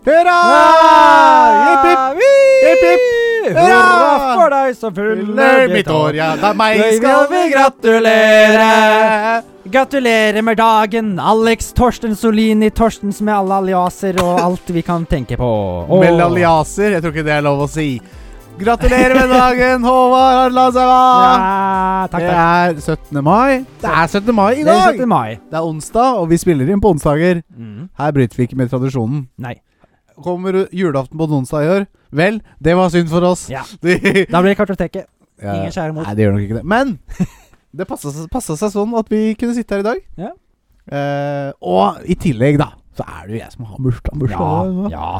Hurra! Jipp, Jipp, Hipp, hipp. Hurra! Hurra for deg som fyller Fyller mitt år, ja. Da meg Deg skal vi gratulere. Gratulerer med dagen, Alex Torsten Solini Torstens med alle aliaser og alt vi kan tenke på. Og- Med aliaser. Jeg tror ikke det er lov å si. Gratulerer med dagen, Håvard Arnland Sæva! Ja, takk, Det takk. er 17. mai. Det er 17. mai i Det er dag! 17. mai. Det er onsdag, og vi spiller inn på onsdager. Mm. Her bryter vi ikke med tradisjonen. Nei. Kommer julaften på en onsdag i år? Vel, det var synd for oss. Ja. De- Da blir det kartoteket. Ja. Ingen skjære mot. Nei, det gjør nok ikke det. Men det passa seg, passa seg sånn at vi kunne sitte her i dag. Ja. Eh, og i tillegg, da, så er det jo jeg som har bursdag. Ja, bursdag ja.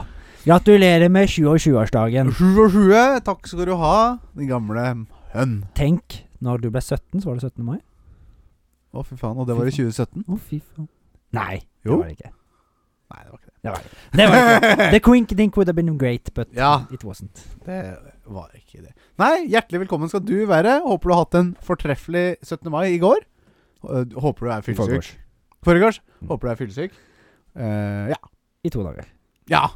Gratulerer med 27-årsdagen. 27. Takk skal du ha, din gamle hønn. Tenk, når du ble 17, så var det 17. mai. Å, fy faen. Og det var i 2017? Å, fy faen. Nei, Jo. det var det ikke. Nei, det var ikke det. Det var det. det, var det ikke. The quink dink would have been great, but Ja. it wasn't. Det var ikke det. Nei, hjertelig velkommen skal du være. Håper du har hatt en fortreffelig 17. mai i går. Eh, Håper du er fyllesyk. Foregårs. Foregårs. Mm. Håper du er fyllesyk. Eh, ja. I to dager. Ja.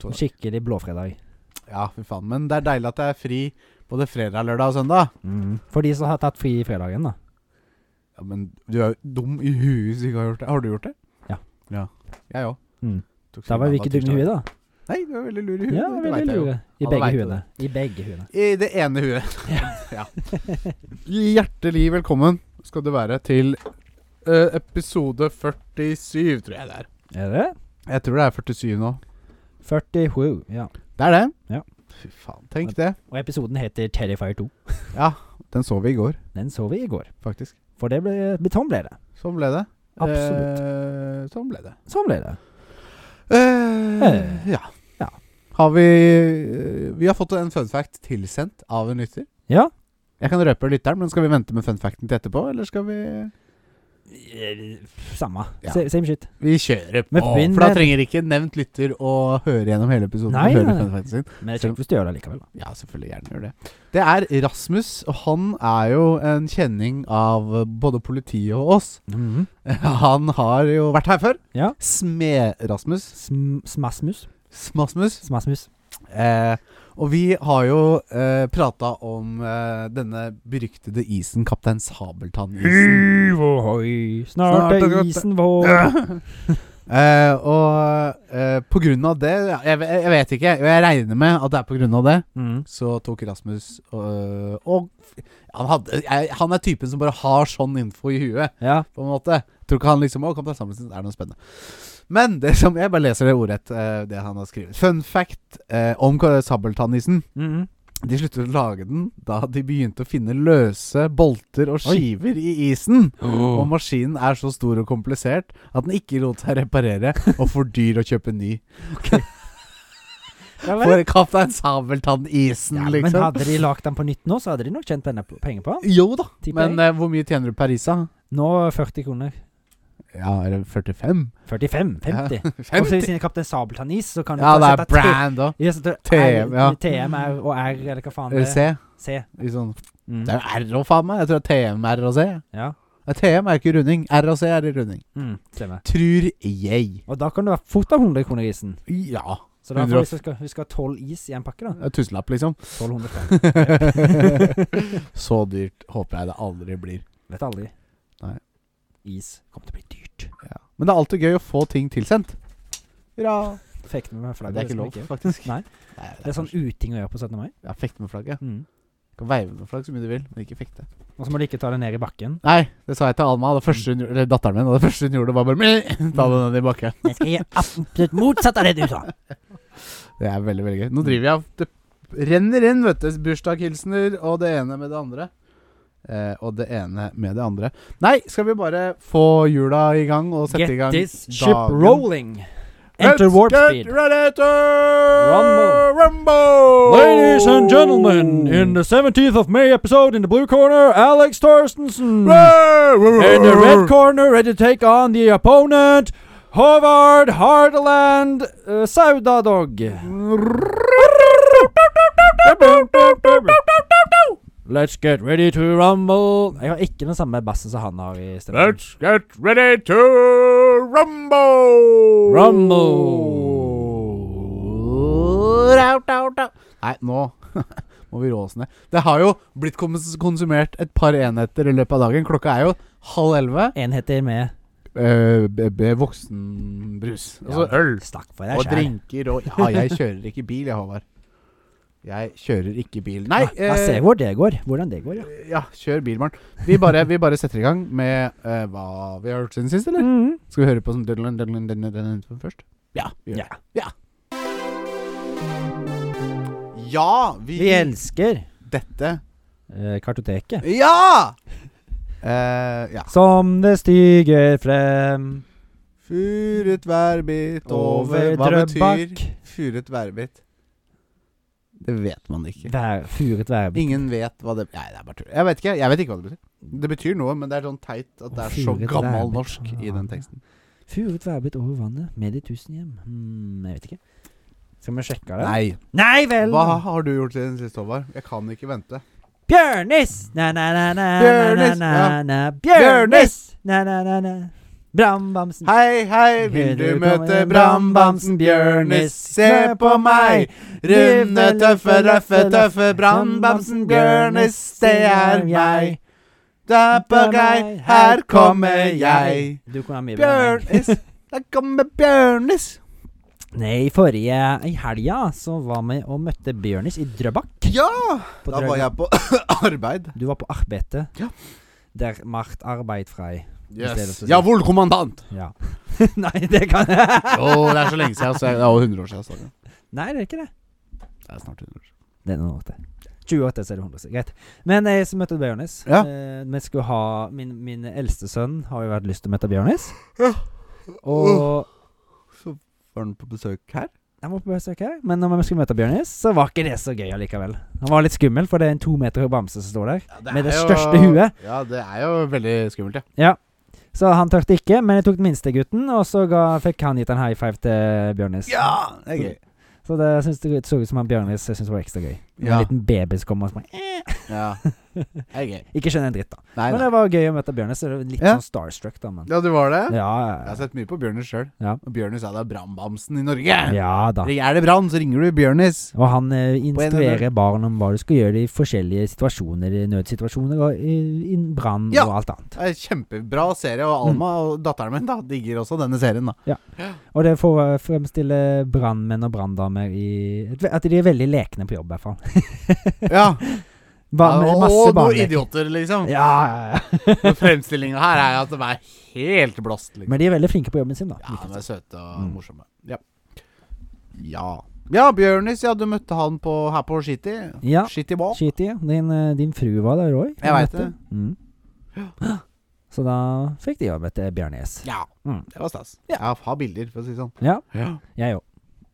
En Skikkelig blåfredag. ja, fy faen. Men det er deilig at det er fri både fredag, lørdag og søndag. For de som har tatt fri i fredagen, da. Ja, Men du er jo dum i huet hvis du ikke har gjort det. Har du gjort det? Ja. ja. Jeg òg. Mm. Tok Da var vi mandag, ikke dumme i tirsdag. huet, da. Nei, du er veldig lur i huet. Ja, det veldig vet jeg jo. lure. I Alle begge vet jo huene. I begge huene. I det ene huet. Ja. Hjertelig velkommen skal du være til eh, episode 47, tror jeg det er. Er det? Jeg tror det er 47 nå. 47, ja. Det er det. Ja. Fy faen, tenk det. Og episoden heter Terrifier 2. Ja, den så vi i går, Den så vi i går. faktisk. For det ble Sånn ble det. Sånn ble det. Absolutt. Eh, sånn ble det. Sånn ble det. Eh, ja. Ja. Har vi eh, Vi har fått en fun fact tilsendt av en lytter. Ja. Jeg kan røpe lytteren, men skal vi vente med fun facten til etterpå, eller skal vi Eh, Samme. Ja. Sa- Same shit. Vi kjører på, Men begynn for da med- trenger ikke nevnt lytter å høre gjennom hele episoden. Nei, og høre nei, nei. fun facten sin. Men det er kjekt hvis du gjør det likevel, da. Ja, selvfølgelig. Gjerne gjør det. Det er Rasmus, og han er jo en kjenning av eh, både politiet og oss. Mm-hmm. Han har jo vært her før. Ja. Smed-Rasmus. Sm smasmus. Smasmus. Smasmus. Eh, og vi har jo eh, prata om eh, denne beryktede isen, Kaptein Sabeltann-isen. Hiv ohoi, snart Snart er er godt- isen vår. Eh, og eh, på grunn av det jeg, jeg vet ikke. Jeg regner med at det er på grunn av det. Mm. så tok Rasmus øh, Og han, hadde, jeg- han er typen som bare har sånn info i huet, Ja. på en måte. Tror ikke han liksom Å, Kaptein Sabeltann er noe spennende. Men det som Jeg bare leser det ordrett, øh, det han har skrevet. Fun fact øh, om Ka- Sabeltannisen. Mm. De sluttet å lage den da de begynte å finne løse bolter og Oi. skiver i isen. Og Om- maskinen er så stor og komplisert at den ikke lot seg reparere, og for dyr å kjøpe ny. For Kaptein Sabeltann-isen, ja, men liksom. hadde de lagd den på nytt nå, så hadde de nok tjent penne- penger på den. Jo da, Tipper men eh, hvor mye tjener du per isa? Nå 40 kroner. Ja, er det 45? 45? 50? Og så siden Kaptein Sabeltann-is, så kan du Ja, det bare sette er T- brand òg. Ja, så det er TM, R- ja. TM, R og R, eller hva faen det er. C. C. I sånn. Mm. Det er jo R og faen meg. Jeg tror det er TM, R og C. Ja. Ja, TM er ikke runding. R og C er i runding. Mm. Stemmer. Tror jeg. Og da kan du ha fort av 100 kroner i isen. Ja. Så da 100 får vi skal, vi skal ha 12 is i en pakke, da. det er Tusenlapp, liksom. 1200 kroner. Så dyrt håper jeg det aldri blir. Vet aldri. Nei. Is kommer til å bli dyrt. Ja. Men det er alltid gøy å få ting tilsendt. Hurra. Fekte med Nei, flagget. Det er ikke som lov, faktisk. Nei. Nei, Det er sånn uting å gjøre på 17. mai. Ja, Fekte med flagget. Mm. Du kan veive med flagg så mye du vil, men ikke fekte. Og så må du ikke ta det ned i bakken. Nei, det sa jeg til Alma, det første hun, gjorde- eller datteren min, og det første hun gjorde, var bare "Meh", Ta den ned i bakken. Jeg skal gjøre absolutt motsatt av det du sa. Det er veldig, veldig gøy. Nå driver jeg Det renner inn, vet du. Bursdagshilsener og det ene med det andre. Eh, og det ene med det andre. Nei, skal vi bare få hjula i gang og sette i Get gang this ship dagen? rolling. Enter warp Let's speed. get ready to Rumble. rumble! Ladies and gentlemen, in the 17th of May episode, in the blue corner, Alex Torstensen. In the red corner, ready to take on the opponent, Håvard Hardeland uh, Saudadog. Let's get ready to rumble. Jeg har ikke den samme bassen som han har i stemmen. Let's get ready to rumble! Rumble. Nei, nå må vi roe oss ned. Det har jo blitt kons- konsumert et par enheter i løpet av dagen. Klokka er jo halv elleve. Enheter med Eh, b- b- voksenbrus. Altså Ja, øl. Snakk for Og deg sjæl. drinker og Ja, jeg kjører ikke bil, jeg, Håvard. Jeg kjører ikke bil. Nei, eh, Ja, ja, se hvor det går. Hvordan det går, ja. ja, kjør bil, Maren. Vi, bare- vi bare setter i gang med eh, hva vi har hørt siden sist, eller? Skal vi høre på sånn som dødelen, dødelen, dødelen, dødelen først? Ja. Vi, gjør det. Mm. ja. ja, vi, Vi elsker Dette. eh, kartoteket. Ja! Eh, ja. Som det stiger frem Furet værbit over Hva betyr Drøbak. furet værbit? Det vet man ikke. Vær, furet værbitt. Ingen vet hva det Nei, det er bare tull. Jeg vet ikke jeg vet ikke hva det betyr. Det betyr noe, men det er sånn teit at det er så Furet gammel værbit. norsk i den teksten. Furet værbitt over vannet med de tusen hjem. Hmm, jeg vet ikke. Skal vi sjekke det? Nei. Nei vel! Hva har du gjort siden sist, Håvard? Jeg kan ikke vente. Bjørnis! Na-na-na-na Bjørnis, Bjørnis! Na-na-na-na Brambamsen. Hei, hei, vil du møte Brannbamsen Bjørnis? Se på meg! Runde, tøffe, røffe, tøffe Brannbamsen Bjørnis, det er meg. Dappagei, her kommer jeg. Du kan ha mye Bjørn. Bjørnis, der kommer Bjørnis. Nei, forrige i helga så var vi og møtte Bjørnis i Drøbak. Ja! På Da Drøbak. var jeg på arbeid. Du var på arbeidet. Ja. Der macht arbeid frei. Yes. Jawohl, kommandant. Ja. Nei, det kan Å, det er så lenge siden. Så jeg- det er jo 100 år siden. Så. Det Nei, det er ikke det. er snart 100 år siden. Det er noen år til. 28, så er det 100. så Greit. Men jeg som møtte Bjørnis Ja. eh, vi skulle ha, min, min eldste sønn har jo hatt lyst til å møte Bjørnis. Ja. Og Uh. Så var han på besøk her. han var på besøk her, men når vi skulle møte Bjørnis, så var ikke det så gøy allikevel. Han var litt skummel, for det er en to meter høy bamse som står der. Ja, Med er det jo- største huet. Ja, det er jo veldig skummelt, ja. Så han tørte ikke, men jeg tok den minste gutten, og så ga, fikk han gitt en high five til Bjørnis. det er gøy. Så det syns det så ut som han Bjørnis syntes det var ekstra gøy. Ja. En liten baby som kom og sa eh. Ja, det er gøy. Ikke skjønner en dritt, da. Nei, Men nei. det var gøy å møte Bjørnis. så det var Litt Ja. sånn starstruck, da, men Ja, du var det? ja, Jeg har sett mye på Bjørnis sjøl. Ja. Og Bjørnis er da brannbamsen i Norge. Ja da. Er det brann, så ringer du Bjørnis. Og han eh, På instruerer barn om hva du skal gjøre i forskjellige situasjoner, i nødsituasjoner og i, i brann Ja. og alt annet. Det er en Kjempebra serie, og Alma Mm. og datteren min da digger også denne serien. da Og det får eh, fremstille brannmenn og branndamer i At de er veldig lekne på jobb, i hvert fall. Ja, Ba, med Og masse eh? noen barneleker. idioter, liksom. Ja, ja, ja. Men Fremstillinga her er jo at de er helt blåst. Liksom. Men de er veldig flinke på jobben sin, da. Ja, de er søte og Mm. morsomme. Ja. ja. Ja, Bjørnis, ja, du møtte han på, her på Shitty. Ja. Shitty Walk. Skit i det. Din, eh, din frue var der òg. Jeg vet det. Mm. Så da fikk de jobb etter Bjørnes. Ja, Mm. det var stas. Jeg har bilder, for å si det sånn. Ja, Ja. jeg òg.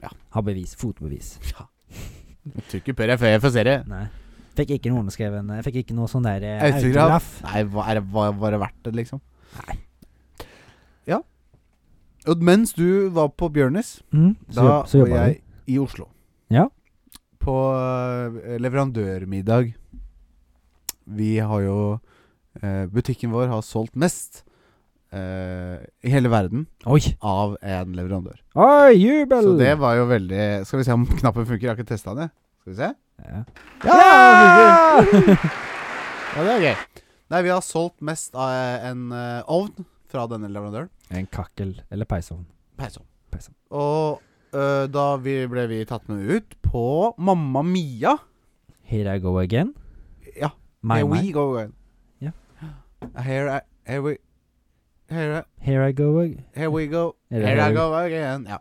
Ja. Har bevis. Fotbevis. Jeg tror ikke på det før jeg får se det. Nei. Fikk ikke noe underskreven Jeg fikk ikke noe sånn der eh, autograf. Autograf. Nei, hva, er, det- hva, var det verdt det, liksom? Nei. Ja. Og mens du var på Bjørnis, Mm, så, da jobb- så var jobba jeg jeg... i Oslo. Ja. På eh, leverandørmiddag. Vi har jo eh, Butikken vår har solgt mest eh, i hele verden du. Oi! av en leverandør. Oi, jubel! Så det var jo veldig Skal vi se om knappen funker. Jeg har ikke testa den, jeg. Skal vi se. ja. Ja! ja, det er gøy. Nei, vi har solgt mest av eh, en eh, ovn fra denne leverandøren. En kakkel eller peisovn. Peisom. Peisom. Og eh, da vi ble vi tatt med ut på Mamma Mia. Here I go again. Ja, My, here my. we go again. Ja. Here, I, here we here, I- Here I go again. here we go. Er det Here I her- go again. Ja.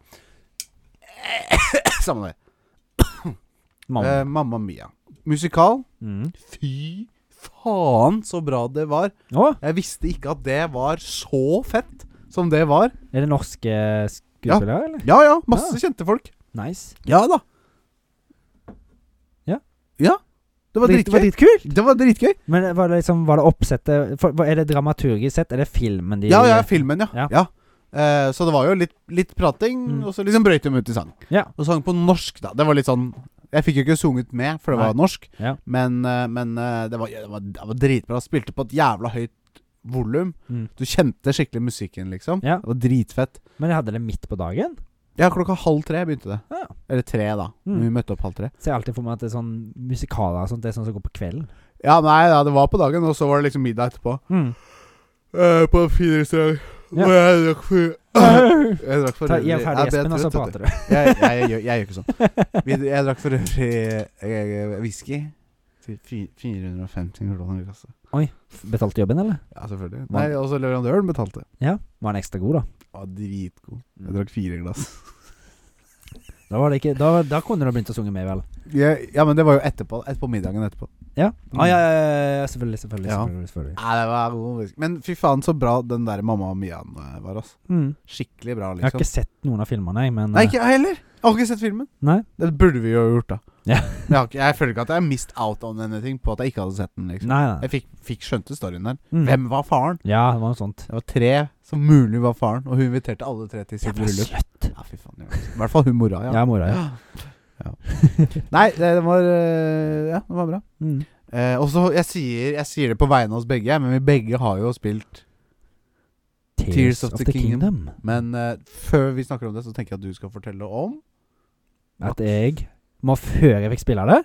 Samme det. Mamma. Eh, Mamma Mia. Musikal. mm. Fy faen så bra det var. Å, Jeg visste ikke at det var så fett som det var. er det norske skuespillere, eller? Ja ja, masse kjente folk. Nice. Ja da. Ja. Ja. Det var Det dritgøy. var dritkult! Det var dritgøy. Men var det liksom Var det oppsettet for, var- Er det dramaturgisk sett? Er det filmen de Ja, ja, filmen, ja. Ja. ja. Eh, så det var jo litt, litt prating, Mm. og så liksom brøyt de ut i sang. Ja. Og sang på norsk, da. Det var litt sånn Jeg fikk jo ikke sunget med, for det var Nei. norsk, Ja. men, eh, men eh, det, var, ja, det, var, det var dritbra. Spilte på et jævla høyt volum. Mm. Du kjente skikkelig musikken, liksom. Ja. Det var dritfett. Men jeg hadde det midt på dagen? Ja, klokka halv tre begynte det. Ja. Eller tre, da. Mm. Vi møtte opp halv tre. Ser alltid for meg at det er sånn musikaler og sånt, det er sånn som går på kvelden. Ja, nei, ja, det var på dagen, og så var det liksom middag etterpå. Eh, på en fin restaurant. Ja. Og jeg drakk for Jeg drakk for Ta, gi øvrig- jeg ferdig ble gjespen, og så trøtt, vet du. prater du. jeg, jeg, jeg, gjør- jeg gjør ikke sånn. Vi- Jeg drakk for øvrig eh, whisky. til fi- 450 kroner i kassa. Betalte jobben, eller? Ja, selvfølgelig. Nei, også leverandøren betalte. Ja. Var han ekstra god, da? Å, dritgod. Jeg drakk fire glass. Da, var det ikke, da, da kunne du begynt å synge med, vel? Jeg, ja, men det var jo etterpå. Etterpå middagen etterpå. Ja. Ah, ja, ja, ja, ja, selvfølgelig, selvfølgelig. Mm. Ja. selvfølgelig, selvfølgelig. Nei, det var god whisky. Men fy faen, så bra den der Mamma Mian eh, var, ass. Mm. Skikkelig bra, Jeg har liksom. ikke sett noen av filmene, jeg, men eh, Nei, ikke jeg heller. Jeg har ikke sett filmen. Nei. Det burde vi jo ha gjort, da. Ja. Men jeg, har ikke, jeg føler ikke at jeg har mist out on anything på at jeg ikke hadde sett den. liksom Nei, nei. Jeg fikk, fikk skjønte storyen der. Mm. Hvem var faren? Ja, det var noe sånt. Det var tre som mulig var faren, og hun inviterte alle tre til sitt Jævla bryllup. sløtt. Ja, fy faen. ja. I hvert fall hun mora, ja. Ja, mora, ja. Nei, det, det var eh, Ja, det var bra. Mm. Eh, og så, jeg sier, jeg sier det på vegne av oss begge, men vi begge har jo spilt Tears, of, the, Kingdom. Men eh, før vi snakker om det, så tenker jeg at du skal fortelle om At jeg må Før jeg fikk spille det,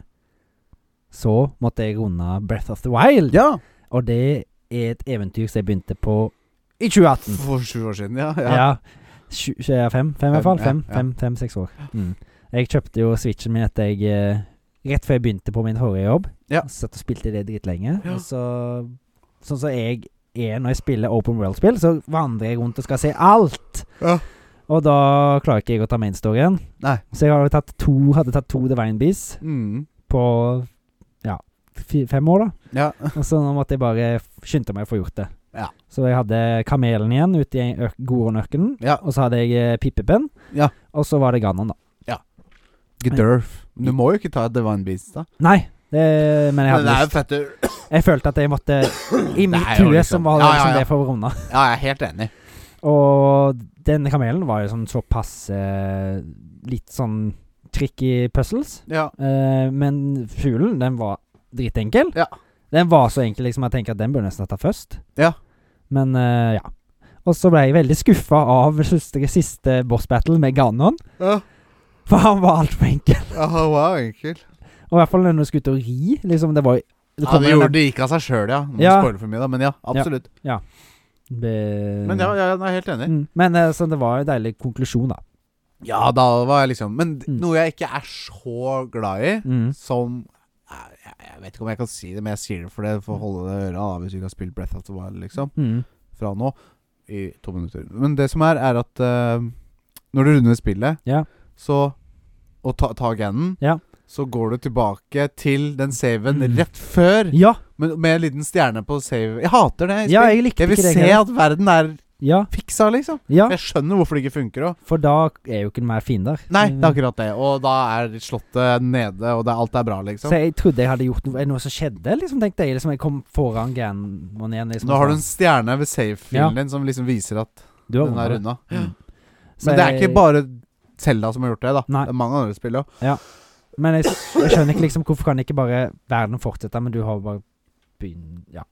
så måtte jeg runde Breath of the Wild. Ja! Og det er et eventyr som jeg begynte på i 2018. For sju år siden, ja. Ja. ja. Sju, sju- ja, fem, fem i hvert fall. Fem, ja, ja. Fem, fem, fem, seks år. Mm. Jeg kjøpte jo switchen min etter jeg eh, Rett før jeg begynte på min forrige jobb. Ja. Satt og spilte det dritlenge. Ja. Og så Sånn som jeg er når jeg spiller open world-spill, så vandrer jeg rundt og skal se alt. Ja. Og da klarer ikke jeg å ta main storyen. Nei. Så jeg har jo tatt to, hadde tatt to Divine Bees Mm. på ja, fi- fem år, da. ja. Og så nå måtte jeg bare f- skynde meg å få gjort det. Ja. Så jeg hadde kamelen igjen ute i ørk- Goronørkenen. Ja. Og så hadde jeg eh, pipepenn. Ja. Og så var det Ganon, da. Gedurf. Du må jo ikke ta et Divine Beast, da. Nei, det, men Men jeg hadde det er jo lyst. fett du- Jeg følte at jeg måtte I Det mitt er jo hue liksom- som var Ja, liksom ja, ja. det for å runde. Ja, jeg er helt enig. Og denne kamelen var jo sånn såpass eh, litt sånn tricky puzzles. Ja. Eh, men fuglen, den var dritenkel. Ja. Den var så enkel liksom at jeg tenker at den burde nesten ta først. Ja. Men eh, ja. Og så ble jeg veldig skuffa av siste, siste boss battle med Ganon. Ja, For han var altfor enkel. han var enkel. Og i hvert fall når du skulle ut og ri. Liksom, det var jo- det Han kommer gjorde en- det gikk av seg sjøl, ja. Nå Ja. spoiler for mye, da, men ja, absolutt. Be- Men ja, ja, jeg er helt enig. Mm. Men eh, så det var jo en deilig konklusjon, da. Ja, da var jeg liksom Men d- Mm. noe jeg ikke er så glad i, Mm. som jeg, jeg vet ikke om jeg kan si det, men jeg sier det for det, for å holde det i øra, da, hvis du ikke har spilt Breath of the Wild, liksom, Mm. fra nå, i to minutter. Men det som er, er at eh, når du runder spillet, Ja. så Og tar ta gannen, Ja. så går du tilbake til den saven Mm. rett før, ja. men med en liten stjerne på save. Jeg hater det. i Ja, spill. jeg likte Jeg vil ikke det. se heller. at verden er Ja, fiksa, liksom. ja, Jeg skjønner hvorfor det ikke funker òg. for da er jo ikke mer fiender. Nei, Mm. det er akkurat det. Og da er slottet nede, og det, alt er bra, liksom. Så jeg trodde jeg hadde gjort noe, noe som skjedde, liksom, tenkte jeg. Liksom, jeg kom foran Ganon igjen. Liksom, Nå har du en stjerne ved Ja. save-filen din som liksom viser at Du har den vunnet er det. unna. Mm. Så Men det er jeg- ikke bare Selda som har gjort det, da. Nei. Det er mange andre spill òg. Men jeg, s- jeg skjønner ikke liksom hvorfor kan ikke bare verden fortsette, men du har bare begynt Ja.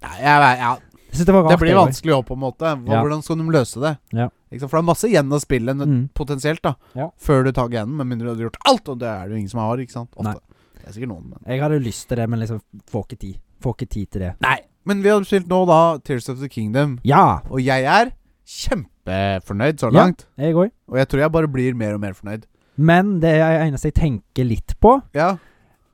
Ja, Jeg syns det var rart. det blir jeg også. vanskelig òg, på en måte. Hva, Ja. Hvordan skal de løse det? Ja. Ikke sant? For det er masse igjen av spillet, Mm. potensielt, da. Ja. Før du tar genen, med mindre du hadde gjort alt. Og det er det jo ingen som har, ikke sant. Ofte. Det er sikkert noen, men Jeg hadde lyst til det, men liksom får ikke tid. Får ikke tid til det. Nei. Men vi har spilt nå, da, Tears of the Kingdom. Ja! Og jeg er kjempefornøyd så Ja. langt. Jeg òg. Og jeg tror jeg bare blir mer og mer fornøyd. Men det jeg- eneste jeg tenker litt på, Ja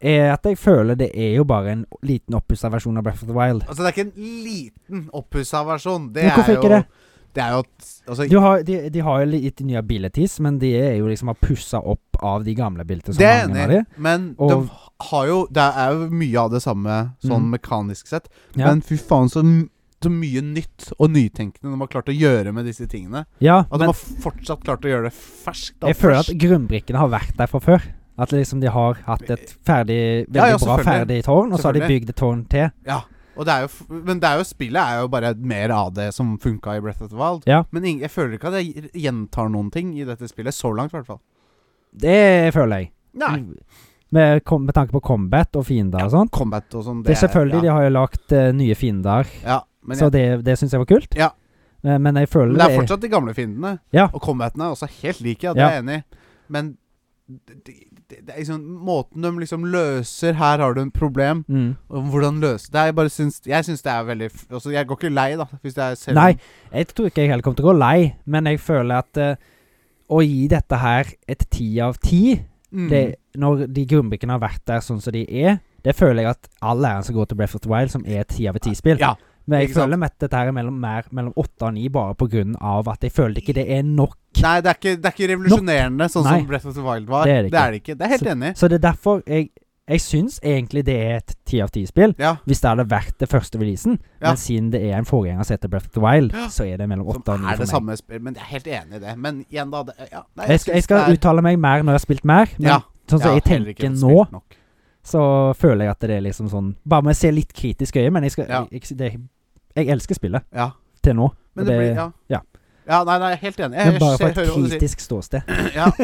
er at jeg føler det er jo bare en liten oppussa versjon av Breath of the Wild. Altså det er ikke en liten oppussa versjon. Det Men hvorfor er jo ikke det? Det er jo at- altså, Du har, de, de har jo litt nye abilities, men de er jo liksom har pussa opp av de gamle abilities. Det er jeg mange av enig i, de. men Og- de har jo Det er jo mye av det samme sånn Mm. mekanisk sett. Ja. Men fy faen, så, m- så mye nytt og nytenkende de har klart å gjøre med disse tingene. Ja, At de men har fortsatt klart å gjøre det ferskt. da, jeg føler at ferskt. grunnbrikkene har vært der fra før. At liksom de har hatt et ferdig veldig Ja, ja, bra ferdig selvfølgelig. tårn, og så har de Selvfølgelig. bygd et tårn til. Ja. Og det er jo, f- men det er jo spillet er jo bare mer av det som funka i Breath of the Wild. Ja. Men ing- jeg føler ikke at jeg gjentar noen ting i dette spillet. Så langt, i hvert fall. Det føler jeg. Nei. Med, kom, med tanke på combat og fiender og sånt. Combat og sånn. Det, er selvfølgelig, ja. de har jo lagt eh, nye fiender, ja, men så det, det syns jeg var kult. Ja. Eh, Men jeg føler Men det er fortsatt de gamle fiendene. Ja. Og combatene er også helt like, ja, det Ja. er jeg enig i. Men det, det, det det er liksom måten de liksom løser Her har du et problem. mm. Og hvordan løse det? Jeg bare syns Jeg syns det er veldig f- altså, Jeg går ikke lei, da, hvis det er selv Nei, jeg tror ikke jeg heller kommer til å gå lei, men jeg føler at eh, å gi dette her et ti av ti, Mm. det, når de grunnbrikkene har vært der sånn som de er, det føler jeg at all æren som går til Breath of the Wild, som er et ti av ti-spill. Ja. Men jeg ikke sant. føler at dette her er mellom, mer, mellom åtte og ni, bare på grunn av at jeg føler ikke det er nok. Nei, det er ikke, det er ikke revolusjonerende, sånn Nei. som Breath of the Wild var. Det er det Det er, det ikke. Det er helt enig. Så det er derfor jeg, jeg syns egentlig det er et ti av ti-spill. Ja. Hvis det hadde vært det første releasen, Ja. men siden det er en forgjenger som heter Breath of the Wild, Ja. så er det mellom Som åtte og ni er det for meg. samme spill, men jeg er helt enig i det. Men igjen, da det, ja, nei, Jeg skal, jeg syns skal det er- uttale meg mer når jeg har spilt mer, men Ja. sånn som Ja, jeg heller ikke tenker fått nå, spilt nok. så føler jeg at det er liksom sånn Bare med å se litt kritisk øye, men jeg skal Ja. jeg, det, jeg elsker spillet Ja. til nå. Men og det, blir Ja. ja. Ja, nei, nei, jeg er helt enig. Jeg, men bare ser- fra et hører hva du sier. kritisk ståsted. Ja.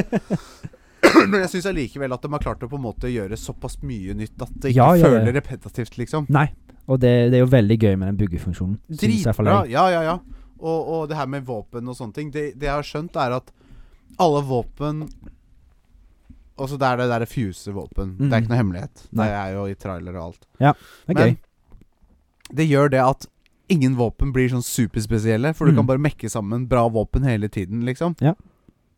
Men jeg syns allikevel at de har klart å på en måte gjøre såpass mye nytt at det ikke Ja, ja, ja. føler repetitivt, liksom. Nei. Og det, det er jo veldig gøy med den buggefunksjonen. synes i hvert fall Dritbra. jeg. Ja, ja, ja. Og, og det her med våpen og sånne ting Det, det jeg har skjønt, er at alle våpen Altså, det er det derre fuse-våpen. Det Mm. er ikke noe hemmelighet. Nei. Det er jo i trailer og alt. Det er Men gøy. det gjør det at ingen våpen blir sånn superspesielle, for Mm. du kan bare mekke sammen bra våpen hele tiden, liksom. Ja.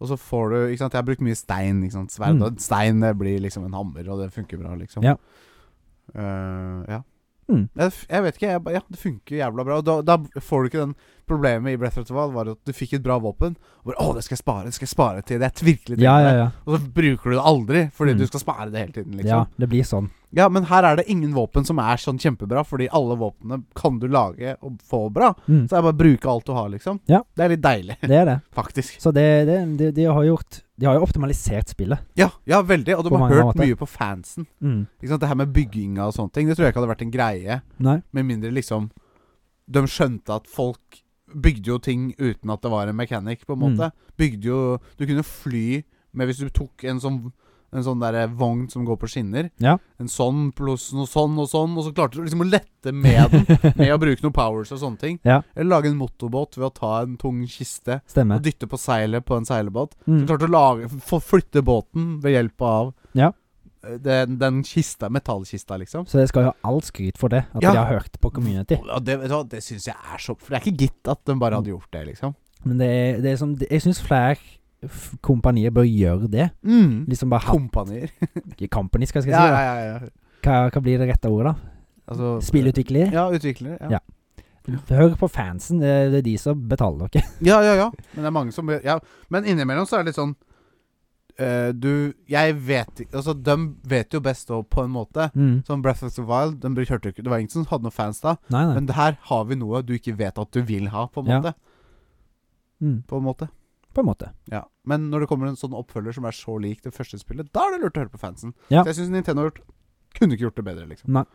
Og så får du ikke sant, Jeg har brukt mye stein. ikke sant, Sverd Mm. og en stein det blir liksom en hammer, og det funker bra, liksom. Ja. Eh, ja. Mm. Jeg, f- jeg vet ikke. Jeg, ba- ja, det funker jævla bra. Og da, da får du ikke den problemet i Breath of the Wild var at du fikk et bra våpen. Og bare, 'Å, det skal jeg spare det skal jeg spare til det jeg virkelig Ja, trenger ja, det.' ja. Og så bruker du det aldri, fordi Mm. du skal spare det hele tiden. liksom Ja, det blir sånn. ja, men her er det ingen våpen som er sånn kjempebra, fordi alle våpnene kan du lage og få bra. Så Mm, det er bare å bruke alt du har, liksom. Ja. Det er litt deilig, det er det. faktisk. Så det, det, de, de har gjort De har jo optimalisert spillet. Ja, ja veldig. Og de På har mange hørt måter. mye på fansen. Mm. Ikke sant? Det her med bygginga og sånne ting, det tror jeg ikke hadde vært en greie. Nei. Med mindre liksom De skjønte at folk bygde jo ting uten at det var en mechanic, på en Mm. måte. Bygde jo Du kunne fly med Hvis du tok en sånn en sånn der vogn som går på skinner. Ja. En sånn pluss noe sånn og sånn, og så klarte du liksom å lette med den. Med å bruke noen powers og sånne ting. Ja. Eller lage en motorbåt ved å ta en tung kiste og Stemmer. dytte på seilet på en seilbåt. Du Mm. klarte å lage, få flytte båten ved hjelp av Ja. eh, den, den kista, metallkista, liksom. Så jeg skal jo ha all skryt for det, at Ja. Mm. de har hørt på community. Og det vet du hva, det syns jeg er så For det er ikke gitt at de bare hadde gjort det, liksom. Men det er, det er som Jeg syns flere f- kompanier bør gjøre det. Mm. Liksom bare ha Kompanier. company, skal jeg si. Ja, da. ja, ja, ja. Hva, hva blir det rette ordet, da? Altså, Spillutvikler? Ja, utviklere. Ja. Ja. Hør på fansen. Det er, det er de som betaler dere. Ja, ja, ja. Men det er mange som ja. Men innimellom så er det litt sånn eh, Du Jeg vet ikke Altså, de vet jo best òg, på en måte. Mm. Som Breath of the Wild. De kjørte jo ikke Det var ingen som hadde noen fans da. Nei, nei. Men det her har vi noe du ikke vet at du vil ha, på en Ja. måte. Mm. På en måte. På en måte. Ja. Men når det kommer en sånn oppfølger som er så lik det første spillet, da er det lurt å høre på fansen. Ja. Så jeg syns Nintendo har gjort Kunne ikke gjort det bedre, liksom. Nei.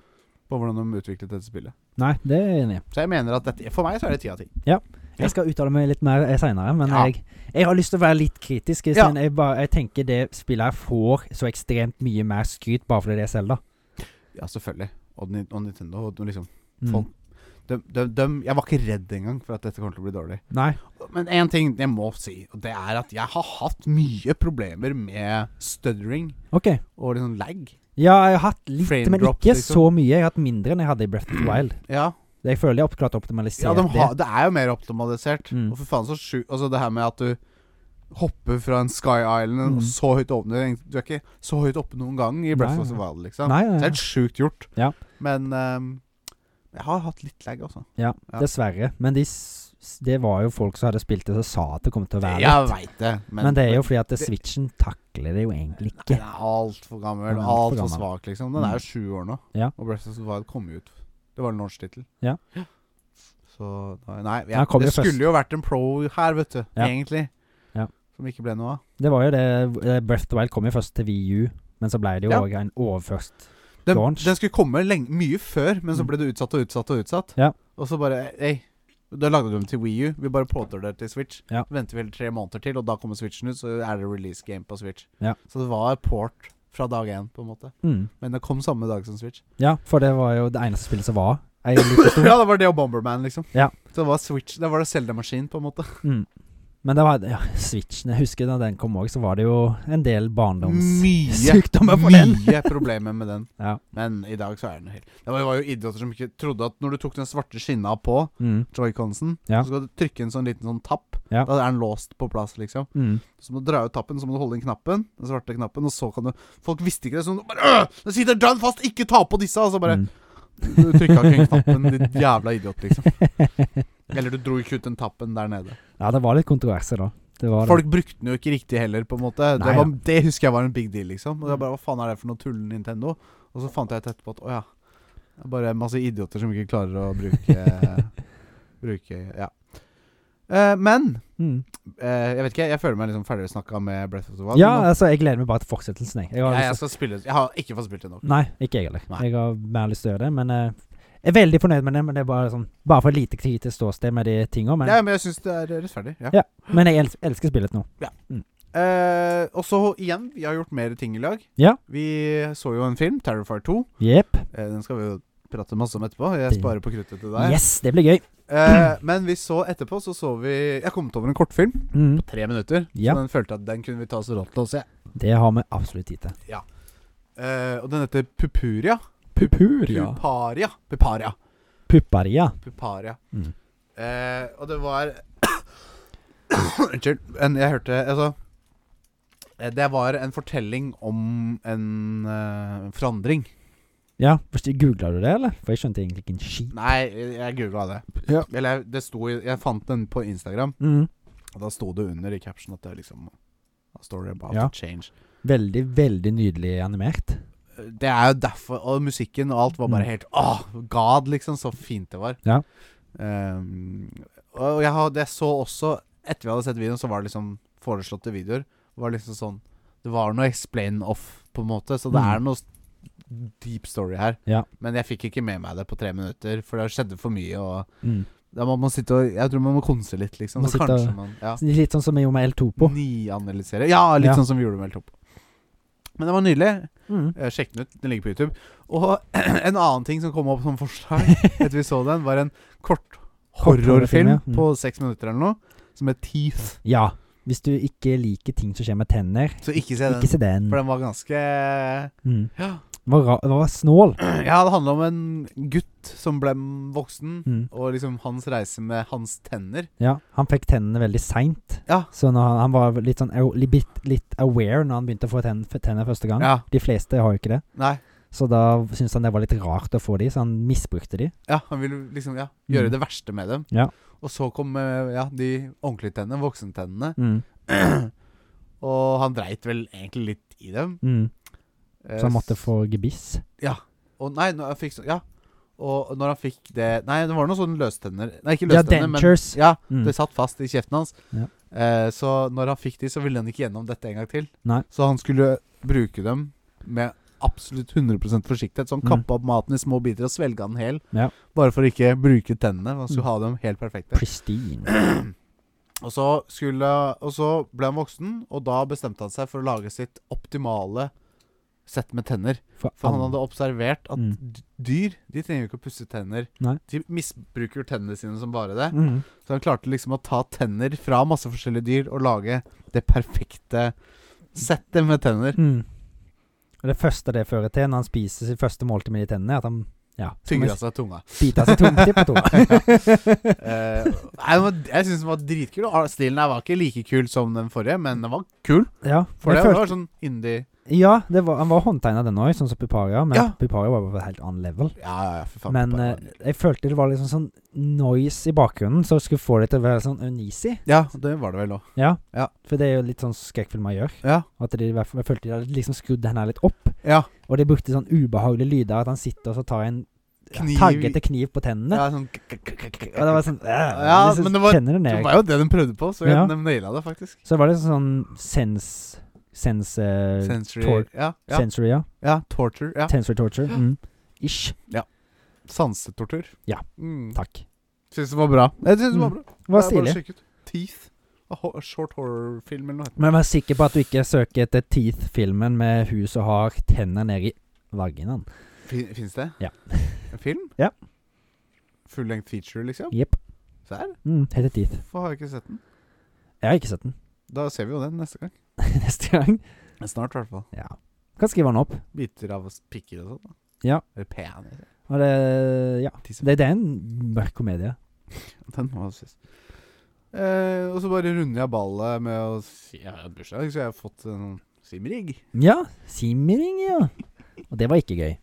På hvordan de utviklet dette spillet. Nei, det er jeg enig i. Så jeg mener at dette For meg så er det ti av ti. Ja. Jeg skal uttale meg litt mer seinere, men Ja. jeg, jeg har lyst til å være litt kritisk. Ja. Siden jeg, bare, jeg tenker det spillet her får så ekstremt mye mer skryt bare fordi det er Selda. Ja, selvfølgelig. Og, Ni- og Nintendo og liksom Mm. Folk- de, de, de, Jeg var ikke redd engang for at dette kommer til å bli dårlig. Nei. Men én ting jeg må si, og det er at jeg har hatt mye problemer med stuttering OK. og liksom lag. Ja, jeg har hatt litt, Frame men drops, ikke liksom. så mye. Jeg har hatt mindre enn jeg hadde i Breath of the Wild. Ja, Jeg føler jeg har klart å optimalisere ja de det. har, det er jo mer optimalisert. Mm. Og for faen så sjukt Altså, det her med at du hopper fra en Sky Island Mm. og så høyt oppe Du er ikke så høyt oppe noen gang i Breath Nei, of the nei. Wild, liksom. Nei, Så Det nei, er nei. helt sjukt gjort. Ja. Men ehm, jeg har hatt litt lag, altså. Ja, Ja. dessverre. Men de, s- s- det var jo folk som hadde spilt det, som sa at det kom til å være Jeg litt. veit det, Men, det er jo fordi at det, det- Switchen takler det jo egentlig ikke. Den er altfor gammel, Den er alt altfor for gammel. Mm. svak, liksom. Den er jo sju år nå. Ja. Og Breath of the Wild kom jo ut. Det var en launch-tittel. Ja. Så da- Nei, jeg, Den kom det jo først. skulle jo vært en pro her, vet du. Ja. Egentlig. Ja. Som ikke ble noe av. Det var jo det eh, Breath of the Wild kom jo først til VU, men så ble det jo Ja. òg en overførst. Den, Launch. den skulle komme lenge, mye før, men så Mm. ble det utsatt og utsatt og utsatt. Ja. Og så bare Ei, da lagde du dem til Wii U Vi bare plotter det til Switch. Ja. Så venter vi hele tre måneder til, og da kommer Switchen ut, så er det release game på Switch. Ja. Så det var port fra dag én, på en måte. Mm. Men det kom samme dag som Switch. Ja, for det var jo det eneste spillet som var er jo like stor. Ja, det var det og Bomberman, liksom. Ja. Så det var Switch Da var det Zelda-maskin, på en måte. Mm. Men det var ja, Switchen. Jeg husker da den kom òg, så var det jo en del barndomssykdommer på den. mye problemer med den. Ja. Men i dag så er den helt Det var var jo idioter som ikke trodde at når du tok den svarte skinna på Mm. joyconsen, Ja. så skal du trykke en sånn liten sånn tapp. Ja. Da er den låst på plass, liksom. Mm. Så må du dra ut tappen, så må du holde inn knappen, den svarte knappen, og så kan du Folk visste ikke det, så de bare øh, Den sitter dønn fast, ikke ta på disse! Og så bare Mm. Du trykka ikke inn knappen, ditt jævla idiot, liksom. Eller du dro ikke ut den tappen der nede. Ja, det var litt kontroverser da. Det var det. Folk brukte den jo ikke riktig heller, på en måte. Nei, Mm. det, var, det husker jeg var en big deal, liksom. Og jeg bare, Hva faen er det for noe tull Nintendo? Og så fant jeg ut etterpå at å ja. Det er bare masse idioter som ikke klarer å bruke Bruke Ja. Eh, men Mm. eh, jeg vet ikke, jeg føler meg liksom ferdig snakka med Breath of the Wild. Ja, nå. altså, jeg gleder meg bare til fortsettelsen, jeg. jeg, har jeg, jeg lyst skal spille Jeg har ikke fått spilt det nok. til- Nei, ikke jeg heller. Nei. Jeg har mer lyst til å gjøre det, men eh, jeg er veldig fornøyd med det. Men det er bare, sånn, bare for lite tid til ståsted med de tinga. Men, Ja, men jeg syns det er rettferdig. Ja. Ja. men jeg elsker, elsker spillet nå. Eh, og så igjen, vi har gjort mer ting i lag. Ja. Vi så jo en film, 'Terrifier 2'. Jepp. Eh, den skal vi jo prate masse om etterpå. Jeg Det- sparer på kruttet til deg. Yes, det blir gøy. Eh, men vi så etterpå, så så vi Jeg kom til over en kortfilm. Mm. Tre minutter. Ja. Så den følte at den kunne vi ta oss råd til å se. Det har vi absolutt tid til. Eh, og den heter Pupuria. Pupuria. Puparia. Puparia. Puparia. Puparia. Mm. Eh, og det var Unnskyld. En, jeg hørte Altså eh, Det var en fortelling om en eh, forandring. Ja, googla du det, eller? For jeg skjønte egentlig ikke en skit. Nei, jeg googla det. Ja. Eller det sto i Jeg fant den på Instagram, Mm. og da sto det under i caption at det liksom A story about Ja. change. Veldig, veldig nydelig animert. Det er jo derfor Og musikken og alt var bare Mm. helt Åh, god liksom Så fint det var Ja. Ehm, Og jeg, hadde, jeg så også Etter vi hadde sett videoen Så var det liksom Foreslåtte videoer Var liksom sånn Det var noe explain off På en måte Så det Mm. er noe s- Deep story her Ja. Men jeg fikk ikke med meg det på tre minutter For det skjedde for mye Og Mm. da må man sitte og Jeg tror man må konse litt liksom Må Så sitte kanskje og- man Ja Litt sånn som vi gjorde med El Topo. Nyanalysere Ja, litt Ja. sånn som vi gjorde med helt opp Men det var nydelig Mm. Eh, Sjekk den ut, den ligger på YouTube. Og en annen ting som kom opp som forslag etter vi så den, var en kort horrorfilm, ja. horrorfilm Mm. på seks minutter eller noe, som het Teeth. Ja. Hvis du ikke liker ting som skjer med tenner, Så ikke se ikke den. se den. For den var ganske Ja, Mm. Den var, ra den var snål. det handla om en gutt som ble voksen, Mm. og liksom hans reise med hans tenner. Ja, han fikk tennene veldig seint. Ja. Så når han, han var litt sånn au- li- bit, litt aware når han begynte å få tenn, f- tenner første gang. Ja. De fleste har jo ikke det. Nei. Så da syntes han det var litt rart å få de, så han misbrukte de. Ja, han ville liksom ja, Mm. gjøre det verste med dem. Ja. Og så kom eh, ja, de ordentlige tennene, voksentennene. Mm. Og han dreit vel egentlig litt i dem. Mm. Eh, Så han måtte få gebiss. Og nei, når han fikk sånn Ja. Og når han fikk det Nei, det var noen sånne løstenner. Nei, ikke Ja, løstenner, men dentures. Ja, Mm. det satt fast i kjeften hans. Ja. Eh, så når han fikk de, så ville han ikke gjennom dette en gang til. Nei. Så han skulle bruke dem med absolutt 100 forsiktighet. Så han Mm. kappa opp maten i små biter og svelga den hel. Ja. Bare for å ikke bruke tennene. Han Mm. skulle ha dem helt perfekte. Pristine. Og så, skulle, og så ble han voksen, og da bestemte han seg for å lage sitt optimale sett med tenner. For For han an- hadde observert at Mm. d- dyr De trenger jo ikke å pusse tenner. Nei. De misbruker jo tennene sine som bare det. mm. Så han klarte liksom å ta tenner fra masse forskjellige dyr og lage det perfekte settet med tenner. Mm. Og det første det fører til når han spiser sitt første måltid med de tennene, er at han ja, Tygger skal man av seg tunga. bite av seg tom- tipp på tunga. Eh, nei, den var, jeg syns den var dritkul. og Stilen her var ikke like kul som den forrige, men den var kul. ja, For jeg det følte- var sånn indie ja det var, han var håndtegna den òg, sånn som Puparia, men Ja. Puparia var på et helt annet level. Ja, ja, ja, for faen. Men bare- eh, jeg følte det var liksom sånn noise i bakgrunnen, så skulle få det til å være sånn uneasy. ja, det var det vel òg. Ja. Ja. For det er jo litt sånn skrekkfilmer gjør. Ja. At de, i hvert fall- jeg følte de hadde liksom skrudd henne litt opp, ja. og de brukte sånn ubehagelige lyder, at han sitter og så tar en ja, Kniv i- taggete kniv på tennene. ja sånn, Og det var sånn øh, Ja, liksom men det var- Kjenner det det ned. var jo det den prøvde på, så Ja. den naila det faktisk. Så det var liksom sånn sens... Sens... eh, Sensory tor- ja, ja. Sensory, ja. Ja, torture. Ja. Sensory torture. Mm. Ish. Sansetortur. Ja. Mm. Takk. Syns det var bra. Jeg syns det var Mm. bra. Det var Det er bare å stilig. sjekke ut. Teeth. A ho- a Short horror-film eller noe. heter Men vær sikker på at du ikke søker etter Teeth-filmen med hun som har tenner nede i vaginaen. det. Fin, Fins det? Ja. En film? Ja. fullengt feature, liksom. Jepp. Serr? Mm, heter Teeth. Hvorfor har jeg ikke sett den? Jeg har ikke sett den. Da ser vi jo den neste gang. Neste gang. Snart, i hvert fall. Ja. Kan skrive den opp. Biter av oss pikker og sånn. Ja. Eller penis. Og det Ja. Tisse. Det, det er en mørk komedie. Den må ses. Eh, og så bare runder jeg ballet med å si jeg har hatt bursdag, så jeg har fått en sånn simrigg. Ja. Simring, ja. Og det var ikke gøy.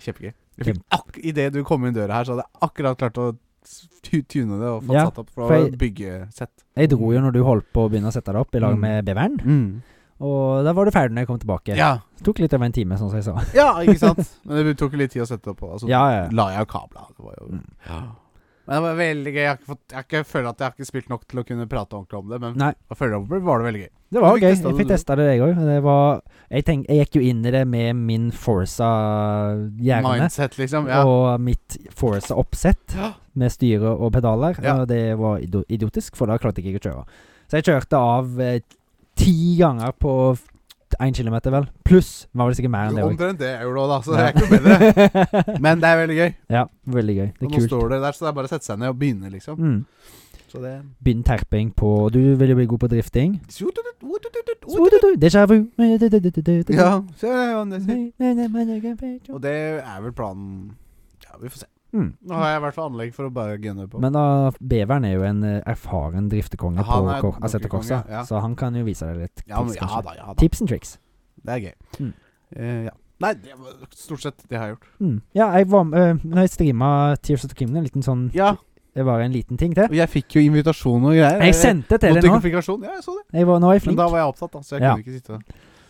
Kjempegøy. Jeg fikk ak- Idet du kom inn døra her, så hadde jeg akkurat klart å s- tu- tune det og fått Ja, satt opp fra for jeg- byggesett. Jeg dro jo når du holdt på å begynne å sette deg opp i lag Mm. med beveren. Og da var du ferdig når jeg kom tilbake. Ja. Det tok litt over en time, sånn som jeg sa. ja, ikke sant? Men det tok jo litt tid å sette det opp på. da, Så Ja, ja. ja. la jeg jo kabla. Det var jo Mm. ja. Men det var veldig gøy. Jeg, har ikke fått, jeg har ikke føler at jeg har ikke spilt nok til å kunne prate ordentlig om det, men Nei. å følge opp var det veldig gøy. Det var Du fikk jo gøy. testa Jeg det, fikk du. testa det, jeg òg. Det var jeg, tenk- jeg gikk jo inn i det med min Forsa-hjerne. Mindset, liksom. Ja. Og mitt Forsa-oppsett Ja. med styre og pedaler. Ja. Og det var ido- idiotisk, for da klarte jeg ikke å kjøre. Så jeg kjørte av eh, ti ganger på én kilometer, vel. Pluss var det sikkert mer enn det òg. Omtrent det jeg gjorde òg, da, så det er ikke noe bedre. Men det er veldig gøy. ja, veldig gøy. Og Det er nå kult. står det der, så det er bare å sette seg ned og begynne, liksom. Mm. Så det Begynn terping på Du vil jo bli god på drifting. Ja. Ja. så er det jo- Og det er vel planen Ja, vi får se. Mm. Nå har jeg i hvert fall anlegg for å bare gunne på. Men da, beveren er jo en eh, erfaren driftekonge Ja, han er på dokkekonge, Assetterkorset, ja. så han kan jo vise deg litt ja, men, tips, ja kanskje. da, ja da. Tips and tricks. Det er gøy. Mm. Eh, ja. Nei, det var stort sett det jeg har gjort. Mm. Ja, jeg var med eh, Når jeg streama Tears of the Kingdom, en liten sånn Ja, Det var en liten ting til. og jeg fikk jo invitasjon og greier. Eh, Jeg sendte til deg nå. Notifikasjon, ja, jeg så det. Jeg var, nå var jeg Men flink. da var jeg opptatt, da, så jeg Ja. kunne ikke sitte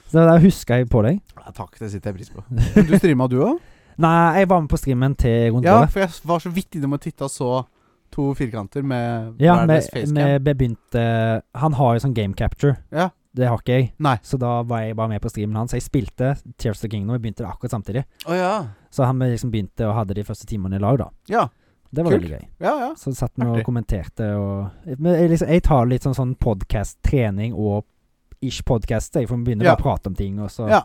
Så da huska jeg på deg. ja, Takk, det setter jeg pris på. Men du streama du òg? Nei, jeg var med på streamen til rundt Ja, året. for jeg var så vidt innom og titta og så to firkanter med Ja, hver vi deres facecam. vi begynte Han har jo sånn game capture. Ja. Det har ikke jeg. Nei. Så da var jeg bare med på streamen hans. Jeg spilte Tears of the Kingdom, og vi begynte det akkurat samtidig. Å ja. Så han liksom begynte og hadde de første timene i lag, da. Ja, Det var Kult. veldig gøy. ja. ja. Så satt vi og Artig. kommenterte og Men jeg, liksom, jeg tar litt sånn, sånn podkast-trening og ish-podkast. Jeg får begynne Ja. bare å prate om ting, og så Ja.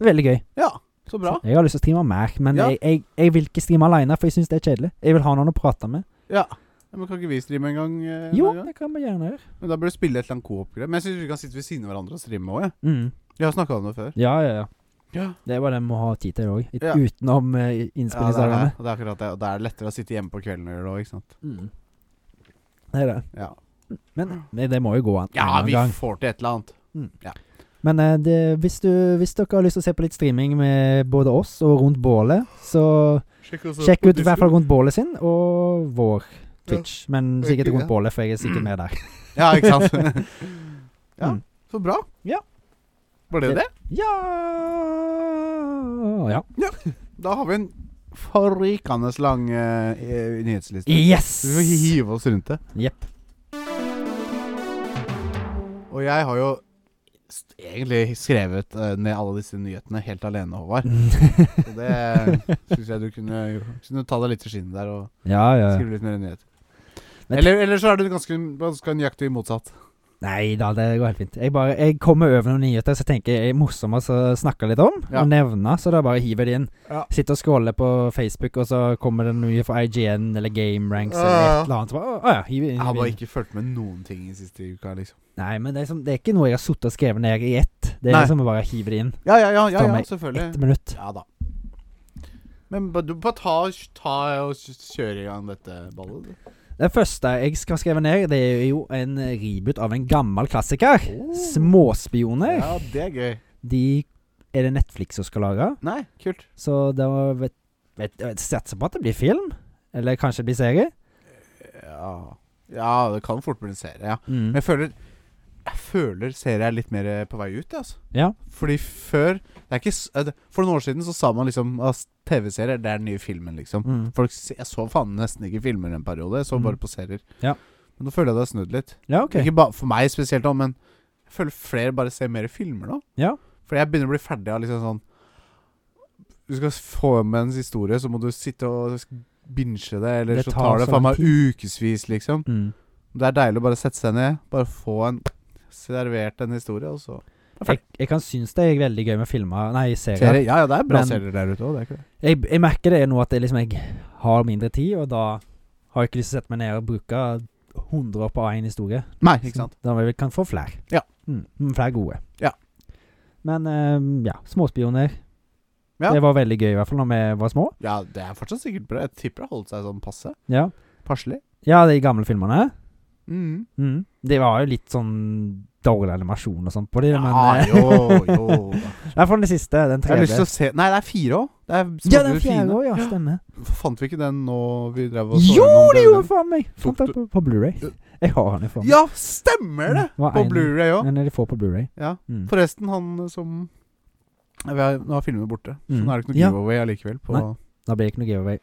Veldig gøy. ja. Så bra. Så Jeg har lyst til å streame mer, men Ja. jeg, jeg, jeg vil ikke streame alene, for jeg syns det er kjedelig. Jeg vil ha noen å prate med. Ja. ja. Men kan ikke vi streame en gang? Eh, Jo, en gang? det kan vi gjerne gjøre. Men da bør du spille et eller annet coop-greier. Men jeg syns vi kan sitte ved siden av hverandre og streame òg, jeg. Mm. Vi har snakka om det før. Ja, ja, ja. Ja. Det er bare det vi må ha tid til òg, Ja. utenom uh, Ja, det, er, innspillingsdagene. det. det er akkurat det. Og det er lettere å sitte hjemme på kvelden og gjøre det òg, ikke sant. Mm. Det er det. Ja. Men det, det må jo gå an. ja, en vi gang. får til et eller annet. Men eh, det, hvis, du, hvis dere har lyst til å se på litt streaming med både oss og Rundt bålet, så Sjekk, sjekk ut i hvert fall Rundt bålet sin og vår Twitch. Men sikkert Ja. Rundt bålet, for jeg er Mm. sikkert med der. Ja, ikke sant. ja, Mm. så bra. Ja. Var det det? Ja Ja. Da har vi en forrykende lang eh, eh, nyhetsliste. Så vi får Yes! hive oss rundt det. Jepp. Og jeg har jo st- egentlig skrevet eh, ned alle disse nyhetene helt alene, Håvard. Så det syns jeg du kunne, kunne ta deg litt til skinnet der og Ja, ja. skrive litt mer nyhet. Men- Eller, eller så er det ganske, ganske nøyaktig motsatt. Nei da, det går helt fint. Jeg bare, jeg kommer over noen nyheter som jeg tenker er morsomme å snakke litt om, Ja. og nevne, så da bare hiver jeg det inn. Ja. Sitter og scroller på Facebook, og så kommer det noe fra IGN eller Game Ranks eller Ja, ja. et eller annet. Så bare, å, å ja, hiver Jeg inn, har hiver bare inn. ikke fulgt med noen ting i siste uka, liksom. Nei, men det er, liksom, det er ikke noe jeg har sittet og skrevet ned i ett. Det er Nei. liksom å bare hive det inn. Ja, ja, ja, ja, Ta ja meg Ett selvfølgelig. minutt. Ja da. Men ba- du bare ta, ta og kjøre i gang dette ballet. du. Det første jeg skal skrive ned, det er jo en reboot av en gammel klassiker. Småspioner. Ja, det er gøy. De er det Netflix som skal lage. Nei, kult. Så da vet, vet, vet, satser på at det blir film. Eller kanskje det blir serie. Ja. ja, det kan fort bli en serie, ja. Men Mm. jeg føler Jeg føler serier er litt mer eh, på vei ut, jeg, altså. Ja. Fordi før det er ikke, s- eh, det- For noen år siden så sa man liksom at TV-serier det er den nye filmen, liksom. Mm. Folk, s- jeg så faen nesten ikke filmer en periode. Jeg så Mm. bare på serier. Ja. Men nå føler jeg det har snudd litt. Ja, OK. Ikke bare for meg spesielt, da, men jeg føler flere bare ser mer filmer nå. Ja. For jeg begynner å bli ferdig av liksom sånn Du skal få med en historie, så må du sitte og binche det, eller Det så tar tar det så faen lang meg ukevis, liksom. Mm. Det er deilig å bare sette seg ned, bare få en servert en historie, og så Jeg, jeg kan synes det er veldig gøy med filmer Nei, serier. Serier. Ja, ja, det er bra Men- serier der ute òg, det er ikke det. Jeg, jeg merker det nå at jeg, liksom, jeg har mindre tid, og da har jeg ikke lyst til å sette meg ned og bruke 100 på én historie. Nei, ikke sant. Da vi kan få flere. Ja. Mm, men flere gode. Ja. Men eh, ja, småspioner. Ja. Det var veldig gøy, i hvert fall når vi var små. Ja, det er fortsatt sikkert bra. Jeg tipper det har holdt seg sånn passe. Ja, Passelig. ja de gamle filmene. Mm. Mm. Det var jo litt sånn dårlig animasjon og sånt på de, Ja, men eh, jo, jo. I hvert fall den siste. Den Jeg har lyst til tredje. å se Nei, det er fire òg. Det er Ja, Smuglere den fjerde Fine. òg, ja. Stemmer. Fant vi ikke den nå vi drev og Jo, gjennom det DVD-en? gjorde faen meg! Fant Tok den på, på Blu-ray. Jeg har den i form. Mm. Ja, stemmer det! Var På en- Blueray òg. En av de få på Blu-ray. Ja. Mm. Forresten, han som Ja, vi har, Nå er filmene borte, så Mm. nå er det ikke noe Ja. giveaway allikevel. På, Nei. Da blir det ikke noe giveaway.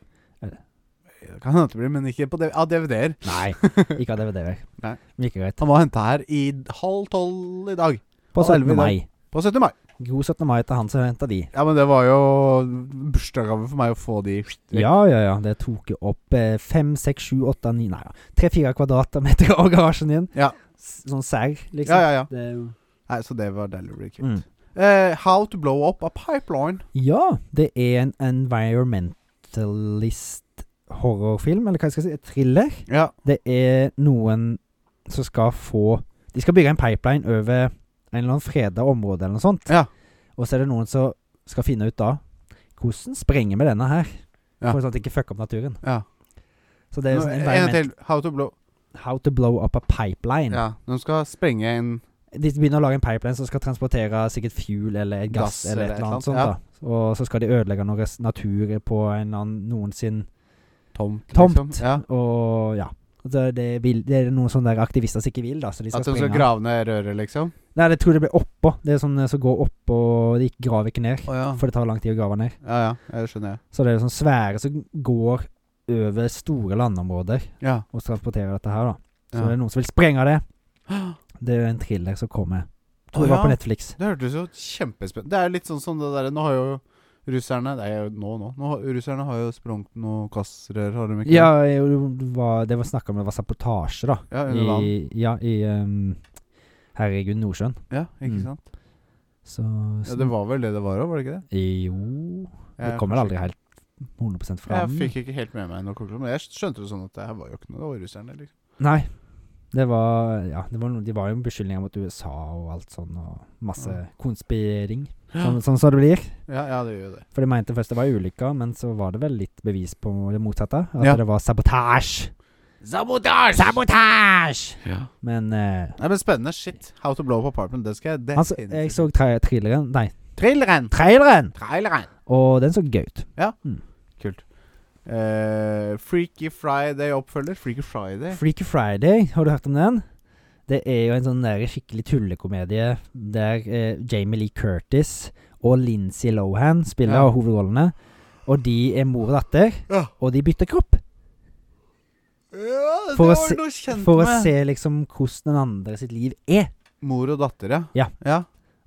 det kan hende det blir, men ikke på DV av DVD-er. Nei, ikke av DVD-er. Nei. Like greit. Han var henta her i halv tolv i dag. På Han var 17. elleve i dag. mai. På 17. mai. God 17. mai til han som henta de. Ja, men det var jo bursdagsgave for meg å få de Ja, ja, ja. Det tok jo opp eh, fem, seks, sju, åtte, ni Nei, ja. tre-fire kvadratmeter av garasjen din. Ja. S sånn serr, liksom. Ja, ja, ja. Det er jo Nei, så det var deilig å bli kvitt. mm. Eh, how to blow up a pipeline. Ja, det er en environmentalist horrorfilm, eller hva jeg skal si, thriller. Ja. Det er noen som skal få De skal bygge en pipeline over en eller annen freda område eller noe sånt. Ja. Og så er det noen som skal finne ut da Hvordan sprenger vi denne her? Ja. For sånn at det ikke fucker opp naturen. ja. Så det er Nå, sånn en gang environment- til. How to blow How to blow up a pipeline. Ja, de skal sprenge en De begynner å lage en pipeline som skal transportere sikkert fuel eller gass, Gass eller et eller annet sånt. da Og så skal de ødelegge noe res- natur på en eller annen noensinne tomt. tomt. Liksom. Ja. Og ja. Det, det, vil, det er noen sånne der aktivister som ikke vil, da. Så de skal At de skal sprenge. grave ned røret, liksom? Nei, jeg tror det blir oppå. Det er sånn eh, som går oppå De ikke graver ikke ned. Å ja. For det tar lang tid å grave ned. ja. Ja, det skjønner jeg. Så det er sånn svære som går over store landområder Ja. og transporterer dette her, da. Så ja. det er noen som vil sprenge det. Det er jo en thriller som kommer. Å, Tror det var ja. på Netflix. Det hørtes jo kjempespennende Det er litt sånn som det derre Nå har jo russerne Det er jo nå, nå. nå har, russerne har jo sprengt noe gassrør, har de ikke? Ja, jo, det var, det var snakk om det var sabotasje, da. ja under vann. I, ja, i ehm, Herregud, Nordsjøen. Ja, ikke Mm. sant? Så, Ja, det var vel det det var òg, var det ikke det? Jo Det Jeg kommer kanskje aldri helt 100 ikke- Jeg fram. fikk ikke helt med meg noe konklusjon, men jeg skjønte det sånn at det her var jo ikke noe det var russerne, liksom. Nei. Det var Ja, det var, noe- de var jo beskyldninger mot USA og alt sånn, og masse Ja. konspirering. Sånn, sånn som det blir. Ja, ja, det gjør jo det. For de mente først det var ulykker, men så var det vel litt bevis på det motsatte. At Ja. det var sabotasje. Sabotasje! Sabotasje! Ja. Men eh, Nei, men spennende shit. How to blow up apartment. Det skal jeg altså, definitivt jeg så tra traileren Nei, Traileren! traileren! Traileren! Og den så gøy ut. Kult. Eh, Freaky Friday oppfølger. Freaky Friday. Freaky Friday, har du hørt om den? Det er jo en sånn der skikkelig tullekomedie der eh, Jamie Lee Curtis og Lindsay Lohan spiller Ja. hovedrollene. Og de er mor og datter, Ja. og de bytter kropp. Ja, For å det se- var noe kjent For å med. se liksom hvordan den andre sitt liv er. Mor og datter, ja. Ja. ja.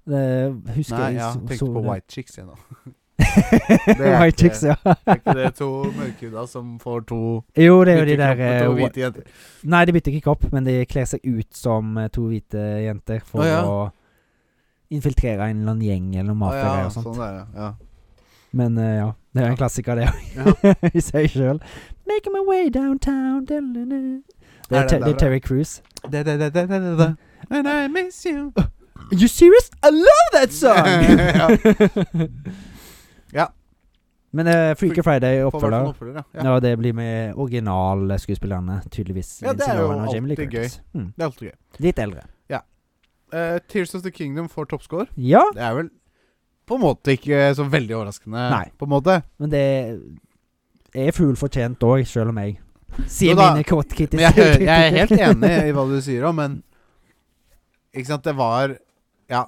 Eh, husker Nei, jeg ja. så- Tenkte så på det. White Chicks, jeg nå. er White ikke- Chicks, ja. Er ikke det to mørkhuda som får to Jo, det er jo de hvite der kropper, to eh, hvite jenter? Nei, de bytter ikke kropp, men de kler seg ut som eh, to hvite jenter for Å, ja. å infiltrere en eller annen gjeng eller noen Å, mafia ja, og sånt. sånn der, ja. Men eh, ja, det er jo en klassiker, det òg. I seg sjøl. Make my way downtown da-la-la. Er Det det er, Ter- det er derfra? Terry Cruise. ja. Da, da, da, da, da, da, da. And I miss you. You serious? I love that song! Ja. Men uh, Freaker Friday Får hvertfall en sånn oppfølger. oppfølger, ja. ja. Ja, det blir med originalskuespillerne, tydeligvis. Ja, det Lindsay er jo Lohan og Jamie Lee alltid Curtis. Mm. Det er alltid gøy. Litt eldre. Eh, Tears of the Kingdom får toppscore. Ja, Det er vel på en måte ikke så veldig overraskende. Nei. På en måte. men det er full fortjent òg, sjøl om jeg sier Jo da, mine Men jeg, kåtkritiske jeg er helt enig i hva du sier om, men Ikke sant, det var Ja.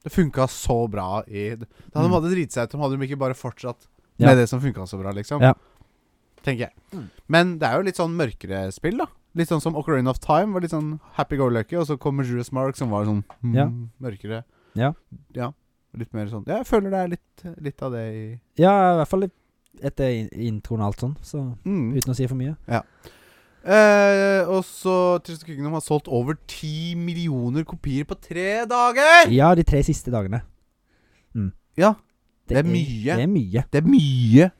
Det funka så bra i Det det hadde Mm. de hadde driti seg ut om, hadde de ikke bare fortsatt Ja. med det som funka så bra, liksom. Ja. Tenker jeg. Mm. Men det er jo litt sånn mørkere spill, da. Litt sånn som Ocarina of Time var litt sånn happy go lucky, og så kommer Julius Mark som var sånn mm, Ja. mørkere. Ja. Ja, Litt mer sånn Ja, jeg føler det er litt, litt av det i Ja, i hvert fall litt etter in- introen og alt sånn, så mm. uten å si for mye. Eh, og så Tears of the Kingdom har solgt over 10 millioner kopier på tre dager! Ja, de tre siste dagene. Mm. Ja, det er mye. Det er mye. Det er mye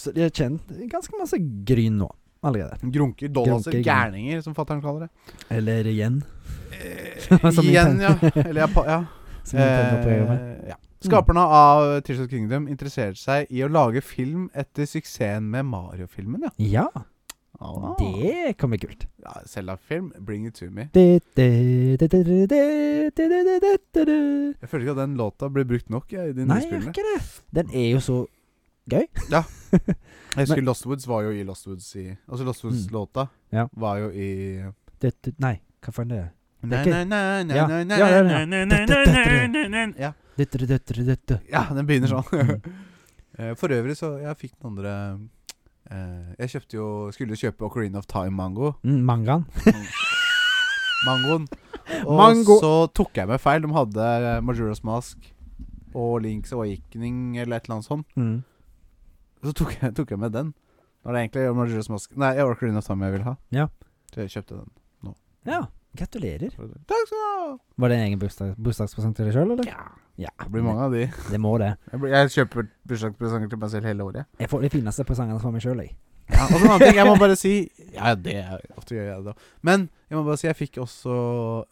Så de har tjent ganske masse gryn nå allerede. grunker, dollars, Grunker, grunker. gærninger, som fatter'n kaller det. Eller igjen. Eh, Som igjen, Nintendo- ja. Eller ja, pa- ja. Som Nintendo opererer med. Eh, ja. Skaperne av Tears of the Kingdom interesserte seg i å lage film etter suksessen med Mario-filmen, ja. Mm. Ja, Ah. det kan bli kult. ja Selda-film, 'Bring It To Me'. Nei, Jeg føler ikke at den låta blir brukt nok jeg, i de nye gjør spillene. ikke det. Den er jo så Jeg husker Lost Woods var jo i Lost Woods i Altså Lost Woods-låta Mm. Ja. var jo i Nei, hva faen er det? Nei, ikke- nei, nei, nei, Ja. nei, nei, Ja, det er den, ja. nei, nei, nei, nei, nei, nei, nei. Ja. Ja, den begynner sånn. Mm. Eh, For øvrig så Jeg fikk den andre eh, Jeg kjøpte jo Skulle kjøpe Ocarina of Time-mango. Mm, Mangaen. Mangoen. Og Mango. så tok jeg meg feil. De hadde eh, Majora's Mask og Links Awakening eller et eller annet sånt. Mm. Så tok jeg, tok jeg med den. Når det egentlig er Majora's Mask Nei, jeg Ocarina of Time jeg vil ha. Ja. Så jeg kjøpte den. Ja, gratulerer. Takk skal du ha! Var det en egen bursdag, bursdagspresang til deg sjøl, eller? Ja. Ja, Det blir mange av de. Det må det. Jeg, blir, jeg kjøper bursdagspresanger til meg selv hele året. Jeg får de fineste presangene fra meg sjøl, jeg. Ja, og så en annen ting, jeg må bare si Ja, det er, ofte gjør jeg det da. Men jeg må bare si jeg fikk også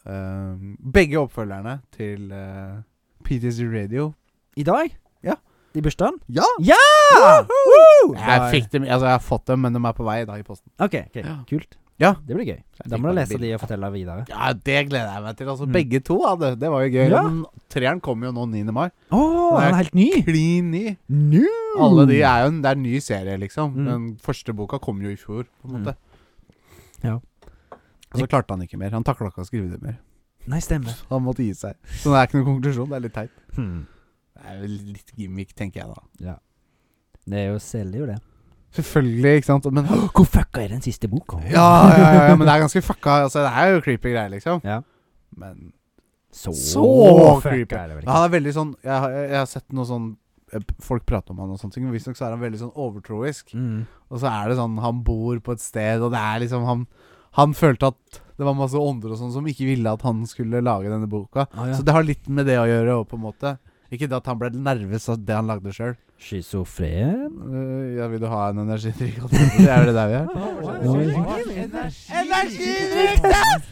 eh, begge oppfølgerne til eh, PTZ Radio. I dag? Ja. I bursdagen? Ja! Ja! Woohoo! Jeg Da- fikk dem, altså jeg har fått dem, men de er på vei da i posten. OK, ok, Ja. kult. Ja. Det blir gøy. Jeg Da fikk må du bare lese bilder. de og fortelle videre. Ja, det gleder jeg meg til. Altså, Mm. Begge to hadde det. var jo gøy. Ja. Mm. Den treeren kommer jo nå 9. mai. Å, han er helt ny! Klin ny. New! Alle de er jo en, det er en ny serie, liksom. Mm. Den første boka kom jo i fjor, på en Mm. måte. Ja. Og så klarte han ikke mer. Han takla ikke å skrive det mer. Nei, stemmer. Han måtte gi seg. Så det er ikke noen konklusjon. Det er litt teit. Hmm. Det er vel litt gimmick, tenker jeg da. Det er jo selger jo det. Selvfølgelig, ikke sant. Men Hvor fucka er den siste boka? ja, ja, ja, ja, men det er ganske fucka. Altså, det er jo creepy greier, liksom. Ja. Men Så, Så fucka creepy. er det Men vel ikke. han er veldig sånn Jeg, har- jeg har sett noe sånn eh, Folk prater om han og sånne ting. men Visstnok så er han veldig sånn overtroisk. Mm. Og så er det sånn Han bor på et sted, og det er liksom Han, han følte at det var masse ånder og sånn som ikke ville at han skulle lage denne boka. Ah, ja. Så det har litt med det å gjøre òg, på en måte. Ikke det at han ble nervøs av det han lagde sjøl. Schizofren? Øh, ja, vil du ha en energidrikk? Det er det der vi er. Energidrikk! Energidrikktest.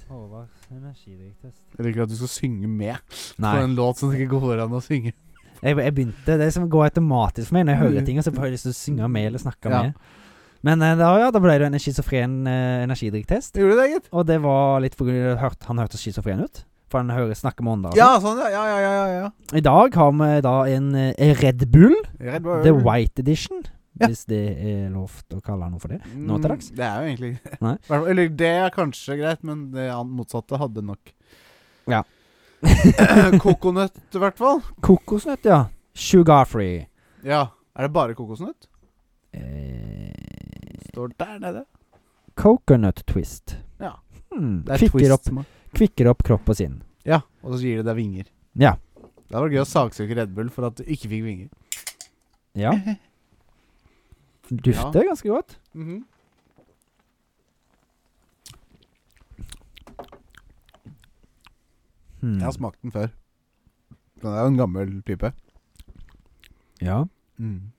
Energidrikktest. Jeg liker at du skal synge med på Nei. en låt som det ikke går an å synge. Jeg, jeg begynte Det som går automatisk for meg når jeg hører ting, og så får jeg lyst til å synge med eller snakke Ja. med. Men eh, da, ja, da ble det en schizofren eh, energidrikktest. Gjorde du det, gitt? Og det var litt fordi jeg hørte- han hørtes schizofren ut. For han hører snakke med ånder. og Ja, sånn, ja. Ja, ja, ja. ja, ja. sånn. I dag har vi da en eh, Red Bull, Red Bull. The White Edition. Ja. Hvis det er lov til å kalle noe for det. nå til dags. Mm, Det er jo egentlig Nei. Hvertfall- Eller det er kanskje greit, men det an- motsatte hadde nok Ja. Kokonøtt, i hvert fall. Kokosnøtt, ja. Sugar free. Ja. Er det bare kokosnøtt? Eh, Står der nede. coconut twist. Ja. Hmm. Det er Kvikker, opp, twist-smak. kvikker opp kropp og sinn. Ja, og så gir det deg vinger. Ja. Det hadde vært gøy å saksøke Red Bull for at du ikke fikk vinger. ja. Dufter ganske godt. Mhm. Hmm. Jeg har smakt den før. Den er jo en gammel type. Ja. Kan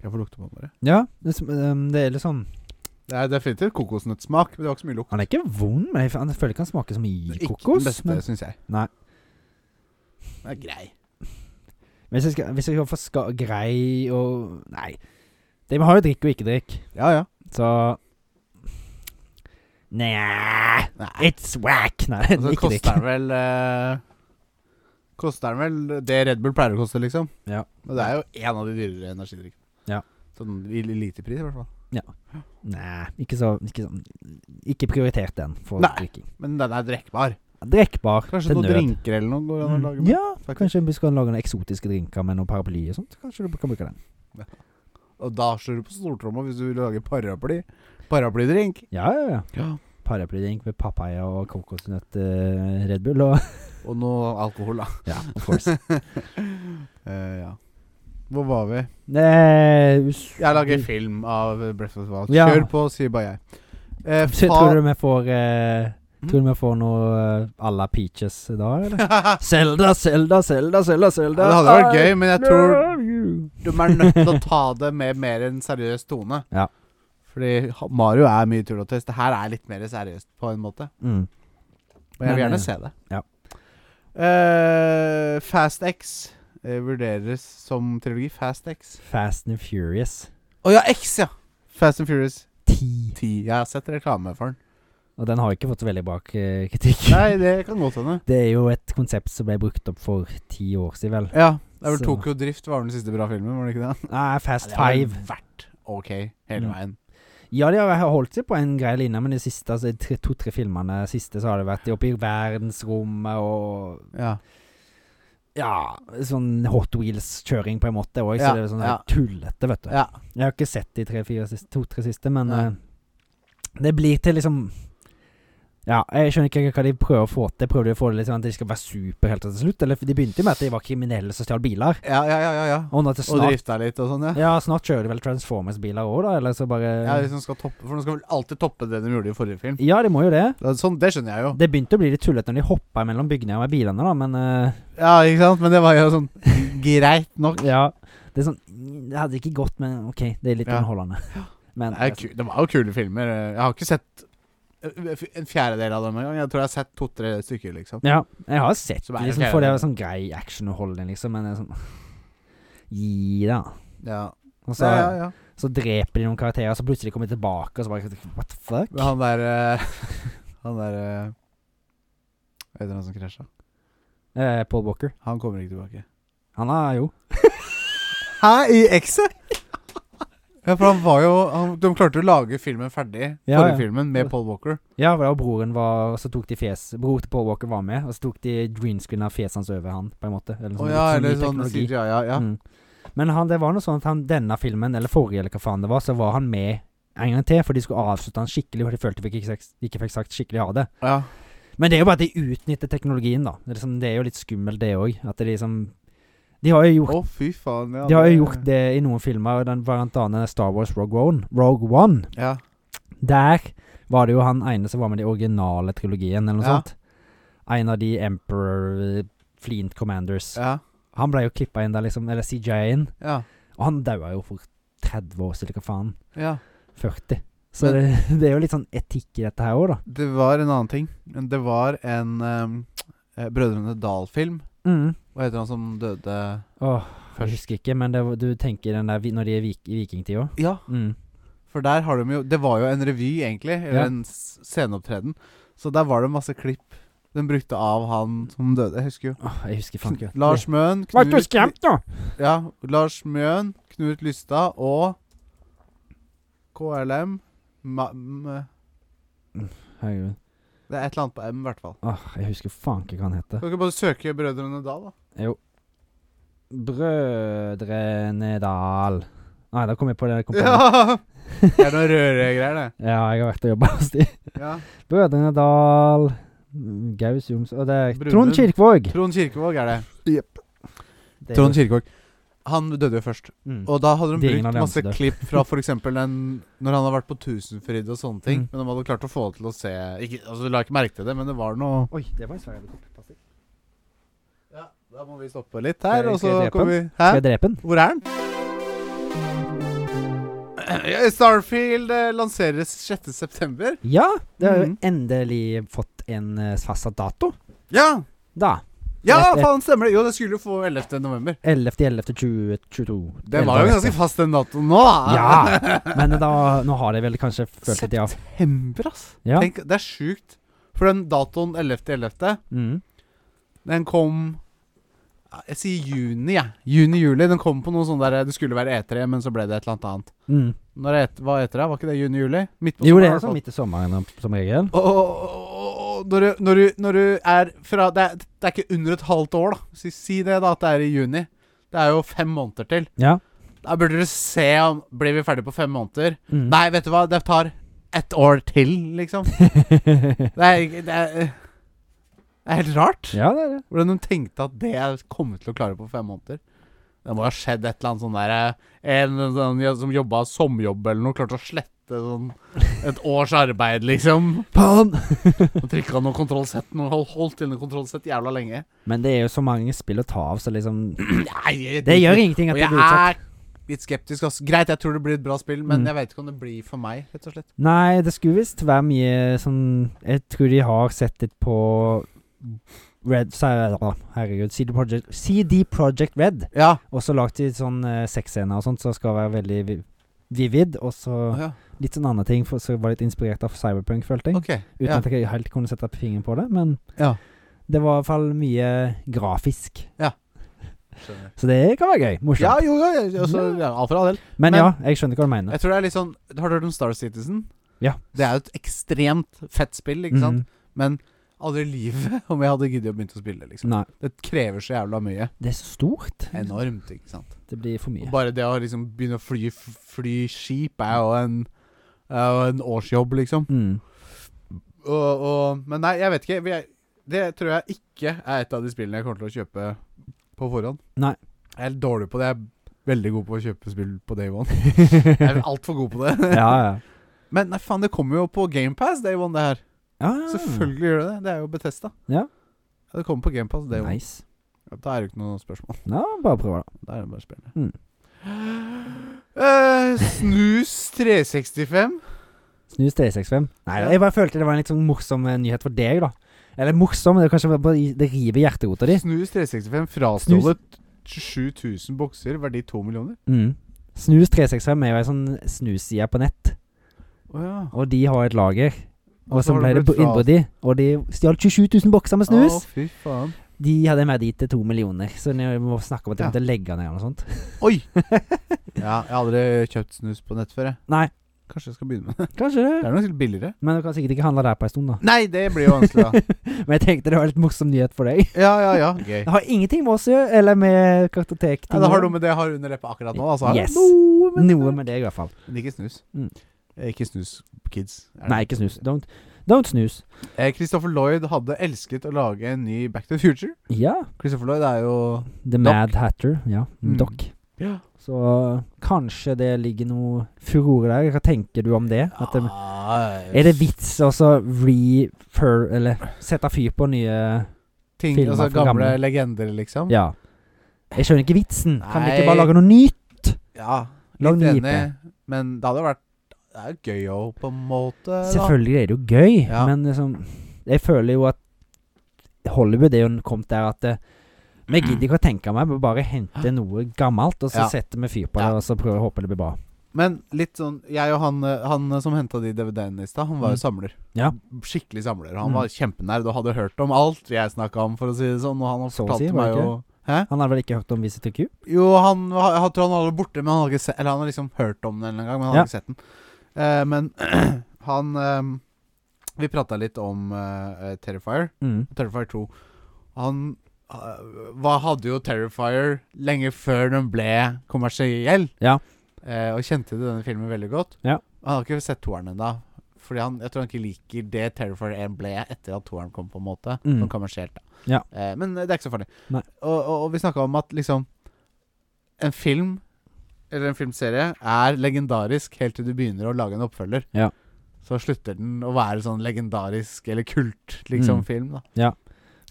jeg få lukte på den bare? ja det, sm- ehm, det er litt sånn Det er definitivt kokosnøttsmak, men det var ikke så mye lukt. Han er ikke vond, men jeg f- han- jeg føler ikke han smaker så mye Ikke den kokos. beste, Men syns jeg. Nei. Den er grei. hvis jeg skal, hvis jeg skal få ska, grei og Nei. Det vi har jo drikk og ikke drikk, Ja, ja. så Nja Nei. It's whack! Nei, Og så ikke drikk. koster den vel eh, Koster den vel det Red Bull pleier å koste, liksom. Ja. Og det er jo en av de dyrere energidrikkene. Ja. Sånn i elitepris, i hvert fall. Nei, ikke så Ikke, så, ikke prioritert den for Nei. drikking. Men den er drikkbar. Drikkbar Kanskje noen drinker eller noe går an å Mm. lage med. Ja, faktisk. kanskje vi skal lage noen eksotiske drinker med noen paraply og sånt. Kanskje du kan bruke den. Og da slår du på stortromma hvis du vil lage paraply. Paraplydrink. Ja, ja, ja. Ja. Paraplydrink med papaya og kokosnøtt eh, Red Bull og Og noe alkohol, da. Ja, of course. Eh, ja. Hvor var vi? Nei, us- Jeg lager film av Breath of the Wild. Ja. Kjør på, sier bare jeg. Eh, Så Tror du vi får eh, Mm. Tror du vi får noe eh, à la Peaches i dag, Hm? eller? Zelda, Zelda, Zelda, Zelda, Zelda. Ja, det hadde vært gøy, men jeg tror tror du er nødt til å ta det med mer en seriøs tone. Ja. Fordi ha- Mario er mye tull og tøys. Det her er litt mer seriøst, på en måte. mm. Og jeg vil Men, gjerne eh, se det. ja. Eh, Fast X eh, vurderes som trilogi. Fast X. Fast and Furious Å ja, X, ja! Fast and Furious 10. 10. Jeg har sett reklame for den. Og den har ikke fått så veldig bra eh, kritikk. Nei, det kan godt hende. Det er jo et konsept som ble brukt opp for ti år siden, vel. Ja. Det er vel Så- Tokyo Drift var den siste bra filmen, var det ikke det? Nei, Fast Det har Five. vært ok hele Mm. veien. Ja, de har holdt seg på en grei linje, men de siste altså, de tre- to-tre filmene siste så har det vært oppe i verdensrommet og Ja. Ja, sånn Hot Wheels-kjøring på en måte òg, Ja, så det er sånn ja. tullete, vet du. Ja. Jeg har ikke sett de tre-fire siste, to-tre siste, men Nei. eh, det blir til liksom Ja, jeg skjønner ikke hva de prøver å få til. Prøver de å få det litt sånn at de skal være superhelter til slutt? Eller for de begynte jo med at de var kriminelle som stjal biler. Ja, ja, ja, ja, ja. Og nå til Og snart drifta litt og sånn, ja. Ja, snart kjører de vel Transformers-biler òg, da? Eller så bare ja liksom skal toppe, for de skal vel alltid toppe det de gjorde i forrige film. Ja, de må jo det. Det er Sånn, det skjønner jeg jo. Det begynte å bli litt tullete når de hoppa mellom bygningene med bilene, da, men eh, Ja, ikke sant? Men det var jo sånn greit nok. Ja. Det er sånn Det hadde ikke gått, men OK, det er litt Ja. underholdende. Men Det, er ku, det var jo kule filmer. Jeg har ikke sett eh, en fjerdedel av dem engang. Jeg tror jeg har sett to-tre stykker, liksom. Ja, jeg har sett Som er liksom, ok, for det ja. er sånn grei actionunderholdning, liksom, men det er sånn Gi deg, da. Ja, Og så, ja, ja. ja. så dreper de noen karakterer, og så plutselig kommer de tilbake, og så bare What the fuck? Men han der eh, Han der eh, Hva heter han som krasja? Eh, Paul Walker. Han kommer ikke tilbake. Han er jo Hæ? I X-et? Ja, for han var jo han, De klarte jo å lage filmen ferdig, Ja, forrige ja. filmen, med Paul Walker. Ja, for da broren var Og så tok de fjes Bror til Paul Walker var med, og så tok de greenscreen av fjeset hans over han, på en måte. Eller Å sånn, ja, sånn ny eller sånn teknologi. CGI, ja. ja. Mm. Men han, det var noe sånn at han, denne filmen, eller forrige, eller hva faen det var, så var han med en gang til, for de skulle avslutte han skikkelig, og de følte vi ikke, seks- ikke fikk sagt skikkelig ha det. ja. Men det er jo bare at de utnytter teknologien, da. Det er, liksom, det er jo litt skummelt, det òg. At de liksom De har jo Å, gjort fy faen. Ja, De har jo gjort det i noen filmer, og den, blant annet Star Wars Rogue One. Rogue One. Ja. Der var det jo han ene som var med i den originale trilogien, eller noe Ja. sånt. En av de Emperor Fleant Commanders. Ja. Han ble jo klippa inn der, liksom. Eller CJ inn. Ja. Og han daua jo for 30 år siden, hva faen. ja. 40. Så det, det er jo litt sånn etikk i dette her òg, da. Det var en annen ting. Det var en ehm, eh, Brødrene Dal-film. Mm. Hva heter han som døde Åh, jeg først? husker ikke, men det, var- du tenker den der vi- når de er vik, i vikingtida? Ja, Mm. for der har de jo Det var jo en revy, egentlig. Eller Ja. en s- sceneopptreden. Så der var det masse klipp de brukte av han som døde. Jeg husker jo. Åh, jeg husker faen ikke. Lars Møen, Vart du Knut- skremt nå? Ja, Lars Mjøen, Knut Lystad og KLM Ma m Herregud. Det er et eller annet på M, i hvert fall. Åh, jeg husker faen ikke hva han heter. Kan ikke bare søke Brødrene Dal, da? Jo. Brødrene Dal. Nei, da kom jeg på det. Jeg kom på det. Ja! Det er noen røregreier, det. ja, jeg har vært og jobba hos de. Ja. Brødrene Dal mm, Gaus Joms Og det er Brune. Trond Kirkvaag. Trond Kirkevåg er det. Det er Trond jo- Kirkevåg. Han døde jo først. Mm. Og da hadde de Det er ingen brukt masse allianse der. klipp fra f.eks. den Når han har vært på Tusenfryd og sånne ting. Mm. Men de hadde klart å få det til å se ikke, Altså, Du la ikke merke til det, men det var noe Oi, det var en svær edderkopp. Pass deg. Ja, Da må vi stoppe litt Skal her, jeg- og skal så jeg drepe kommer vi Skal Hæ? jeg drepe den? Hvor er den? Ja, Starfield eh, lanseres 6.9. Ja! Det har jo Mhm. endelig fått en eh, fastsatt dato. Ja! Da. Ja, Rett- rett- faen, stemmer det! Jo, det skulle jo få 11.11. 11.11.2022. Den var jo ganske fast, den datoen nå, da. Ja! Men da, nå har de vel kanskje følt at de har September, ass. ja. Tenk, det er sjukt. For den datoen 11.11., Mm. den kom ja, Jeg sier juni, jeg. Juni-juli. Den kom på noe sånn der Det skulle være E3, men så ble det et eller annet annet. Mm. Når er et, hva E er E3? Var ikke det juni-juli? Midt på Jo, sommeren, i det er hvert fall. sånn midt i sommeren som regel. Og- og- og- og- Når du, når, du, når du er fra det er, det er ikke under et halvt år, da. Si, si det, da, at det er i juni. Det er jo fem måneder til. Ja. Da burde du se om Blir vi ferdig på fem måneder? Mm. Nei, vet du hva, det tar ett år til, liksom. Det er, ikke- det er, eh, det er helt rart ja, det er det. hvordan de tenkte at det kom til å klare på fem måneder. Det må ha skjedd et eller annet sånn derre En sånn, ja, som jobba sommerjobb eller noe, klarte å slette sånn et års arbeid, liksom. Faen! Og trykka noe kontroll Z, noe hold- holdt inne kontroll Z jævla lenge. Men det er jo så mange spill å ta av, så liksom Nei, jeg, Det gjør ingenting at Og det jeg blir utsatt. er litt skeptisk. ass. Greit, jeg tror det blir et bra spill, men Mm. jeg vet ikke om det blir for meg, rett og slett. Nei, det skulle visst være mye sånn Jeg tror de har sett litt på Red sa- å, Herregud. CD Projekt, CD Projekt Red. Ja. Og så lagd i sånn eh, sexscener og sånt, så skal være veldig vi- vivid. Og så ja. litt sånn andre ting, for, så var litt inspirert av Cyberpunk, følte jeg. Ok. Uten Ja. at jeg helt kunne sette fingeren på det, men ja. det var i hvert fall mye grafisk. Skjønner. Så det kan være gøy. Ja, Morsomt. jo, jo, jeg- altså, ja, for all del. men, men- ja, jeg skjønner hva du mener. Jeg tror det er litt sånn Har du hørt om Star Citizen? Ja. Det er jo et ekstremt fett spill, ikke sant? Mhm. Men aldri i livet om jeg hadde giddet å begynne å spille, liksom. Mm. Nei. Det krever så jævla mye. Det er så stort. Enormt, ikke sant. Det blir for mye. Og bare det å liksom begynne å fly, fly skip er jo en, er jo en årsjobb, liksom. Mm. og, og, men nei, jeg vet ikke. Vi er- Det tror jeg ikke er et av de spillene jeg kommer til å kjøpe på forhånd. Nei. Jeg er litt dårlig på det. Jeg er veldig god på å kjøpe spill på day one. Jeg er altfor god på det. ja, ja. Men nei, faen, det kommer jo på GamePass day one, det her. Ah, Selvfølgelig gjør det det. Det er jo Betesta. Ja. det kommer på GamePass day one. Nice. Da er det jo ikke noe spørsmål. Ja, bare prøv, da. Da er det bare å spille. Mm. Eh, snus 365. Snus til 65 Nei, Ja. jeg bare følte det var en litt sånn morsom eh, nyhet for deg, da. Eller morsom, det er kanskje bare Det river hjerterota di. Snus 365 frastjålet 7000 bokser, verdi 2 millioner. Mm. Snus 365 er jo ei sånn snusside på nett, Å ja. og de har et lager. Og Og så så har ble det det blitt fra- innbrudd i, og de stjal 27 000 bokser med snus. Å, fy faen. De hadde med dit til to millioner, så vi må snakke om at de Ja. måtte legge ned eller noe sånt. Oi! ja, jeg har aldri kjøpt snus på nett før, jeg. Nei, Kanskje jeg skal begynne med det. kanskje Det det. er nok litt billigere. Men du kan sikkert ikke handle der på ei stund, da. Nei, det blir jo vanskelig, da. Men jeg tenkte det var en litt morsom nyhet for deg. Ja, ja, ja. Gøy. Det har ingenting med oss å gjøre, eller med kartotek. Ja, det har noe med det jeg har under leppa akkurat nå, altså. Yes. Noe med det. Noe med det, i hvert fall. Men ikke snus. Mm. Eh, Ikke snus, kids. er det. Nei, ikke snus. Don't, don't snus. Eh, Christopher Lloyd hadde elsket å lage en ny Back to the Future. Ja. Christopher Lloyd er jo The Mad Hatter. Ja. Mm. Doc. ja. Så kanskje det ligger noe furore der. Hva tenker du om det? At det eh, er det vits å så refur... Eller sette fyr på nye ting, filmer altså, for gamle, gamle? legender, liksom? Ja. Jeg skjønner ikke vitsen. Kan vi Nei. ikke bare lage noe nytt? Ja, Lag litt ny IP. enig, men det hadde jo vært Det er jo gøy òg, på en måte. da. Selvfølgelig er det jo gøy, Ja. men liksom Jeg føler jo at Hollywood er jo kommet der at eh, vi gidder ikke å tenke meg, vi bare hente noe gammelt, og så Ja. setter vi fyr på Ja. det, og så prøver å håpe det blir bra. Men litt sånn Jeg og han, eh, han eh, som henta de DVD-ene i stad, han var jo samler. Mm. Ja. Skikkelig samler. Han Mm. var kjempenerd og hadde hørt om alt jeg snakka om, for å si det sånn. Og han Så å fortalte si, var meg det jo Hæ? Han hadde vel ikke hørt om Visit to Q? Jo, han var- jeg tror han var borte, men han hadde ikke sett Eller han har liksom hørt om den en eller annen gang, men han Ja. hadde ikke sett den. Eh, men han eh, Vi prata litt om eh, eh, Terrifier. Mm. Terrifier 2. Han eh, hva, hadde jo Terrifier lenge før den ble kommersiell. Ja. Eh, og kjente til denne filmen veldig godt. Ja. Han har ikke sett toeren ennå. Fordi han, jeg tror han ikke liker det Terrifier 1 ble etter at toeren kom, på en måte. Mm. Sånn kommersielt, da. Ja. Eh, men det er ikke så farlig. Nei. Og, og, og vi snakka om at liksom En film, eller en filmserie, er legendarisk helt til du begynner å lage en oppfølger. Ja. Så slutter den å være sånn legendarisk eller kult, liksom, Mm. film, da Men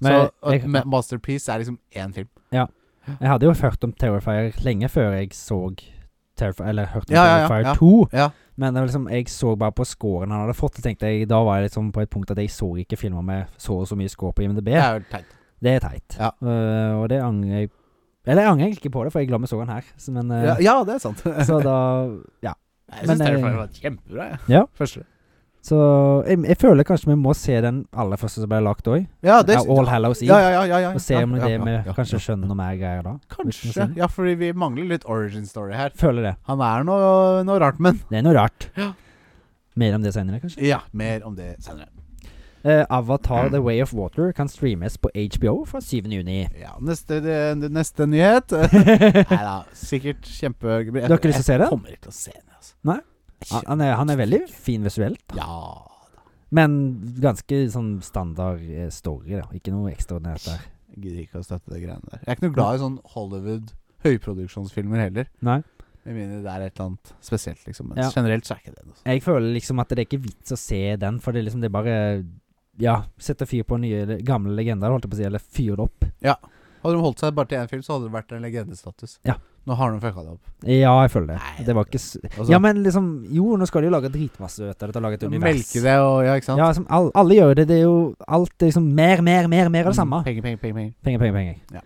så og jeg, et ma- Masterpiece er liksom én film. jeg hadde jo hørt om Terrifier lenge før jeg så Terrifier, eller hørte om Ja, ja, ja, Terrifier ja. 2. Ja. Men det var liksom, jeg så bare på scoren han hadde fått, og tenkte jeg, da var jeg liksom på et punkt at jeg så ikke filmer med så og så mye score på IMDb. Det er jo teit. Det er teit. Ja. Eh, og det angrer jeg Eller jeg angrer egentlig ikke på det, for jeg glemmer så den her. Så, men, eh, Ja, ja, det er sant. så da Ja. jeg men, syns eh, Terrifier var kjempebra. jeg. Ja. Første. Så jeg, jeg føler kanskje vi må se den aller første som ble lagt òg. Ja, det All Hallows Eve. ja, ja, ja, ja, ja, Og se ja, om det ja, er det ja, vi ja, kanskje ja. skjønner noe mer greier da. uten å Kanskje. si det. Ja, fordi vi mangler litt origin story her. Føler det. Han er noe, noe rart, men Det er noe rart. Ja. Mer om det senere, kanskje. Ja, mer om det senere. Eh, Avatar The Way of Water kan streames på HBO fra 7. juni. Ja, neste, det, det- neste nyhet Nei han, da, sikkert kjempe... har ikke lyst til å se det? Jeg kommer ikke til å se det, altså. Nei? Kjempe- han, er, han er veldig fin visuelt, Ja. men ganske sånn standard eh, story, da. Ikke noe ekstraordinært der. Jeg gidder ikke å støtte de greiene der. Jeg er ikke noe glad i sånn Hollywood høyproduksjonsfilmer heller. Nei. Med mindre det er et eller annet spesielt, liksom. Men Ja. generelt så er ikke det noe. Jeg føler liksom at det er ikke vits å se den, for det er liksom det er bare Ja, sette fyr på nye eller gamle legender, holdt jeg på å si, eller fyre det opp. Hadde de holdt seg bare til én film, så hadde det vært en legendestatus. Ja. Nå har de fucka det opp. Ja, jeg føler det. Nei, det var ikke s Altså, Ja, men liksom Jo, nå skal de jo lage dritmasse ut av det, og lage et univers. melke det og Ja, ikke sant? Ja, som all, alle gjør jo det. Det er jo alt er liksom mer, mer, mer, mer av det Mm, samme. Penger, penger, penger, penger. Penger, penger, penger.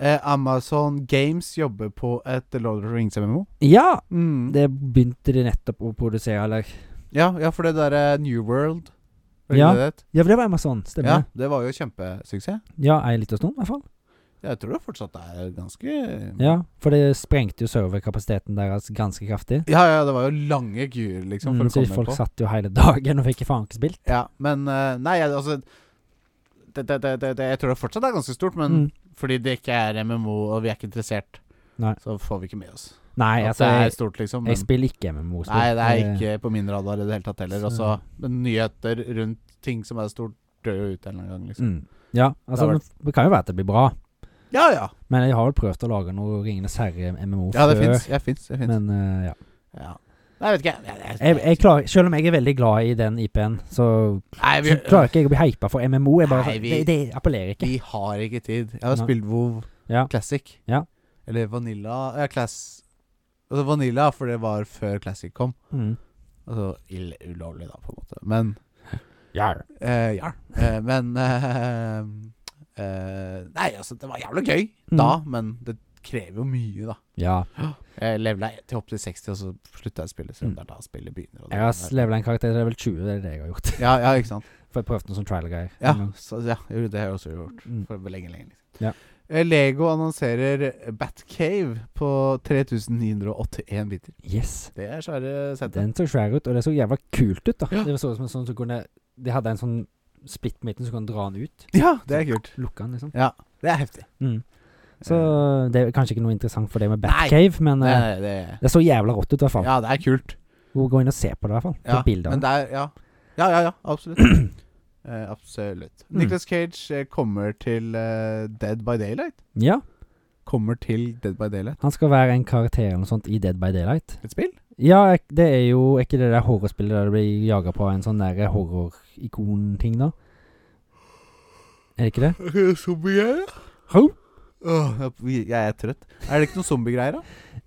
Eh, Amazon Games jobber på et Lord of the Rings-MMO. Ja! Mm. Det begynte de nettopp å produsere, eller Ja, ja, for det derre New World var det Ja, ikke det det het? Ja, for det var Amazon, ja, stemmer det? det var jo kjempesuksess. Ja, ei lita stund, i hvert fall. Jeg tror det fortsatt er ganske Ja, for det sprengte jo serverkapasiteten deres ganske kraftig. ja, ja, det var jo lange kuer, liksom, for å Mm, så komme folk på. satt jo hele dagen og fikk faen ikke spilt. Ja, men eh, Nei, jeg- altså det, det, det, det, det, Jeg tror det fortsatt er ganske stort, men Mm. fordi det ikke er MMO, og vi er ikke interessert, Nei. så får vi ikke med oss. Nei, At altså det er jeg, stort, liksom. Men, jeg spiller ikke MMO-spill. nei, det Eh, er ikke på min radar i det hele tatt heller. Og så men nyheter rundt ting som er stort, dør jo ut en eller annen gang, liksom. mm. Ja, altså Det har det, kan jo være at det blir bra, Ja, ja. men jeg har vel prøvd å lage noe Ringenes herre-MMO Ja, det før. fins. Jeg fins. Jeg, fins. Men eh, ja. ja. Nei, jeg vet ikke. Jeg, jeg, Jeg, jeg klarer, selv om jeg er veldig glad i den IP-en, så, nei, så vi, klarer ikke jeg å bli hypa for MMO. Jeg bare, Nei, vi- det, det appellerer ikke. vi har ikke tid. Jeg har Nei. spilt WoW Ja. Classic. Ja. Eller Vanilla ja, Class Altså Vanilla, for det var før Classic kom. Mm. Altså ill- ulovlig, da, på en måte. Men Ja. eh, Ja. Eh, men eh, eh, Nei, altså, det var jævlig gøy Mm. da, men det krever jo mye, da. ja. Jeg levela til opp til 60, og så slutta jeg å spille. Selv om Mm. det er da spillet begynner. Og det Jeg har er- levela en karakter til level 20, det er det jeg har gjort. ja, ja, ikke sant. For jeg prøvde noe sånn trial-greier. Ja, Men- så, ja, jo, det har jeg også gjort. Mm. For lenge, lenge. Liksom. Ja. Eh, Lego annonserer Batcave på 3981 biter. Yes. Det er svære settet. Den så svær ut, og det så jævla kult ut, da. Ja. Det så ut som en sånn som kunne De hadde en sånn splitt midten som kunne dra den ut. Ja, det er kult. Lukke den, liksom. Ja, det er heftig. Mm. Så Eh, det er kanskje ikke noe interessant for det med Nei. Batcave, men det, eh, det, det så jævla rått ut, i hvert fall. ja, det er kult. Gå inn og se på det, i hvert fall. Ja, På bilder. men det er Ja, ja, ja, ja absolutt. Eh, absolutt. Mm. Nicholas Cage eh, kommer til eh, Dead by Daylight. Ja. Kommer til Dead by Daylight. Han skal være en karakter eller noe sånt i Dead by Daylight. Et spill? Ja, ek- det er jo er ikke det der horrorspillet der du blir jaga på en sånn der horrorikon-ting, da? Er det ikke det? Zombiegreier? Ho? Åh, jeg jeg er trøtt. Er det ikke noen zombiegreier, da?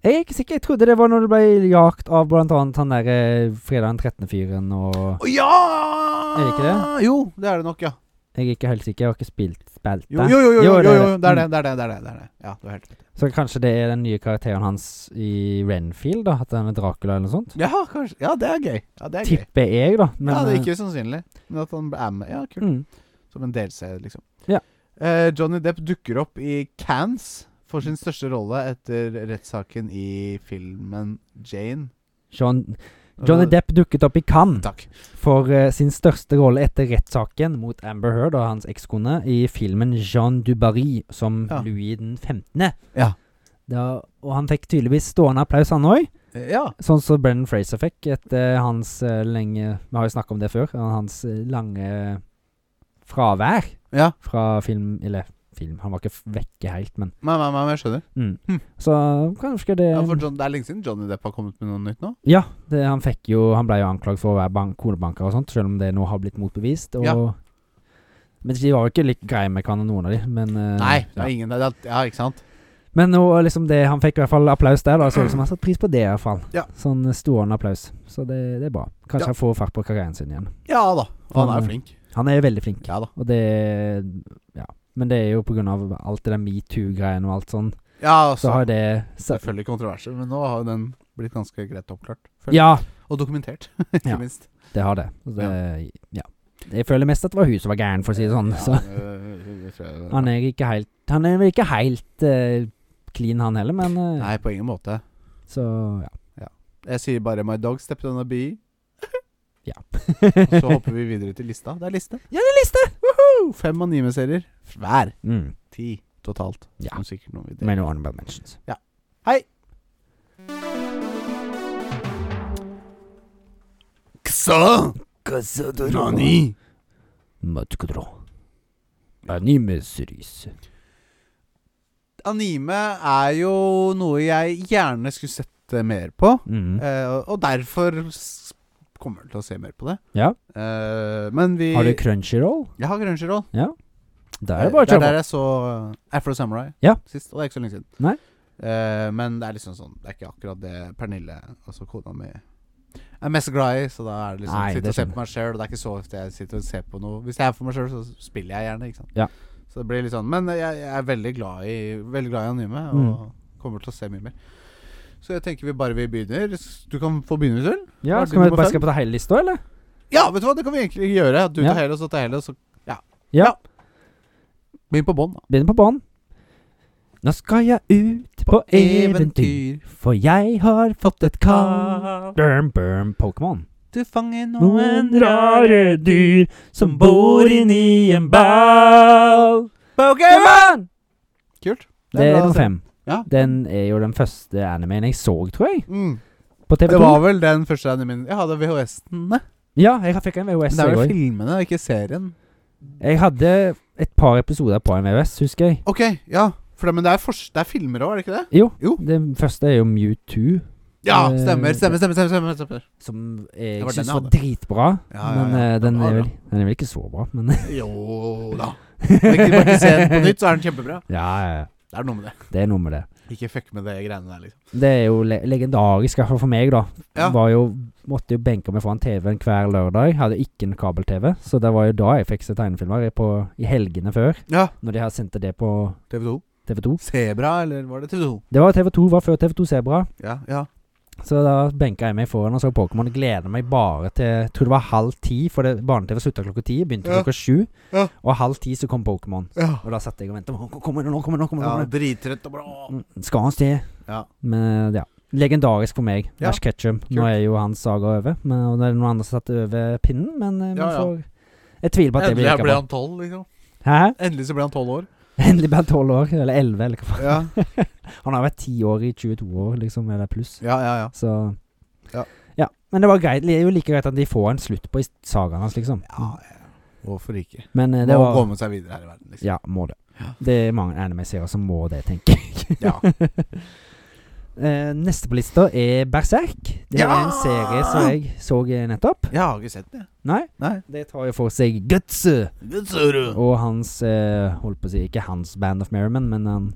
Jeg er ikke sikker. Jeg trodde det var når du ble jagt av blant annet han derre fredag den 13.-fyren og Å ja! Er det ikke det? Jo, det er det nok, ja. Jeg er ikke helt sikker. Jeg har ikke spilt spilt Jo, jo, jo, jo, jo, Jo, det er jo, det det. Mm. er det, det er det, det er det, det er det. Ja, du har helt rett. Så kanskje det er den nye karakteren hans i Renfield, da? At han er Dracula eller noe sånt? Ja, kanskje. Ja, det er gøy. Ja, det er gøy. Tipper jeg, da. Men, ja, det er eh, ikke usannsynlig. Men at han er med, ja, kult. mm. Som en delseier, liksom. Ja. Eh, Johnny Depp dukker opp i Cannes for sin største rolle etter rettssaken i filmen Jane. John, Johnny Depp dukket opp i Cannes. Takk. for eh, sin største rolle etter rettssaken mot Amber Heard og hans ekskone i filmen Jean Dubarry som Ja. Louis den 15. Ja. Da, og han fikk tydeligvis stående applaus, han òg. Eh, Ja. Sånn som Brennan Fraser fikk etter hans eh, lenge Vi har jo snakka om det før. Hans eh, lange fravær Ja. fra film Eller film, han var ikke f- vekke helt, men Men, men, men jeg skjønner. mm. Hm. Så kanskje det Ja, for John, det er lenge siden Johnny Depp har kommet med noe nytt nå. Ja, det, han fikk jo Han ble jo anklaget for å være bank, konebanker og sånt, selv om det nå har blitt motbevist. Og, Ja. Men de var jo ikke like greie med hverandre, noen av de. Men, eh, Nei, det er ja. ingen det er- Ja, ikke sant? men nå, liksom det, han fikk i hvert fall applaus der. Da, så ut som han satte pris på det, i hvert fall. Ja. Sånn stående applaus. Så det, det er bra. Kanskje Ja. han får fart på karrieren sin igjen. Ja da. Og han er jo Han- flink. Han er jo veldig flink, Ja da. og det Ja. Men det er jo på grunn av alt det der metoo-greiene og alt sånn, Ja, så har så, det så, Altså, selvfølgelig kontroverser, men nå har jo den blitt ganske greit oppklart. føler jeg. Ja, Og dokumentert, ikke Ja. minst. det har det. Og det ja. Jeg føler mest at det var hun som var gæren, for å si det sånn. Så. Han er ikke helt Han er vel ikke helt eh, clean, han heller, men eh, Nei, på ingen måte. Så ja. Jeg sier bare 'My dog stepped on a bee'. Ja. Og så hopper vi videre til lista. Det er liste. Ja, det er liste! Oh, Fem anime-serier. Hver. Mm. Ti totalt. Ja. Som sikkert noen vil dele. Men honorable mentions. Ksa! Nani! Møtkodro. Anime series. anime er jo noe jeg gjerne skulle sett eh, mer på. Mm. eh, og- og derfor s- kommer jeg til å se mer på det. Ja. Eh, men vi Har du crunchyroll? Jeg har Crunchyroll. Der Det er er det bare å kjøre der på. jeg så eh, Afro Samurai Ja. sist, og det er ikke så lenge siden. Nei. Eh, men det er liksom sånn Det er ikke akkurat det Pernille, altså kona mi, er mest glad i. Så da er det liksom Nei, sitte det og se skjønner på meg sjøl. Det er ikke så ofte jeg sitter og ser på noe. Hvis jeg er for meg sjøl, så spiller jeg gjerne. Ikke sant? Ja. Så det blir litt sånn Men jeg, jeg er veldig glad i Veldig glad i anime og Mm. kommer til å se mye mer. Så jeg tenker vi bare vi begynner. Du kan få begynne, hvis du vil. Ja, Har du skal vi nummer bare fem? skal på ta hele lista, eller? Ja, vet du hva, det kan vi egentlig gjøre. At du Ja. tar hele, og så tar hele, og så Ja. Ja. begynn på bånn. da. Begynn på banen. Nå skal jeg ut på eventyr, for jeg har fått et kall. Burm, burm, Pokémon. Du fanger Noen rare dyr som bor inni en ball. Pokémon! Kult. Det er bra å nummer se. fem. Ja. Den er jo den første animeen jeg så, tror jeg. Mm. På TV2. Det var vel den første animen Jeg hadde VHS-ene. Ja, jeg fikk en VHS Men det er i vel går. filmene, ikke serien. Jeg hadde et par episoder på en VHS, husker jeg. Ok, ja. For det, men det er, fors- det er filmer òg, er det ikke det? Jo. Jo. Den første er jo Mewtwo, Ja, Eh, stemmer, stemmer, stemmer. stemmer, stemmer, stemmer. som jeg Det var den syns jeg var hadde. dritbra. Ja, ja, Men ja. eh, Den den, var er bra. vel, den er vel ikke så bra, men Jo da. Bare ikke, bare ikke se den på nytt, så er den kjempebra. Ja, ja, ja. Det er noe med det. Det er noe med det. Ikke fuck med det greiene der, liksom. Det er jo le legendarisk, i hvert fall for meg, da. Ja. Var jo, måtte jo benke meg foran TV-en hver lørdag. Hadde ikke en kabel-TV, så det var jo da jeg fikk se tegnefilmer, i på, i helgene før. Ja. Når de her sendte det på TV2. TV2. Sebra, eller var det TV2? Det var TV2, var før TV2 Sebra. Ja, ja. Så da benka jeg meg foran og så Pokémon. Gleder meg bare til Tror det var halv ti, for det- barne-TV slutta klokka ti. Begynte Ja. klokka sju. Ja. Og halv ti så kom Pokémon. ja. Og da satt jeg og venta. Kommer det nå? Kommer det nå? Kommer det ja nå? Drittrøtt og blå. Mm, Skal han sted? Ja. Men eh, ja. Legendarisk for meg. Ja. Ash Ketchum. Nå Kult. er jo hans saga over. Men, og det er noen andre som satt over pinnen, men eh, man Ja, ja. får Jeg tviler på at det blir Endelig like ble bra. han tolv, liksom. Hæ? Endelig så ble han tolv år. Endelig ble han tolv år, eller elleve, eller hva Ja, Han har vært ti år i 22 år, liksom, eller pluss. ja, ja. ja. Så Ja. ja. Men det var greit. Det er jo like greit at de får en slutt på i sagaen hans, liksom. Ja, ja. Hvorfor ikke? Men eh, Må det var komme seg videre her i verden, liksom. Ja, må det. Ja. Det er mange anime-serier som må det, tenker jeg. Ja. Eh, Neste på lista er Berserk. Det er Ja! en serie som jeg så eh, nettopp. Jeg har ikke sett den, jeg. Nei, Nei. det tar jo for seg Guts Gudsuru. og hans eh, Holdt på å si ikke hans Band of Merriman, men han,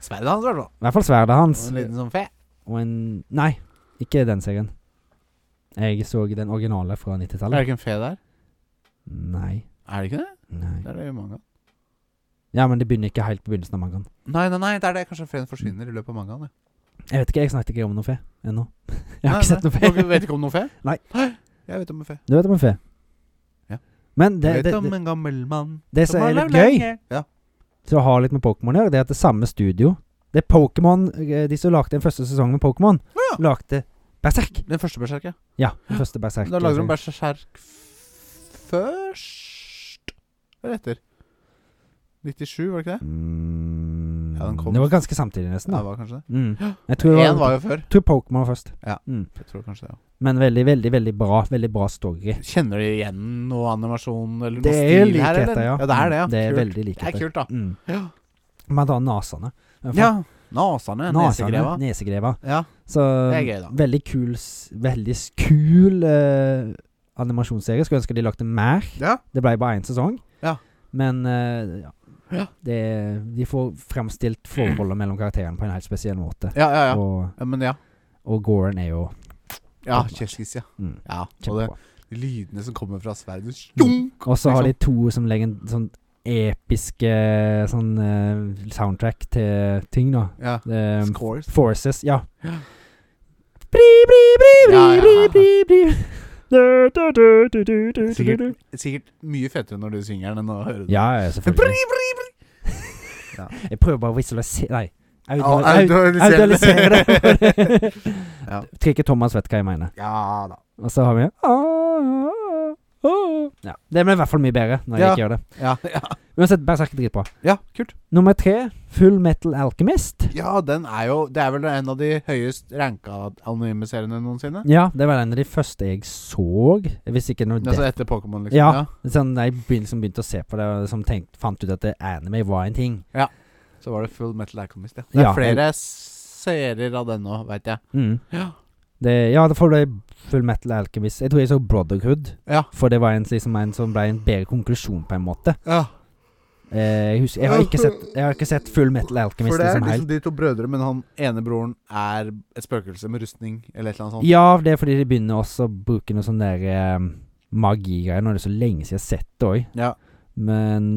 Sverdet hans, i hvert fall. i hvert fall sverdet hans. En liten sånn fe. Og en Nei, ikke den serien. Jeg så den originale fra Er det 90-tallet. ikke en fe der? Nei. Er det ikke det? Nei. Det er det jo mange av. Ja, men det begynner ikke helt på begynnelsen av mangaen. Nei, nei, nei, det er det. Kanskje feen forsvinner i løpet av mangaen. ja. Jeg vet ikke, jeg snakket ikke om noe fe ennå. Jeg Nei, har ikke sett nei. noe fe. Dere vet ikke om noe fe? Nei. Jeg vet om en fe. Du vet om en fe? Ja. Men det, Jeg det, vet om det, en gammel mann det som er litt gøy Ja. til å ha litt med Pokémon å gjøre, det er at det er samme studio Det er Pokémon eh, De som lagde den første sesongen med Pokémon, Ja. lagde Berserk. Den første berserk, ja. Ja, den første Berserk. Da lager de berserk f- først Eller etter? 97, var det ikke det? mm, Ja, den kom. Det var ganske samtidig, nesten. Ja, det Da. var kanskje det. Mm. Jeg tror, det Én var, var jo før. tror Pokémon var først. Jeg tror kanskje det, ja. Men veldig, veldig veldig bra. Veldig bra story. Kjenner du igjen noe animasjon eller noe Det er stil her? likheter, eller? ja. ja. Det er det, ja. Det er Kult. veldig Det likheter. er kult, da. Mm. Ja. Man tar nasene. ja. Nasene. Nasene. Nesegreva. Nesegreva. Ja. Så Det er gøy, da. veldig kul s- Veldig s- kul eh, animasjonsserie. Skulle ønske de lagde mer. ja. Det ble bare én sesong. Ja. Men eh, ja. Ja. Det, de får fremstilt forholdet mellom karakterene på en helt spesiell måte. Ja, ja, ja. Og, ja men ja. og Goran er jo Ja, Kjeskis, ja. mm, ja. Og det, kjempebra. lydene som kommer fra sverdet Og så har liksom. de to som legger en sånn episke sånn eh, soundtrack til ting, da. Ja. Eh, Scores. Forces, ja. Ja. Bri, bri, bri, bri, Ja, ja, bri, ja. bri, bri. Du, du, du, du, du, du, du, Sikkert. du. Sikkert mye fetere når du synger den enn å høre den. Ja, ja, selvfølgelig. Ja. Jeg prøver bare å visualisere Nei. Aud- Au- aud- Audalisere Audialisere det. Ja. Tror ikke Thomas vet hva jeg mener. Ja da. Og så har vi ja. Det blir i hvert fall mye bedre når Ja. jeg ikke gjør det. Ja, ja. Uansett, Berserk er dritbra. ja, kult. Nummer tre, Full Metal Alchemist. Ja, den er jo Det er vel en av de høyest ranka anonyme seriene noensinne? Ja, det var en av de første jeg så. Hvis ikke noe Altså det. etter Pokémon, liksom? liksom Ja. Sånn, da jeg begynte, som begynte å se på det, og som tenkte, fant ut at det anime var en ting. Ja. Så var det Full Metal Alchemist, ja. Det er Ja, flere serier av den nå, veit jeg. Mm. Ja. Det, ja, det får det full metal alchemist. Jeg tror jeg så Brotherhood, Ja. for det var en, liksom, en som ble en bedre konklusjon, på en måte. ja. Eh, jeg, husker, jeg, har ikke sett, jeg har ikke sett full metal alchemist For det er liksom helt. liksom de to brødre, men han ene broren er et spøkelse med rustning eller et eller annet sånt. Ja, det er fordi de begynner også å bruke noe sånn der eh, magigreier. Nå er det så lenge siden jeg har sett det òg. Ja. Men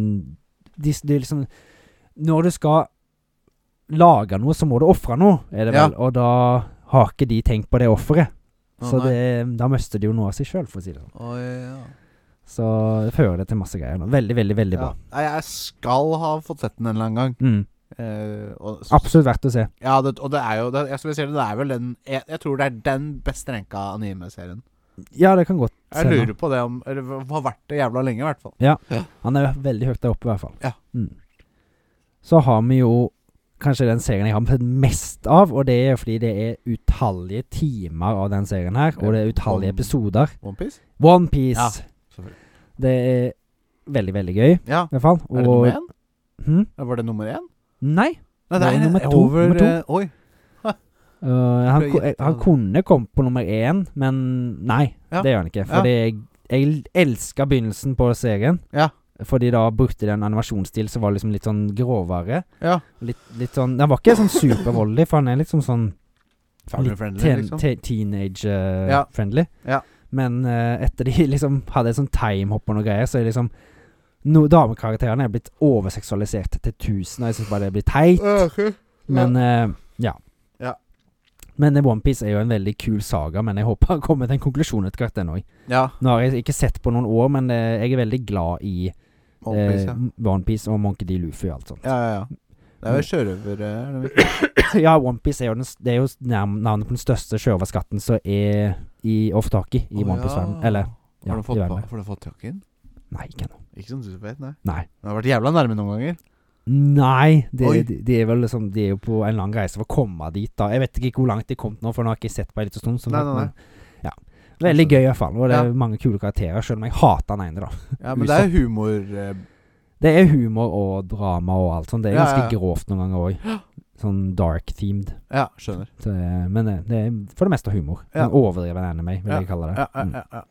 de, de liksom Når du skal lage noe, så må du ofre noe, er det Ja. vel. Og da har ikke de tenkt på det offeret. Å, så nei. det, da mister de jo noe av seg sjøl, for å si det sånn. Å, ja. Så det fører det til masse greier nå. Veldig, veldig, veldig ja. bra. Nei, jeg skal ha fått sett den en eller annen gang. Mm. Eh, og, Absolutt verdt å se. ja, det, og det er jo det, jeg, skulle si det, det er vel den jeg, jeg tror det er den best renka anime-serien. Ja, det kan godt Jeg nå. lurer på det om Eller hva- har vært det jævla lenge, i hvert fall. Han er veldig høyt der oppe, i hvert fall. Ja. Mm. Så har vi jo kanskje den serien jeg har sett mest av, og det er fordi det er utallige timer av den serien her, og det er One- utallige episoder. Onepiece? Ja, Onepiece. selvfølgelig. Det er veldig, veldig gøy, i Ja. hvert fall. Er det nummer Og én? hm? Var det nummer én? Nei. Nei, Nei, nummer to, over nummer to. eh, Oi. Uh, han, Prøv å ko- gjette. han kunne kommet på nummer én, men nei, Ja. det gjør han ikke. Ja. Fordi jeg, jeg elska begynnelsen på serien. Ja. Fordi da brukte de en animasjonsstil som var liksom litt sånn grovere. Ja. Litt, litt sånn Den var ikke sånn supervoldelig, for han er liksom sånn Family Litt friendly, ten, liksom. te, teenage-friendly. Ja. Uh, friendly. Ja. Men eh, etter de liksom hadde et sånn timehopp og noe greier, så er liksom no, Damekarakterene er blitt overseksualisert til tusen, og jeg syns bare det blir teit. Okay. Men eh, ja. Ja. Men eh, One Piece er jo en veldig kul saga, men jeg håper han kommer til en konklusjon etter hvert. den også. Ja. Nå har jeg ikke sett på noen år, men eh, jeg er veldig glad i Onepiece, eh, ja. One Piece og Monkey D. Luffy og alt sånt. Ja, ja, ja. Det er jo sjørøver... eh, er det ikke? ja, One Piece er jo, den, s- det er jo s- nærm- navnet på den største sjørøverskatten som er i Oftaki i Å, One Piece-verden. ja. Eller ja, Har du i fått, verden. på- har du fått jakken? Nei, ikke ennå. Ikke som du vet, nei. Nei. Den har vært jævla nærme noen ganger. Nei det, Oi. det, det er vel liksom De er jo på en lang reise for å komme dit, da. Jeg vet ikke hvor langt de kom nå, for nå har jeg ikke sett på en liten stund. så- Nei, nei, nei. men- Ja. Veldig gøy, i hvert fall. Og det er Ja. mange kule karakterer, selv om jeg hater den ene, da. Ja, Men det er humor eh, Det er humor og drama og alt sånt. Det er Ja, ja, ganske ja. grovt noen ganger òg. Sånn dark-themed. Ja, skjønner. Så, eh, Men det, det er for det meste humor. Ja. En overdreven anime, vil jeg kalle det. Ja, ja, Mm. ja, ja.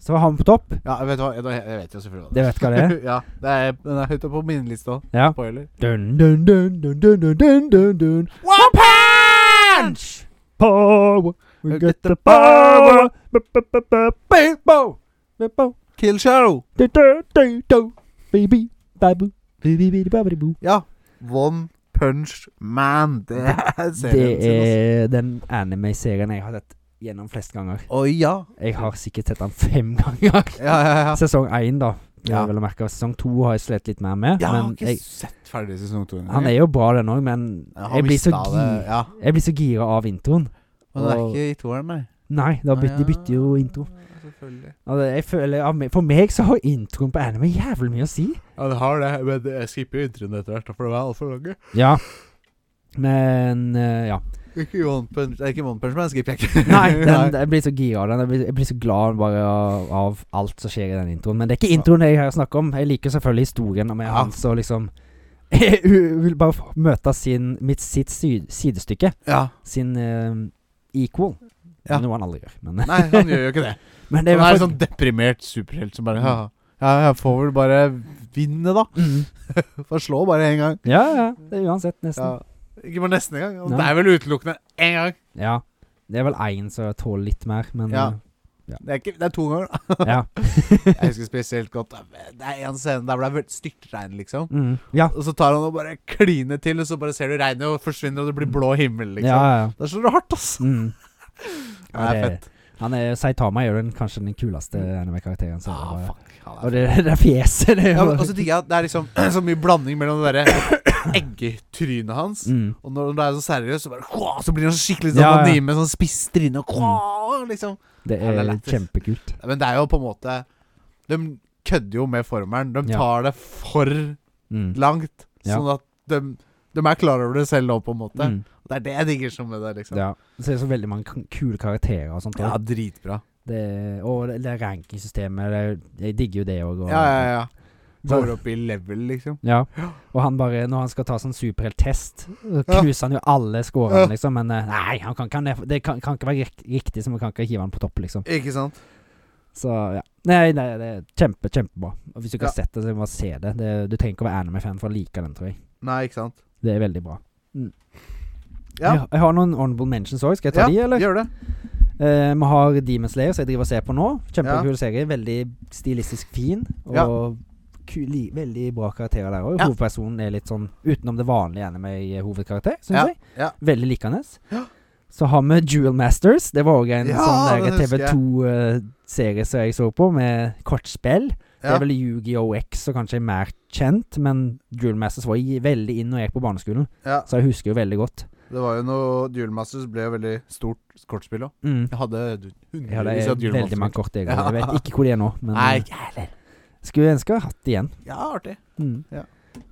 Så hva har vi på topp? ja vet du hva? Jeg, jeg vet jo selvfølgelig hva Det vet hva det er. ja, det er, den er høyt oppe på min liste òg. Ja. Spoiler. Dun, dun, dun, dun, dun, dun, dun, dun, dun. One punch! Power. We Get got the the power. Ba, ba, ba, ba, ba, bo. Ba, bo. Kill Shadow. Da, da, da, da. Baby, babu. Baby, baby, baby, boo. Ja. One Punch Man. Det er serien Det sin. altså. er den anime-serien jeg har sett gjennom flest ganger. Oi, ja. Jeg har sikkert sett den fem ganger. Ja, ja, ja. Sesong én, da. Det Ja. er vel å merke. Sesong to har jeg slet litt mer med. Jeg har men ikke jeg, sett ferdig sesong to engang. han er jo bra, den òg, men Jeg har jeg blir, så mistet gi, det, Ja. jeg blir så gira av introen. Men det er Og- ikke i toeren, nei. Nei, da byt, de Ah, bytter jo intro. ja, Selvfølgelig. Altså, jeg føler, av meg- for meg så har introen på anime jævlig mye å si. Ja, det har det, men jeg skipper jo introen etter hvert, for de er altfor lange. Ja. Men eh, ja. Ikke One Punch, det er ikke One Punch Man, skipper jeg ikke. Nei, den, jeg blir så gira av den. Jeg blir, jeg blir så glad bare av, av alt som skjer i den introen. Men det er ikke introen jeg har snakket om. Jeg liker selvfølgelig historien med Ja. han som liksom Hun vil bare få møte sin, mitt, sitt sy- sidestykke. Ja. Sin eh, equal. Ja. Noe han aldri gjør, men, Nei, han gjør jo ikke det. men det Han er er i hvert en fall- sånn deprimert superhelt som bare ja, ja, jeg får vel bare vinne, da. Mm. Får slå bare én gang. Ja, ja. Det er uansett, Ja. nesten. Ikke bare nesten engang. Nei. Det er vel utelukkende én gang. Ja. Det er vel én som tåler litt mer, men Ja. eh, Det er, ikke, det er to ganger. da. ja. Jeg husker spesielt godt Det er en scene der hvor det er veldig styrtregn, liksom. Mm. ja. Og så tar han og bare kliner til, og så bare ser du regnet og forsvinner, og det blir blå himmel, Ja, liksom. ja. Da slår det hardt, ass. Mm. Ja, det er fett. Han er, Saitama er jo den, kanskje den kuleste anime-karakteren. så det Ah, var- fuck. Han er Og det, det er fjeset, det. er Ja, jo- men også digger jeg at det er liksom så mye blanding mellom det derre eggetrynet hans mm. Og når det er så seriøs, så bare «Kua», Så blir han skikkelig sånn Ja, Mm. ja. anime, sånn spisst tryne og «Kua», liksom. Det Ja, det er er lættis. kjempekult. Men det er jo på en måte De kødder jo med formelen. De Ja. tar det for Mm. langt, Ja. sånn at de, de er klar over det selv òg, på en måte. Mm. Og Det er det jeg digger sånn med det, liksom. Ja. Så er det så veldig mange k- kule karakterer og sånt. Ja, også. dritbra. Det, og det, det er rankingsystemet det, er- Jeg digger jo det òg. Og, Ja, ja, ja. Går opp i level, liksom. Ja. Og han bare, når han skal ta sånn superhelttest, så knuser han jo alle Ja. scorene, liksom. Men eh, nei, han kan, kan, det kan, kan ikke være rik- riktig, så vi kan ikke hive han på topp, liksom. Ikke sant? Så ja. Nei, nei, det er kjempe, kjempebra. Og hvis du ikke har Ja. sett det, så må du se det. det. Du trenger ikke å være anime-fan for å like den, tror jeg. Nei, ikke sant. Det er veldig bra. Ja, Jeg, jeg har noen honorable mentions òg. Skal jeg ta de, eller? gjør det. Eh, vi har Demon Slayer, som jeg driver og ser på nå. Kjempekul Ja. serie. Veldig stilistisk fin. Og ku- li, veldig bra karakterer der òg. Ja. Hovedpersonen er litt sånn utenom det vanlige anime-hovedkarakter, syns Ja, jeg. ja. Veldig likende. Ja. Så har vi Jewel Masters. Det var òg en Ja, sånn det husker jeg. TV2-serie som jeg så på, med kortspill. Det Ja. er vel Yu-Gi-Oh! X som kanskje er mer kjent, men Jewel Masters var i- veldig inn når jeg gikk på barneskolen, ja. så jeg husker jo veldig godt. Det var jo noe Duel Masters ble jo veldig stort kortspill òg. Mm. Jeg hadde du- Jeg hadde hundrevis av Duel veldig mange Masters. kort, jeg. Ja. Jeg vet ikke hvor de er nå. Men Nei, eh, ikke heller. skulle ønske jeg hadde hatt det igjen. Mm. Ja, artig. Ja.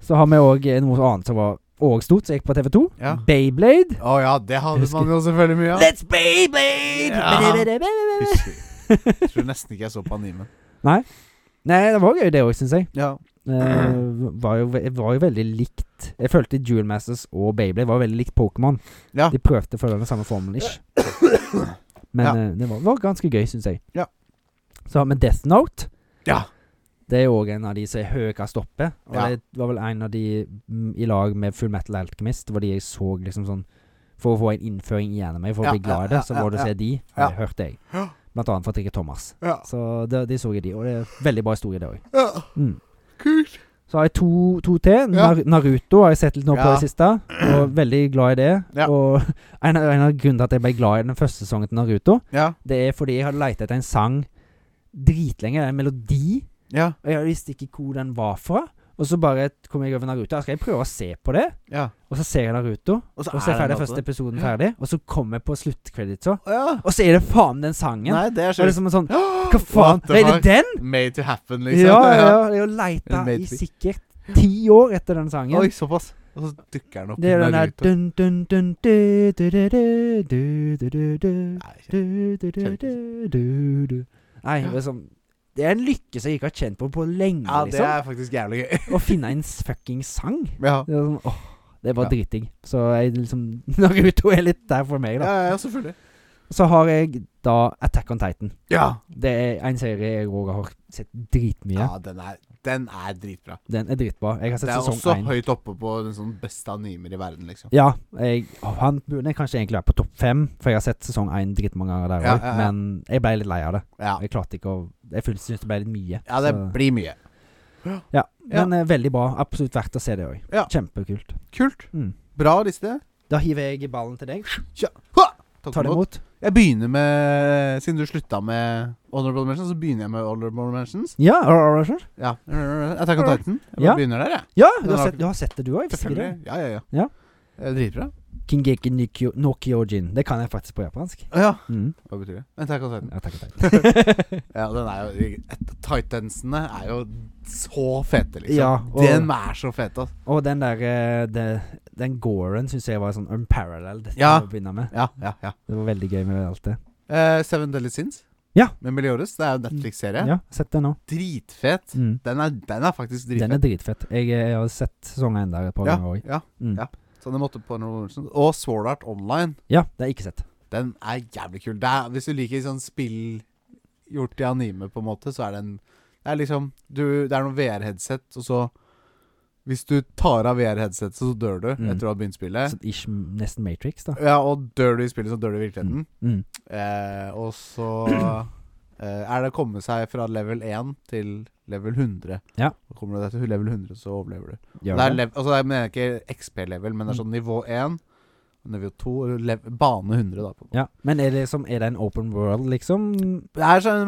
Så har vi òg noe annet som var òg stort, som gikk på TV2. Ja. Beyblade. Å ja, det hadde Husker- man jo selvfølgelig mye av. Let's Beyblade! Ja. Blablabla. Husker Jeg tror nesten ikke jeg så på animen. Nei, det var gøy, det òg, syns jeg. Ja. Eh, var, jo, ve- var jo veldig likt Jeg følte Jewel Masters og Beyblade var veldig likt Pokémon. Ja. De prøvde å følge den samme formelen, ish. Men Ja. eh, det var, var ganske gøy, syns jeg. Ja. Så har vi Death Note. Ja. Det er òg en av de som er høyest oppe. Og Ja. det var vel en av de mm, i lag med Full Metal Alchemist. Det var de jeg så liksom sånn For å få en innføring i anime, for å Ja, bli glad i ja, det, ja, så ja, må du ja. se de. Det Ja. hørte jeg. Ja. Blant annet fra Trikke Thomas. Ja. Så det, de så jeg de, og det er veldig bra historie, det òg. ja. Mm. Kult. Så har jeg to, to til. Ja. Nar Naruto har jeg sett litt nå på Ja. det siste, og veldig glad i det. Ja. Og en, av- en av grunnene til at jeg ble glad i den første sesongen til Naruto, Ja. det er fordi jeg hadde leita etter en sang dritlenge, det er en melodi, Ja. og jeg visste ikke hvor den var fra. Og så bare kom jeg over Naruto. Ja, Skal jeg prøve å se på det? ja. Og så ser jeg Naruto, og så er ferdig første episoden ferdig, og så kommer jeg på sluttkreditsa, Å ja. og så er det faen den sangen! Nei, det Og det skjer. er som en sånn Hva Hva faen? Er det den? Made to happen, liksom. Ja, ja, ja. Jeg har leita Made i to be. sikkert ti år etter den sangen. Oi, såpass. Og så dukker den opp i Det er den der Naruto. dun, dun, dun, du, du, du, du, du, du, du, du, Nei, du, du, du, Kjenner du, du, du. Nei, det er sånn Det er en lykke som jeg ikke har kjent på på lenge, Ja, det liksom. er faktisk jævlig gøy. Å finne en fucking sang. Ja. Det er sånn, åh, det var Ja. dritdigg. Så jeg liksom Naruto er litt der for meg, da. ja, ja, selvfølgelig. Så har jeg da Attack on Titan. Ja. Det er en serie jeg òg har sett dritmye. ja den, er, den er dritbra. Den er dritbra. Jeg har Det sett er sesong også én. høyt oppe på den sånn beste animer i verden, liksom. Ja, jeg, å, han burde kanskje egentlig være på topp fem, for jeg har sett sesong én dritmange ganger der òg. Ja, ja, ja. Men jeg ble litt lei av det. Ja, Jeg klarte ikke å Jeg følte- syntes det ble litt mye. ja det så- blir mye. ja. Ja. Men eh, veldig bra. Absolutt verdt å se det òg. Ja. Kjempekult. Kult. Mm. Bra liste. Da hiver jeg ballen til deg. Ja. Ha! Takk Ta det imot. imot. Jeg begynner med Siden du slutta med Honorable Mentions, så begynner jeg med Honorable Mentions. Ja, er du klar? Ja. Attack on Titan. Jeg bare Ja. begynner der, jeg. ja du, Den har har- sett, du har sett det, du òg? Selvfølgelig. Ja, ja, ja. Ja. Eh, Dritbra. Kingeki no Kyo- no Kyojin. Det kan jeg faktisk på japansk. Å Ja. Mm. Hva betyr det? Attack on Titan. Ja, takk, takk. Ja, den er jo Titansene er jo så fete, liksom. Ja, og- Den er så fete, altså. Og den der eh, det- Den goren syns jeg var sånn unparalleled Ja. til å begynne med. Ja, ja, ja. Det var veldig gøy med alt det. Eh, Seven Deadly Sins Ja. med Melioris. Det er jo en Netflix-serie. Ja, sett det nå. Dritfet. Mm. Den er, den er faktisk Den er dritfet. dritfett. Jeg, eh, jeg har sett sesongen enda et par ja, ganger òg. ja. Mm. ja. Ja. Så den måtte på Honorable Mentions. Og Sword Art Online. det har jeg ikke sett. Den er jævlig kul. Det er, hvis du liker sånn spill gjort i anime, på en måte, så er den Det er liksom du, Det er noe VR-headset, og så Hvis du tar av VR-headsetet, så dør du Mm. etter å ha begynt spillet. Så ish, nesten Matrix, da. Ja, og dør du i spillet, så dør du i virkeligheten. Mm. Eh, og så eh, er det å komme seg fra level 1 til level 100. Ja. Og kommer du deg til level 100, så overlever du. Gjør Det er det. Mm. lev altså, jeg mener ikke XP-level, men det er sånn nivå 1, nivå 2, og lev bane 100, da. På en måte. Ja. Men er det, som, er det en open world, liksom? Det er sånn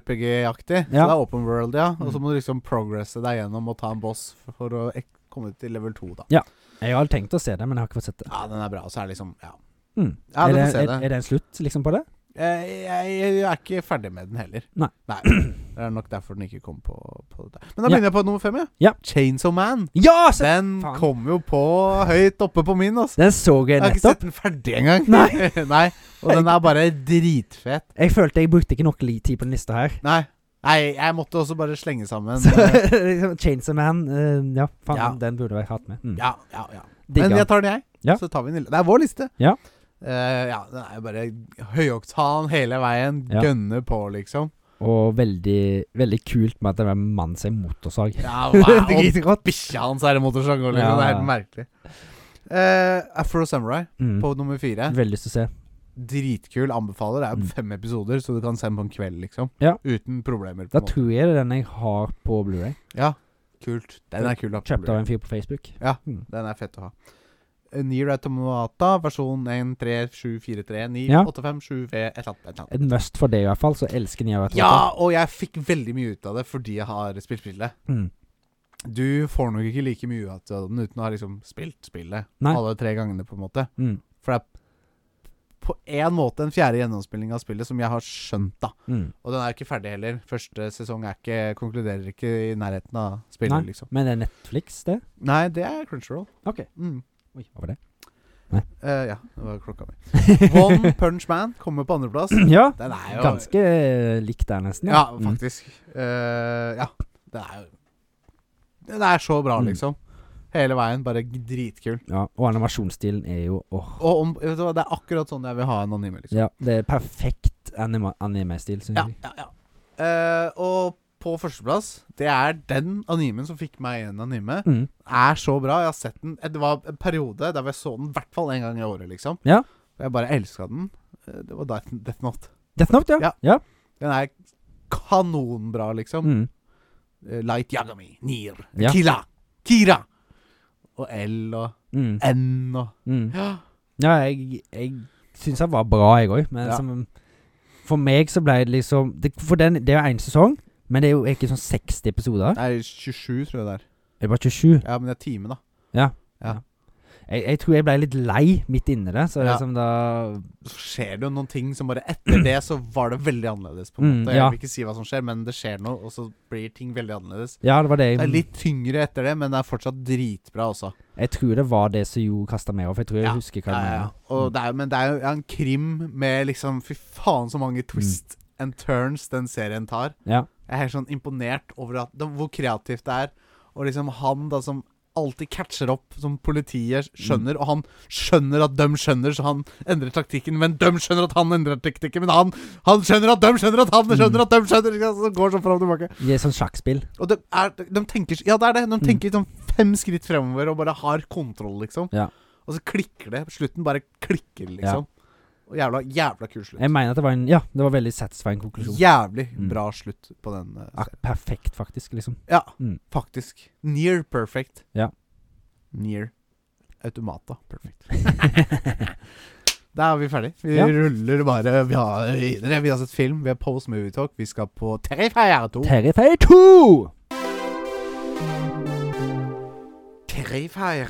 MMO-RPG-aktig. Så Ja. Det er open world, ja. Og så Mm. må du liksom progresse deg gjennom og ta en boss for, for å ek komme til level 2, da. Jeg har tenkt å se det, men jeg har ikke fått sett det. Ja, den er bra. Og så er det liksom Ja. Mm. Ja, er, du det får se er, det. er det en slutt liksom på det? Jeg, Eh, jeg, jeg er ikke ferdig med den heller. Nei. Det er nok derfor den ikke kom på, på det. Men da begynner jeg på nummer fem, jeg. Ja. Chainsaw Man. Ja! Se Den faen. kom jo på høyt oppe på min, altså. den så jeg Jeg har ikke nettopp. sett den ferdig engang. Nei. Nei. Og den er bare dritfet. Jeg følte jeg brukte ikke nok li- tid på den lista her. Nei. Nei, jeg måtte også bare slenge sammen. Så, eh, liksom, Chainsaw Man, eh, ja, faen, Ja. den burde jeg hatt med. Mm. Ja, ja, ja. Digga. Men jeg tar den, jeg. Ja. Så tar vi den. i- Det er vår liste. Ja. Eh, ja, den er jo bare høyoktan hele veien. Ja. Gønne på, liksom. Og veldig, veldig kult med at det var en mann som er motorsag. Ja, wow. Dritrått. Bikkja hans er en motorsag. og liksom, Ja, Det er ja. helt merkelig. Eh, Afro Samurai Mm. på nummer fire. Veldig lyst til å se. Dritkul. Anbefaler. Det er Mm. jo fem episoder, så du kan se den på en kveld, liksom. Ja. Uten problemer. på Da en måte. tror jeg det er den jeg har på Blu-ray Ja, kult. Den er kul. da, på Kjøpt Blu-ray. av en fyr på Facebook. Den er fett å ha. Eh, Nier Automata, versjon 1, 3, 7, 4, 3, 9, Ja. 8, 5, 7, V, et eller annet. Et eller annet. Et must for det, i hvert fall. Så elsker Nia Vetter. Ja, og jeg fikk veldig mye ut av det fordi jeg har spilt spillet. Mm. Du får nok ikke like mye ut av den uten å ha liksom spilt spillet Nei. alle tre gangene, på en måte. Mm. For det er på en måte en fjerde gjennomspilling av spillet som jeg har skjønt, da. Mm. Og den er jo ikke ferdig heller. Første sesong er ikke, konkluderer ikke i nærheten av spillet, Nei, liksom. Men det er Netflix, det? Nei, det er Crunchyroll. Ok. Mm. Oi, hva var det? Eh, ja, det var klokka mi. One Punch Man kommer på andreplass. ja. Den er jo Ganske eh, likt der, nesten. Ja, Mm. faktisk. Eh, ja. Det er jo Den er så bra, Mm. liksom. Hele veien. Bare g- dritkul. Ja, og animasjonsstilen er jo åh. Og om, vet du hva, det er akkurat sånn jeg vil ha en anime, liksom. Ja, det er perfekt anima anime-stil, syns Ja, jeg. ja, ja. Eh, og på førsteplass, det er den animen som fikk meg igjen anime. Mm. Er så bra. Jeg har sett den Det var en periode der jeg så den i hvert fall én gang i året, liksom. Ja. Og jeg bare elska den. Eh, Det var Death, Death Note. Death Note, ja. Ja. Den er kanonbra, liksom. Mm. Eh, Light Yagami, Nier, Ja. Kila, Kira. Og L og Mm. N og Mm. Ja, Ja, jeg, jeg syns han var bra, jeg òg. Men Ja. som, for meg så ble det liksom det, For den, det er jo én sesong, men det er jo ikke sånn 60 episoder. Nei, 27 tror jeg det er. Det var 27. Ja, men det er time, da. Jeg, jeg tror jeg ble litt lei midt inni det. Så Ja. liksom da Så skjer det jo noen ting som bare Etter det så var det veldig annerledes, på en Mm, måte. ja. Jeg vil ikke si hva som skjer, men det skjer noe, og så blir ting veldig annerledes. Ja, det var det Det er jeg litt tyngre etter det, men det er fortsatt dritbra også. Jeg tror det var det som gjorde kasta meg over. for Jeg tror jeg Mm. Ja. husker hva Ja, ja, det ja. var. Og det er, men det er jo en krim med liksom Fy faen, så mange twist Mm. and turns den serien tar. Ja. Jeg er helt sånn imponert over at, det, hvor kreativt det er. Og liksom han da som alltid catcher opp, som politiet Mm. skjønner. Og han skjønner at de skjønner, så han endrer taktikken. Men de skjønner at han endrer taktikken. Men han, han skjønner at de skjønner at Mm. han skjønner at de skjønner! ikke sant? Så går det sånn fram og tilbake. Det er sånn sjakkspill. Og de, er, de tenker Ja, det er det. De Mm. tenker sånn fem skritt fremover og bare har kontroll, liksom. Ja. Og så klikker det. Slutten bare klikker, liksom. Og jævla, jævla kul slutt. Jeg mener at det var en Ja, det var veldig satisfying konklusjon. Jævlig Mm. bra slutt på den. eh, Ak perfekt, faktisk. liksom Ja, Mm. faktisk. Near perfect. Ja. Near automata perfect. Da er vi ferdig. Vi Ja. ruller bare vi har videre. Vi har sett film, vi har Post Movie Talk, vi skal på Terrifier 2. Terrifier 2! Terrifier.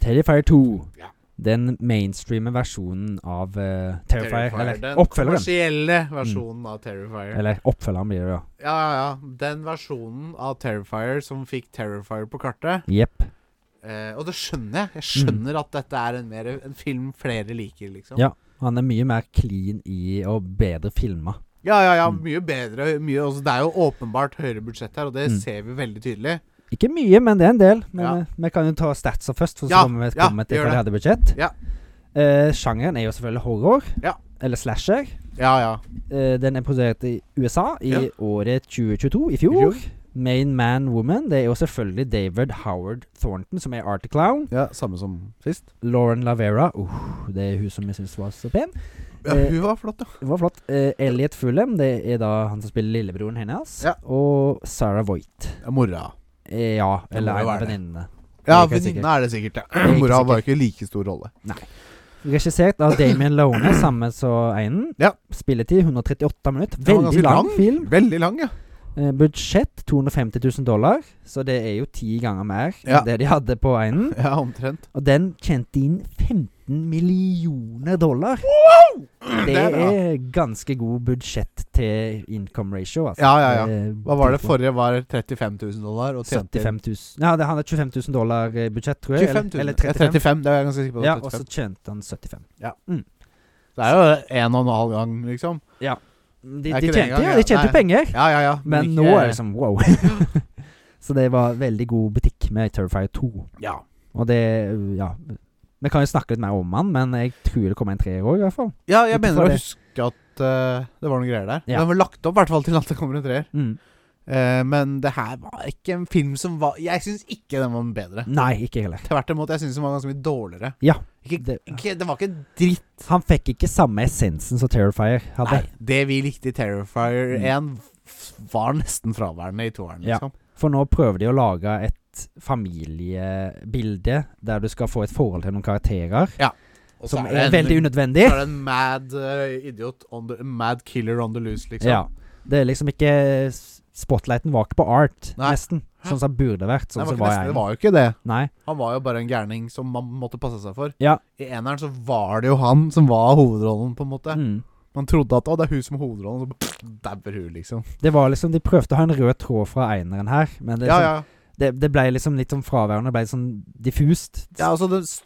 Terrifier 2. Ja. Den mainstreame versjonen av eh, Terrifier. Den Eller oppfølgeren. Mm. kommersielle versjonen av Terrifier. Eller oppfølgeren blir det, da. Ja, ja, ja. Den versjonen av Terrifier som fikk Terrifier på kartet. Jepp. Eh, og det skjønner jeg. Jeg Mm. skjønner at dette er en, mer, en film flere liker, liksom. Ja. Han er mye mer clean i og bedre filma. Ja, ja, ja. Mm. Mye bedre. Mye, altså, det er jo åpenbart høyere budsjett her, og det Mm. ser vi veldig tydelig. Ikke mye, men det er en del. Men Ja. eh, vi kan jo ta statsa først, for så Ja, kommer vi ja, komme til gjør hva de det. hadde budsjett. Ja. Eh, sjangeren er jo selvfølgelig horror. Ja. Eller slasher. Ja, ja. Eh, den er produsert i USA i Ja. året 2022, i Jo. fjor. Main Man Woman. Det er jo selvfølgelig David Howard Thornton, som er Artie Clown. ja samme som sist. Lauren Lavera. Uh, det er hun som jeg syns var så pen. Ja, Eh, hun var flott, ja. Det var flott. Eh, Elliot Fulham, det er da han som spiller lillebroren hennes. Ja. Og Sarah Voigt. ja mora. Eh, ja, Det må eller jo en av være det. venninnene. Ja, Det er ikke venninna er det sikkert. er Ja. ikke Mora var sikkert. ikke like stor rolle. Regissert av Damien Lone, samme som Einen. Ja. Spilletid 138 minutter. Den var Veldig ganske lang lang. film. Veldig lang, ja. Eh, budsjett 250 000 dollar, så det er jo ti ganger mer Ja. enn det de hadde på Einen. Ja, omtrent. Og den tjente inn 15 millioner dollar. Det Det er bra. er ganske god budsjett til income ratio. Altså. Ja, ja, ja. Eh, Hva var det tenk på- forrige? Var 35 000 dollar? Og tjente 75 000 Ja, det, han hadde 25 000 dollar eh, budsjett, tror jeg. 25 000. Eller, eller Ja, 35. 35, det er jeg ganske sikker på. Ja, det var og 35. så tjente han 75. Det er jo en og en halv gang, liksom. Ja. De, Det er de ikke det tjente, engang, ja, ja. de tjente Nei. penger, Ja, ja, ja. men ikke- nå er det liksom wow. så det var veldig god butikk med Terrifier 2. Ja. Og det Ja. Vi kan jo snakke litt mer om han, men jeg tror det kommer en treer òg, i hvert fall. ja, jeg Utenfor mener å det. huske at eh, det var noen greier der. Ja. Den var lagt opp i hvert fall til at det kommer en treer. Mm. Eh, men det her var ikke en film som var Jeg syns ikke den var bedre. Nei, ikke heller. Tvert imot, jeg syns den var ganske mye dårligere. Ja. Ikke, Det- ikke, det var ikke dritt. Han fikk ikke samme essensen som Terrifier hadde. Nei, det vi likte i Terrifier Mm. 1, f- var nesten fraværende i toeren, Ja. liksom. For nå prøver de å lage et familiebilde der du skal få et forhold til noen karakterer, Og så som er er det en- veldig unødvendig. Så er det en mad eh, idiot on the, Mad killer on the loose, liksom. Ja. Det er liksom ikke Spotlighten var ikke på art, Nei. nesten. Sånn som det burde vært. Sånn Nei, det, var ikke nesten, som var jeg. det var jo ikke det. Nei. Han var jo bare en gærning som man måtte passe seg for. Ja. I eneren så var det jo han som var hovedrollen, på en måte. Mm. Man trodde at å, det er hun som er hovedrollen, og så pff, dabber hun, liksom. Det var liksom De prøvde å ha en rød tråd fra eineren her, men det, er Ja, sånn, ja. det, det ble liksom litt sånn fraværende. Det ble sånn diffust. ja altså, det, s-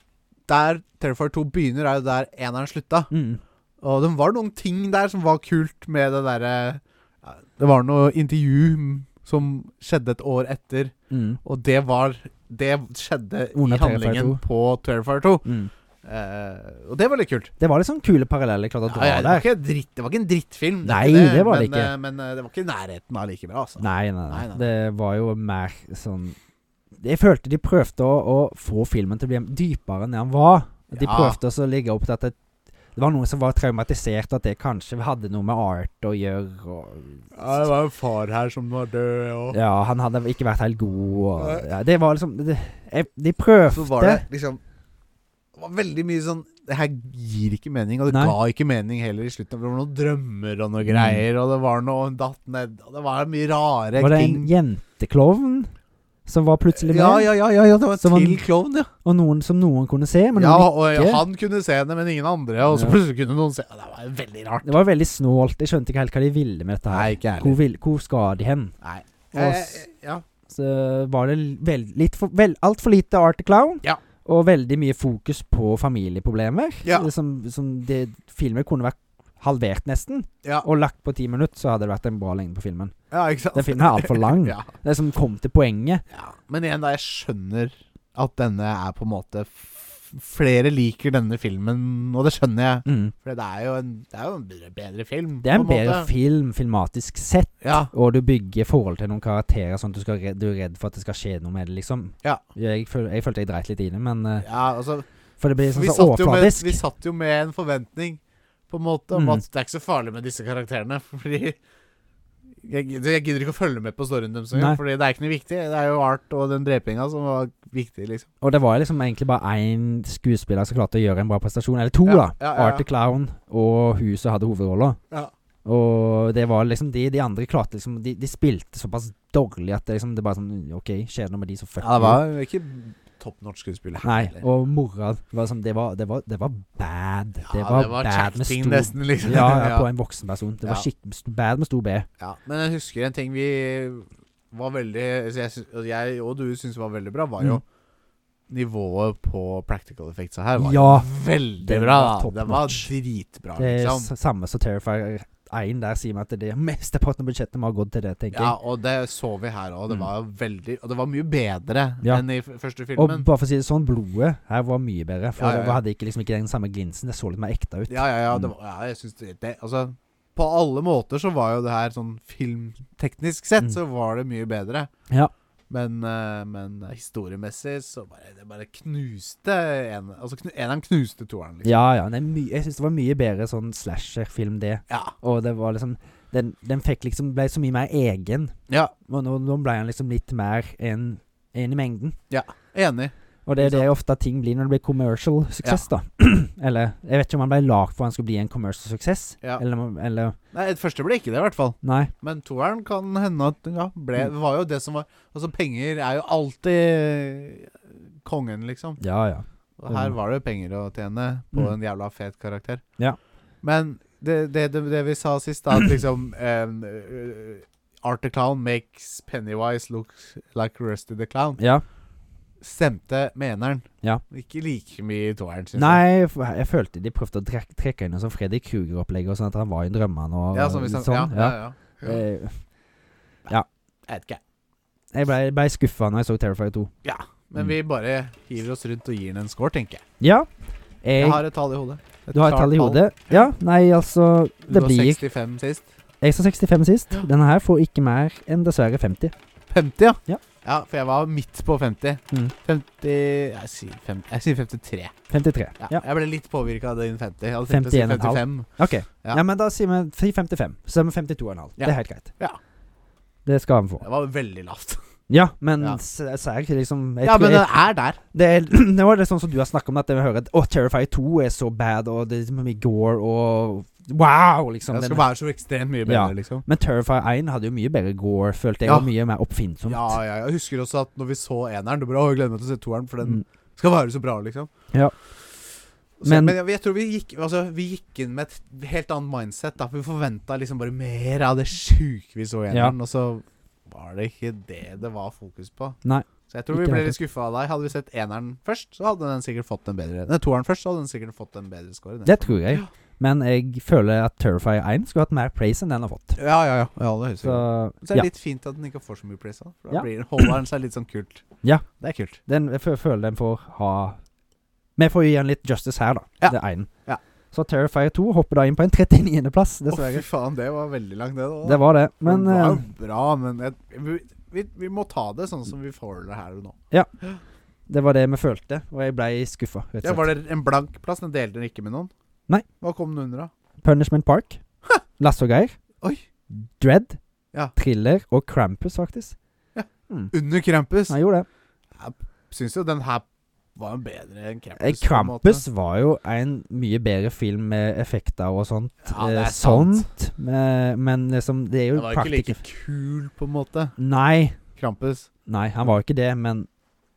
der Terrifier 2 begynner, er jo der eneren slutta. Mm. Og det var noen ting der som var kult med det derre ja, Det var noe intervju m- som skjedde et år etter, Mm. og det var Det skjedde Under i handlingen Terrifier 2. på Terrifier 2. Mm. Eh, og det var litt kult. Det var liksom kule paralleller klart å Ja, dra ja, det, var der. ikke dritt, det var ikke en drittfilm. er Nei, det var men, det ikke. eh, Men eh, det var ikke i nærheten av like bra, altså. Nei, nei, nei, Nei, nei. Det var jo mer sånn Jeg følte de prøvde å, å få filmen til å bli dypere enn det han var. De Ja. prøvde også å ligge opp til at det, det var noen som var traumatisert, at det kanskje hadde noe med art å gjøre. Og, Ja, det var en far her som var død, og ja, han hadde ikke vært helt god. Og, Nei. ja, det var liksom det, jeg, De prøvde. Så var det liksom Det var veldig mye sånn Det her gir ikke mening, og det Nei. ga ikke mening heller i slutten. Det var noen drømmer og noen greier, og det var noe hun datt ned og Det var mye rare Var det en ting. jenteklovn som var plutselig med? Ja, ja, ja, ja, ja, det var Som til han- klovn, ja. Og noen som noen kunne se, men ja noen og ikke. han kunne se henne, men ingen andre. Og så Ja. plutselig kunne noen se Det var veldig rart. Det var veldig snålt. Jeg skjønte ikke helt hva de ville med dette. Nei, her ikke hvor, ærlig. vil, hvor skal de hen? Nei. Og Eh, s- ja. så var det l- vel, litt for, vel, alt for lite Art the Clown. Ja. Og veldig mye fokus på familieproblemer. Ja. Det Som, som det, filmer kunne vært halvert, nesten. Ja. Og lagt på ti minutter, så hadde det vært en bra lengde på filmen. ja, ikke sant? Den filmen er altfor lang. Ja. Det som kom til poenget. Ja, men igjen da, jeg skjønner at denne er på en måte f- Flere liker denne filmen, og det skjønner jeg. Mm. For det er jo en, det er jo en bedre, bedre film. Det er en på måte. bedre film filmatisk sett, Ja, og du bygger forhold til noen karakterer sånn at du, skal, redd- du er redd for at det skal skje noe med det, liksom. Ja. Jeg, føl, jeg følte jeg dreit litt i det, men eh, ja altså For det blir sånn vi, så satt jo med, overfladisk. vi satt jo med en forventning, på en måte, om Mm. at det er ikke så farlig med disse karakterene. Fordi jeg, gid- jeg gidder ikke å følge med på storyen deres Nei. engang, fordi det er ikke noe viktig. Det er jo Art og den drepinga som var viktig, liksom. Og det var liksom egentlig bare én skuespiller som klarte å gjøre en bra prestasjon. Eller to, Ja, da. ja, ja, ja. Art the Clown og hun som hadde hovedrolla. Ja. Og det var liksom de, de andre klarte liksom De, de spilte såpass dårlig at det liksom Det bare sånn OK, skjer det noe med de som fuck det you? var ikke topp norsk skuespiller. her, Mm. Nei. heller. Og mora var sånn Det var, det var, det var bad. det ja, var, det var bad med chatting, stor nesten, liksom. ja, ja, på en voksen person. Det Ja. var skikkelig bad med stor B. Ja, men jeg husker en ting vi var veldig så jeg, sy- og jeg og du syntes var veldig bra, var jo Mm. Nivået på practical effects her var Ja, jo veldig det bra. var da. top Det var notch. dritbra, Det er liksom. s- samme som Terrifier 1 der sier meg at det er mesteparten av budsjettet vi har gått til det, tenker Ja, jeg. og det så vi her òg. Det Mm. var veldig Og det var mye bedre Ja. enn i f- første Og filmen. bare for å si det sånn, blodet her var mye bedre. For Ja, ja, ja. det hadde ikke, liksom ikke den samme glinsen. Det så litt mer ekte ut. Ja, ja, ja. Det Mm. var, ja jeg syns det, det Altså, på alle måter så var jo det her sånn filmteknisk sett Mm. så var det mye bedre. Ja. Men, eh, men historiemessig så bare Det bare knuste en, Altså, knu, eneren knuste toeren, liksom. Ja, ja. Det er my jeg syns det var mye bedre sånn slasherfilm, det. Ja. Og det var liksom Den, den fikk liksom ble så mye mer egen. ja. Og nå, nå ble han liksom litt mer en, en i mengden. Enig. Og det er det ofte ting blir når det blir commercial suksess, da. eller Jeg vet ikke om han ble lagd for han skulle bli en commercial suksess. Ja. Eller, eller Nei, det første ble ikke det, i hvert fall. Nei. Men toeren kan hende at ja, ble, Mm. var jo det som var Altså, penger er jo alltid kongen, liksom. Ja, ja. Og her var det jo penger å tjene på Mm. en jævla fet karakter. Ja. Men det, det, det, det vi sa sist, da, at liksom um, Art the Clown makes Pennywise look like Rusty the Clown. Ja. stemte med eneren. Ja. Ikke like mye i toeren, synes jeg. Nei, f- jeg følte de prøvde å drek- trekke inn noe sånn Freddy Kruger-opplegg, og sånn at han var i drømmene og Ja, som hvis litt han, ja, sånn. ja, ja. ja. Eh, Jeg vet ikke. Jeg ble, ble skuffa når jeg så Terrifier 2. Mm. Men vi bare hiver oss rundt og gir den en score, tenker jeg. Ja. Jeg Jeg, har et tall i hodet. du har et tall i klart hodet? Ja. Nei, altså Du Det var blir 65 sist. Jeg sa 65 sist. Denne her får ikke mer enn dessverre 50. 50, ja. Ja. for jeg var midt på 50. Mm. 50 Jeg sier, fem, jeg sier 53. 53. Ja. Ja. Jeg ble litt påvirka av din 50. Jeg hadde tenkt å si 51,5. 55. OK. Ja. Ja. men da sier vi si 55. Så er vi 52,5. Ja. Det er helt greit. Ja. Det skal han få. Det var veldig lavt. Ja, men Ja. s- jeg sier ikke liksom jeg Ja, tror men jeg, den er der. det, er, det var det sånn som du har snakket om, at jeg hører at Å, Terrifier 2 er så bad, og det er mye gore, og wow, liksom. Den skal Den, være så ekstremt mye bedre, Ja. liksom. men Terrifier 1 hadde jo mye bedre gore, følte jeg, Ja. og mye mer oppfinnsomt. Ja, ja, jeg husker også at når vi så eneren Du bare «Å, jeg gleder meg til å se toeren, for den Mm. skal være så bra, liksom. Ja. Så, men, Men- jeg, jeg tror vi gikk Altså, vi gikk inn med et helt annet mindset. Da. Vi forventa liksom bare mer av det sjuke vi så i Ja. eneren, og så var det ikke det det var fokus på. Nei. Så jeg tror Ikke vi ble helt. litt skuffa av deg. Hadde vi sett eneren først, så hadde den sikkert fått en bedre Nei, toeren først, så hadde den sikkert fått en bedre score. den. Det tror jeg. Men jeg føler at Terrifier 1 skulle hatt mer praise enn den har fått. Ja, ja, ja. ja det høres Så, jo Så er det ja. litt fint at den ikke får så mye praise. da, For da Ja. blir, holder den seg litt sånn kult. Ja. Det er kult. Den, jeg fø- føler den får ha Vi får gi den litt justice her, da. Ja. Det er én. Ja. Så Terrifier 2 hopper da inn på en 39.-plass, Å, fy dessverre. faen, det var veldig langt, det. da det var det. Men, Men det var eh, jo bra, men jeg, vi, vi, vi må ta det sånn som vi får det her og nå. det var det vi følte, og jeg ble skuffa. Rett og Ja, slett. var det en blank plass? Den delte den ikke med noen? Nei. Hva kom den under, da? Punishment Park, Lasse og Geir, Oi. Dread, Ja. Thriller og Krampus, faktisk. Ja. Mm. Under Krampus? Han gjorde det. Syns jo den her var en bedre enn Krampus. Eh, på en Krampus var jo en mye bedre film med effekter og sånt. måte. Ja, det eh, er sant. sånt, eh, men liksom, det er Den jo var ikke like praktisk- kul, på en måte. Nei, Krampus. nei, han var jo ikke det, men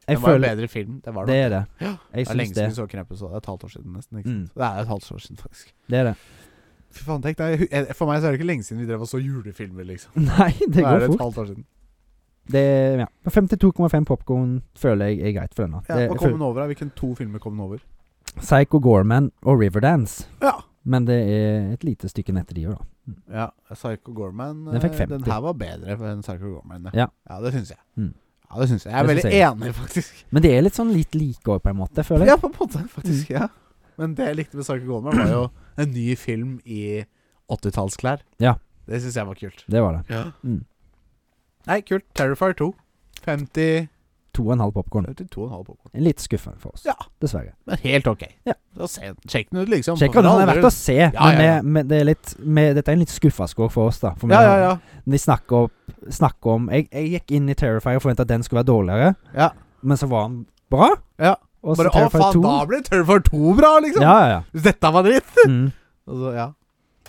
jeg Den var en føler bedre film. Det var Det det. er det. Ja, Jeg Det er syns lenge det. siden vi så Krampus. og Det er et halvt år siden, nesten. Ikke Mm. sant? Det er et halvt år siden, faktisk. Det er det. Fy faen, tenk deg, jeg- For meg så er det ikke lenge siden vi drev og så julefilmer, liksom. Nei, det Nå er går det et fort. halvt år siden. Det, ja. 52,5 popkorn føler jeg er greit for denne. Ja, Det- Hva jeg kom føler- den over? da? Hvilken to filmer kom den over? Psycho Gorman og Riverdance. Ja. Men det er et lite stykke ned til de òg, da. Ja, Psycho Gorman Den fikk eh, 50. Den her var bedre enn Psycho Gorman. Ja. ja det syns jeg. Mm. Ja, det syns jeg. Jeg er Det veldig syns jeg. enig, faktisk. Men det er litt sånn litt like òg, på en måte, føler jeg. Ja, på en måte, faktisk. Mm. Ja. Men det jeg likte med Psycho Gorman, var jo en ny film i 80-tallsklær. Ja. Mm. Det syns jeg var kult. Det var det. Nei, kult. Terrifier 2. 50 To og en halv popkorn. 52,5 popkorn. Litt skuffende for oss, Ja. dessverre. Men helt ok. Ja. Da se, sjekk den ut, liksom. Sjekk om den er verdt å se, Ja, ja, ja. men, vi- men det er litt, vi- dette er en litt skuffa score for oss, da. For vi Ja, ja, har- ja. De snakker, opp, snakker om jeg, jeg gikk inn i Terrifier og forventa at den skulle være dårligere, ja. men så var den bra. Ja. Og så Bare, å Terrifier faen, 2. da ble Terrifier 2 bra, liksom! Ja, ja, Hvis dette var dritt! ja. Mm. Og så, ja.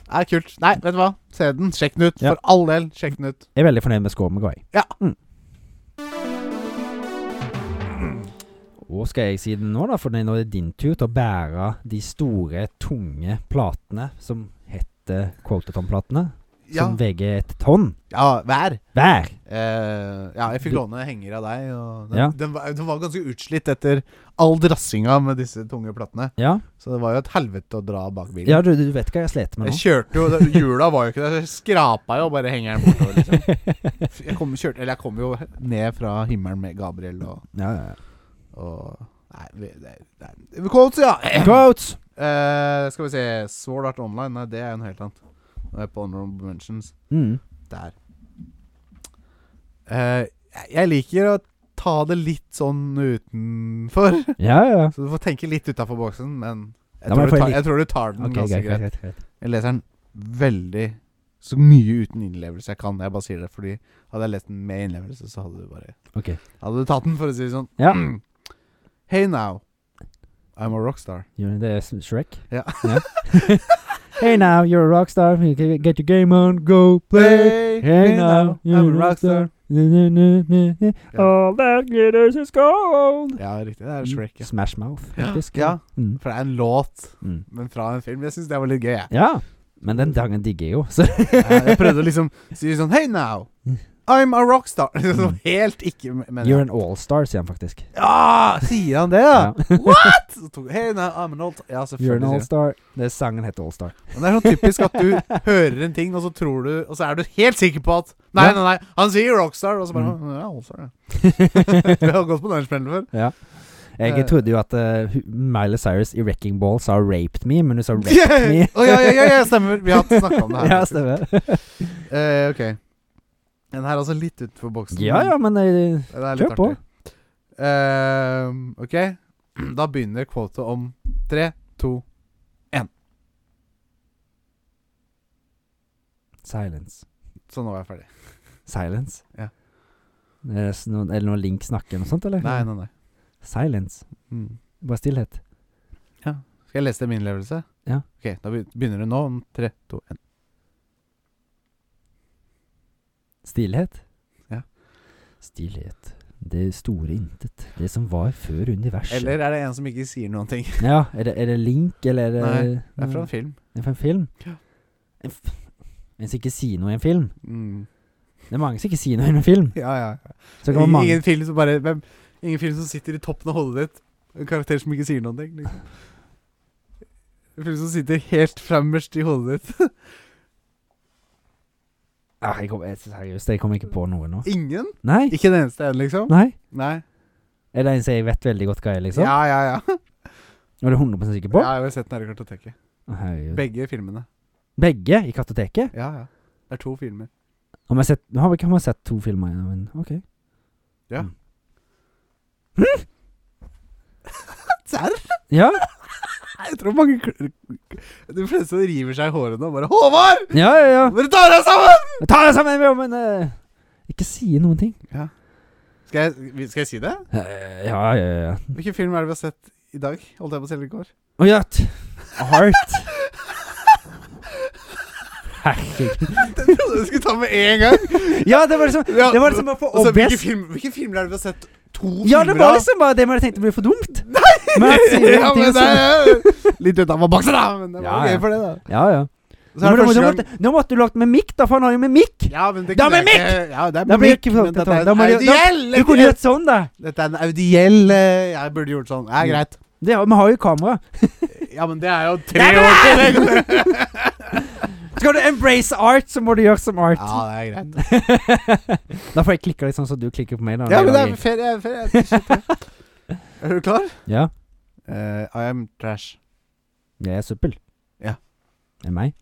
Det er kult. Nei, vet du hva? Se den. Sjekk den ut. Ja. For all del, sjekk den ut. Jeg er veldig fornøyd med scoren vi ga, jeg. Ja. Mm. Og skal jeg si det nå, da? For det- nå er det din tur til å bære de store, tunge platene som heter Colteton-platene. Ja, Som veier et tonn ja vær. hver. Eh, ja, jeg fikk Du- låne henger av deg. Og den, Ja. den, var, den var ganske utslitt etter all drassinga med disse tunge platene. Ja, Så det var jo et helvete å dra bak bilen. ja du, du vet hva jeg slet med jeg nå? kjørte jo det- Hjula var jo ikke der, så jeg skrapa jo bare hengeren bortover. Liksom. Jeg kom, kjørte, eller jeg kom jo ned fra himmelen med Gabriel og, Ja, ja, ja. og Nei, vi- det, det, det, Quotes, ja! Quotes! Eh, skal vi se Sword Art Online. Nei, det er jo noe helt annet. Nå er jeg på Honorable Mentions. Mm. Der. Eh, jeg- jeg liker å ta det litt sånn utenfor. Ja, ja. Så du får tenke litt utafor boksen, men jeg, Da må tror du, jeg få tar, en liten- jeg tror du tar den Ok, ganske greit, greit. greit, greit. Jeg leser den veldig så mye uten innlevelse jeg kan. Jeg bare sier det fordi hadde jeg lest den med innlevelse, så hadde du bare Ok. Hadde du tatt den, for å si det sånn. Ja. Hey now, I'm a rockstar. Gjør Det er Sh- Shrek. Ja. hey now, you're a rockstar. You can Get your game on, go play. Hey, Hey I'm now, you're a rockstar. Ja. All that glitters is gold. Ja, riktig. Det er Mm. Shrek. Ja. Smash Mouth, faktisk. Ja. Mm. For det er en låt, Mm. men fra en film. Jeg syns det var litt gøy. Jeg. ja. Men den sangen digger jeg jo. Så. Jeg prøvde å liksom si sånn Hey now! I'm a rockstar. Som helt ikke mener Mm. You're an allstar, sier han faktisk. Ja, sier han det, ja? What?! Så tok- Hey, no, I'm an old Ja, You're selvfølgelig. an sier allstar. Det er sangen heter Allstar. han. Men det er sånn typisk at du hører en ting, og så tror du Og så er du helt sikker på at Nei, Ja. nei, nei, han sier rockstar, og så bare Mm. Ja, rockstar, ja. Vi har gått på den smellen før. Eh. Jeg trodde jo at eh, hu- Miley Cyrus i Wrecking Ball sa 'raped me', men hun sa 'raped me'. Å, ja, ja, ja, ja, stemmer. Vi har snakka om det her. ja, stemmer. Eh, ok. Den her er altså litt utenfor boksen. ja, ja, men eh, Det er litt Kjør på. artig. Ehm, ok, da begynner kvotet om tre, to Silence. Så nå er jeg ferdig. Silence? Ja. Er det Eh, s- noen, er det noen Link snakker eller noe sånt, eller? Nei, nei, nei. Silence. Mm. Bare stillhet. Skal jeg lese min innlevelse? Ja. Ok, da be- begynner du nå om tre, to, én. Stillhet? Ja. Stillhet. Det store intet. Det som var før universet. Eller er det en som ikke sier noen ting? Ja, er det, er det Link, eller er det Nei, Det er fra Mm. en film. Det er fra en film? Ja. En f en som ikke sier noe i en film? Mm. Det er mange som ikke sier noe i en film. Ja, ja. Så det kan være Ingen, mange ingen film som bare hvem, Ingen film som sitter i toppen av hodet ditt. En karakter som ikke sier noen ting. Liksom. En film som sitter helt fremmerst i hodet ditt. ah, jeg kom, jeg, Seriøst, jeg kommer ikke på noe nå. Ingen? Nei? Ikke den eneste en, liksom? Nei? Nei. Er det en som jeg vet veldig godt hva er, liksom? Ja, ja, ja. Er du 100 sikker på? ja jeg har sett den her i kartoteket. Å, herregud. Begge filmene. Begge i kartoteket? Ja, ja. Det er to filmer. Har vi sett, har vi, har vi sett to filmer igjen? Men ok. Ja. Mm. Serr? Ja, Jeg tror mange kl- De fleste river seg i hårene og bare 'Håvard! ja, ja. ja. Dere tar deg sammen!' Men Ta det sammen, jo, men eh, Ikke si noen ting. Skal jeg, vi- skal jeg si det? Eh, ja, ja, ja. Hvilken film er det vi har sett i dag? Holdt jeg på å si det i går? Å ja. t- Heart. Herregud. Den trodde jeg skulle ta med en gang. Ja, det var liksom Ja, Det var liksom bare for altså, hvilke, obvious. film, hvilke filmer er det vi har sett to Ja, det filmer var av? liksom bare det man tenkte ble for dumt. Men han sier ja, ingenting, men det så- er Litt utafor boksen, da. Men det var Ja, ja. gøy for det, da. Ja, ja. Så er Men det nå, første nå, gang måtte, nå måtte du lagt med mikk, da, for han har jo med mikk. Ja, men det Da kunne med jeg ikke- Ja, det er Da med blir det mikk. ikke Men dette er Da en må de- da- audiell Du kunne gjort sånn, da. Dette er en audiell eh, Jeg burde gjort sånn. Mm. Ja, greit. Det, er- vi har jo kamera. Ja, men det er jo Det tre er bra! år til! det. Skal du embrace art, så må du gjøre som art. Ja, det er greit. da får jeg klikke litt sånn som du klikker på meg. da Ja, men det er lager- ferie. ferie. Shit. Er du klar? ja. Eh, I am trash. Jeg er søppel. Ja. Det er meg.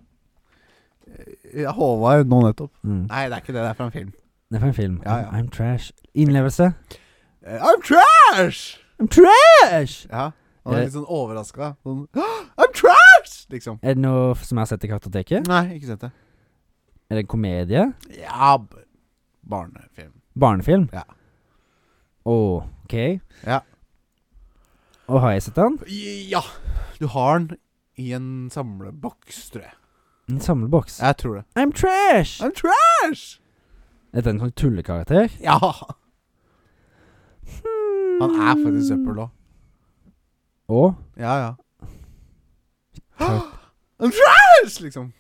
Ja, Håvard nå nettopp. Mm. Nei, det er ikke det. Det er fra en film. Det er fra en film. Ja, ja. I'm trash. Innlevelse. Eh, I'm trash! I'm trash! Ja. Han Eh. er litt sånn overraska. Sånn «Åh, I'm trash! Liksom. Er det noe f- som jeg har sett i kartoteket? Nei, ikke sett det. Er det en komedie? Ja b- Barnefilm. Barnefilm? Ja. Åh, ok. Ja. Og har jeg sett den? Ja. Du har den i en samleboks, tror jeg. En samleboks. Jeg tror det. I'm trash! I'm trash! Er det en sånn tullekarakter? Ja. Hmm. Han er faktisk søppel òg. Og? Ja, ja. Kar- I'm trash! Liksom.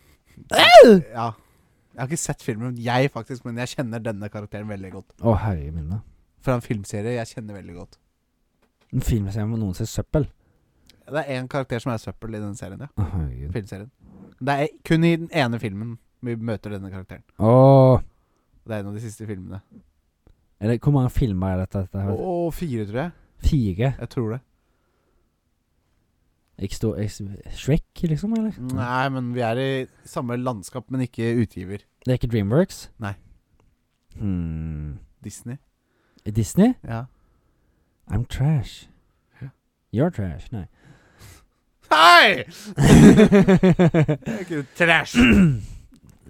Ja. Jeg har ikke sett filmen, jeg faktisk, men jeg kjenner denne karakteren veldig godt. Å, herre min da. Fra en filmserie jeg kjenner veldig godt. En film som jeg må noen se søppel. Det er én karakter som er søppel i denne serien. Ja. Å, herregud. Filmserien. Det er kun i den ene filmen vi møter denne karakteren. Åh. Det er en av de siste filmene. Er det, hvor mange filmer er dette? dette her? Å, fire, tror jeg. Fire? Jeg tror det. Ikke stå, ikke, s- Shrek, liksom? eller? Nei, men vi er i samme landskap, men ikke utgiver. Det er ikke Dreamworks? Nei. Hmm. Disney. Disney? Ja. I'm trash. Ja. You're trash. Nei. Hei! Det er ikke trash.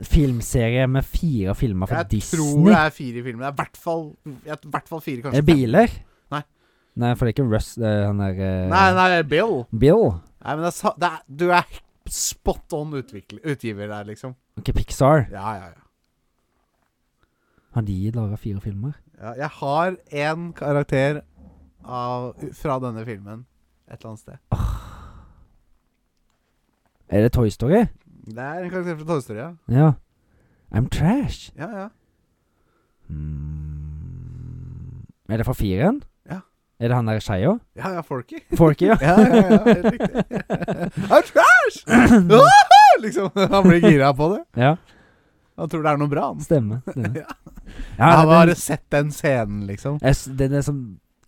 Filmserie med fire filmer fra Jeg Disney. tror det er fire filmer. Det er i hvert fall, i hvert fall fire, Er kanskje. det Eh, biler? Nei. Nei, for det er ikke Russ det er Han der eh, fem. Nei, nei, det er Bill. Bill? Nei, men det er, sa- det er, du er spot on utvikler, utgiver der, liksom. Ok, Pixar. Ja, ja, ja. Har de laga fire filmer? ja jeg har én karakter av, fra denne filmen et eller annet sted. Er det Toy Story? Det er en karakter fra Toy Story, ja. Ja. I'm trash. Ja, ja. Mm. Er det fra fireren? Ja. Er det han der skeia? Ja, ja, Forky. Forky, ja. Mm. Ja, ja, ja, helt riktig. I'm trash! Ah, liksom. Han blir gira på det. ja. Han tror det er noe bra. Han. Stemmer. stemmer. Ja. Ja, Han har den, bare sett den scenen, liksom. jeg, s- den, er som,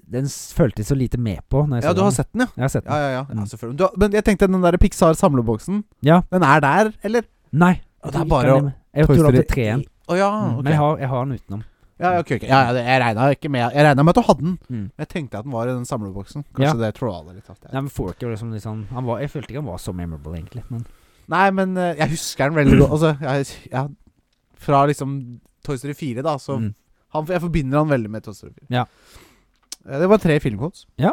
den s- følte jeg så lite med på. Når jeg Ja, så du har den. sett den, ja. Jeg har sett den. Ja, ja, ja, ja Mm. selvfølgelig. Du, har- men jeg tenkte den der Pixar-samleboksen, Ja. den er der, eller? Nei. Ja, det er jeg tror ikke bare den å- med. Jeg Toy tror det Story er treen. Å ja, Mm, ok. Men jeg har, jeg har den utenom. Ja, ja, ok, ok. ja, ja, det- jeg regna ikke med Jeg regna med at du hadde den. Mm. Jeg tenkte at den var i den samleboksen. Ja. Kanskje det tråla litt. At jeg. Nei, men Forky var liksom, litt sånn- han var, Jeg følte ikke han var så memorable, egentlig. Men Nei, men eh, jeg husker den veldig godt. Altså, jeg, ja, fra liksom Toy Story 4, da, så mm. han, Jeg forbinder han veldig med Toy Story 4. Ja. Eh, Det var tre filmcodes. Ja.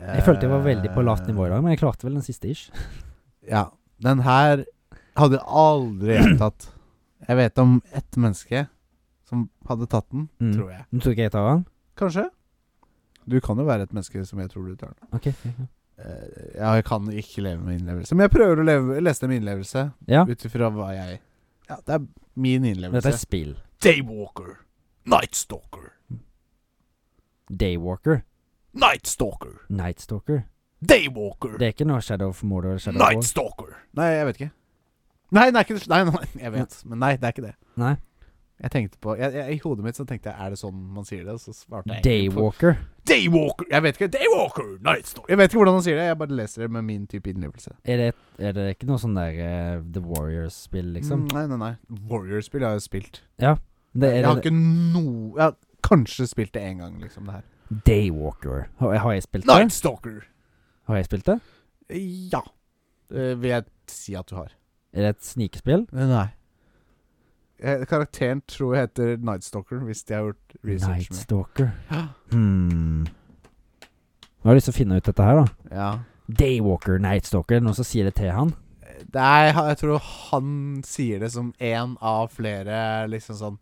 Jeg følte jeg var veldig på lavt nivå i dag, men jeg klarte vel den siste ish. Eh, Ja. Den her hadde jeg aldri gjentatt. Jeg vet om ett menneske som hadde tatt den, Mm. tror jeg. Du tror ikke jeg tar den? Kanskje? Du kan jo være et menneske som jeg tror du tar den. Ok. ok, Eh, ja, jeg kan ikke leve med innlevelse, men jeg prøver å leve, lese det med innlevelse. Ja. Ut ifra hva jeg Ja, det er min ja. Dette innlevelse. er spill. Daywalker. Nightstalker. Daywalker. Nightstalker. Nightstalker. Daywalker. Det er ikke noe Shadow of Mordor eller Shadow of War. Nightstalker. Nei, jeg vet ikke. Nei, det er ikke det. Nei, nei, jeg vet, men nei, det er ikke det. Nei. Jeg tenkte på jeg, jeg, I hodet mitt så tenkte jeg Er det sånn man sier det? Og så svarte jeg egentlig på- Daywalker. Daywalker. Jeg vet ikke. Daywalker. Nightstalker. Jeg vet ikke hvordan man sier det. Jeg bare leser det med min type innlevelse. Er det, er det ikke noe sånn der eh, The Warriors-spill, liksom? Mm, nei, nei, nei. Warrior-spill har jeg jo spilt. Det jeg er har det, ikke noe Jeg har kanskje spilt det én gang, liksom, det her. Daywalker. Har, har jeg spilt det? Nightstalker. Har jeg spilt det? Ja. Eh, vil jeg si at du har. Er det et snikespill? Eh, Nei. Eh, Karakteren tror jeg heter Nightstalker, hvis de har gjort research. med Nightstalker. Hmm. Nå har jeg lyst til å finne ut dette her, da. Ja. Daywalker, Nightstalker. Noen som sier det til han? Det er, jeg tror han sier det som én av flere, liksom sånn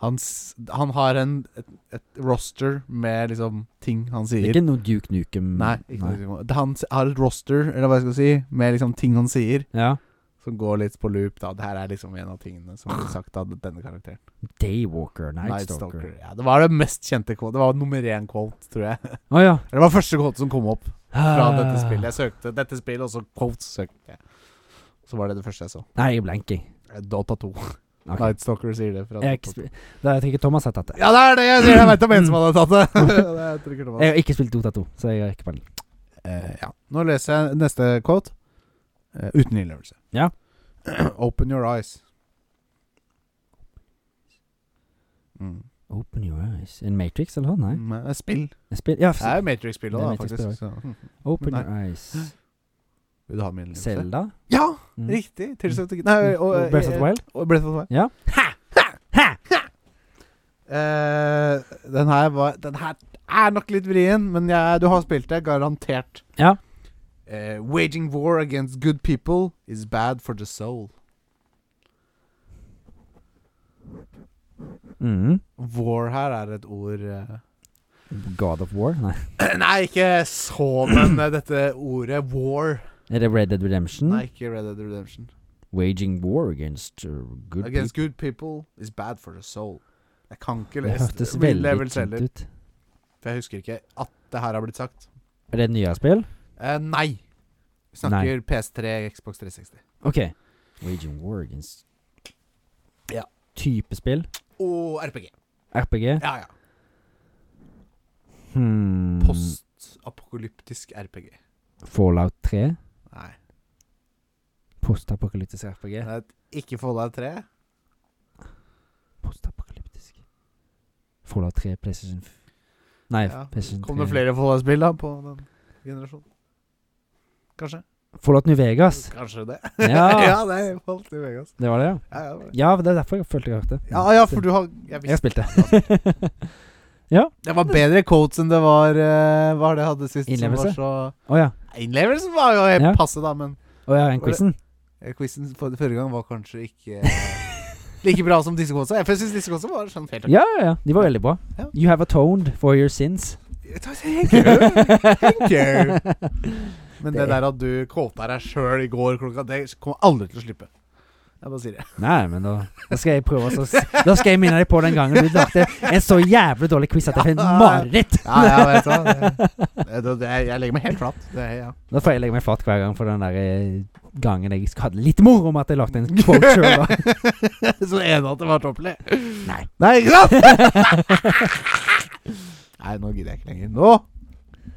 han, s- han har en, et, et roster med liksom ting han Det er sier. ikke noe Duke Nukem Nei, ikke noe. Han s- har et roster, eller hva jeg skal si, med liksom ting han sier, Ja. som går litt på loop. da Det her er liksom en av tingene som blir sagt av denne karakteren. Daywalker, Nightstalker. Nightstalker. Ja, det var det mest kjente quote. Det var nummer én quote, tror jeg. Å ja. Det var første quote som kom opp fra Ah. dette spillet. Jeg søkte dette spillet, og så quotes søkte jeg. Så var det det første jeg så. Nei, jeg er blank, jeg. Dota 2. Eh, Ok. Nightstalker sier det. Fra Jeg har ikke Dota 2. spilt Da jeg tror ikke Thomas har tatt det. Ja, det er det jeg sier! Jeg veit om en som hadde tatt det. det er trykker det på. Jeg har ikke spilt Dota 2, så jeg har ikke peiling. Eh, ja. Nå leser jeg neste quote. Eh, uten innlevelse. Ja. Open your eyes. Mm. Open your eyes In Matrix eller noe? Nei. Men det er Spill. Jeg Spil, ja, Det er Matrix-spill Det er òg, Matrix-spill faktisk. Så. hm. Open Nei. your eyes. Vil du ha min innlevelse? Zelda? Ja! Mm. Riktig. Tilsluttet ikke Nei, og, eh, Og Breath of the Wild? Og Breath of the Wild. Ja. Eh, den her var Den her er nok litt vrien, men jeg, du har spilt det, garantert. Ja. Eh, waging war against good people is bad for the soul. Mm. War her er et ord eh. God of War? Nei. Nei, ikke så, men eh, dette ordet war Er det Red Dead Redemption? Nei, ikke Red Dead Redemption. Waging war against uh, good Against good people is bad for the soul. Jeg kan ikke people? Det lese hørtes Vil jeg veldig vel selv- kjent ut. For jeg husker ikke at det her har blitt sagt. Er det et nyere spill? Eh, nei. Vi snakker PS3, Xbox 360. Ok. Waging war against Ja. Type spill? Og RPG. RPG? Ja, ja. Hmm. Postapokalyptisk RPG. Fallout 3? Nei. Postapokalyptisk RPG? Det er et- Ikke Fallout 3. Postapokalyptisk. Fallout 3, PlayStation f Nei, Ja, PlayStation 3. Kom det flere Fallout-spill da på den generasjonen? Kanskje? Fallout New Vegas. Kanskje det. Ja, ja, det er Fallout i Vegas. det var det, ja. Ja, ja, det- Ja, det er derfor jeg følte jeg hørte. ja, ja, for du har Jeg Jeg har visste spilt det. Det var bedre quotes enn det var eh, Hva var det jeg hadde sist? Innlevelse? Som var så Å ja. Innlevelsen var jo helt Ja. passe, da, men Å ja, den Var det- quizen. eh, quizen for- forrige gang var kanskje ikke eh, like bra som disse quotesa. Jeg syns disse quotesa var sånn helt Ja, ja, ja. De var veldig bra. Ja. You have atoned for your sins. Eh, Thank you. Thank you. Men det, Det- der at du kåta deg sjøl i går klokka Det kommer jeg aldri til å slippe. Jeg bare sier det. Nei, men da, da skal jeg prøve å s- Da skal jeg minne deg på den gangen du lagde en så jævlig dårlig quiz at jeg fikk et mareritt. Ja, ja, vet du hva. Det- det- det- Jeg legger meg helt flat. Det, ja. Da får jeg legge meg flat hver gang for den der eh, gangen jeg sk- hadde litt moro med at jeg lagde en quote sjøl. Så det ene at det var tåpelig. Nei. Nei, ikke sant? Nei, nå gidder jeg ikke lenger. Nå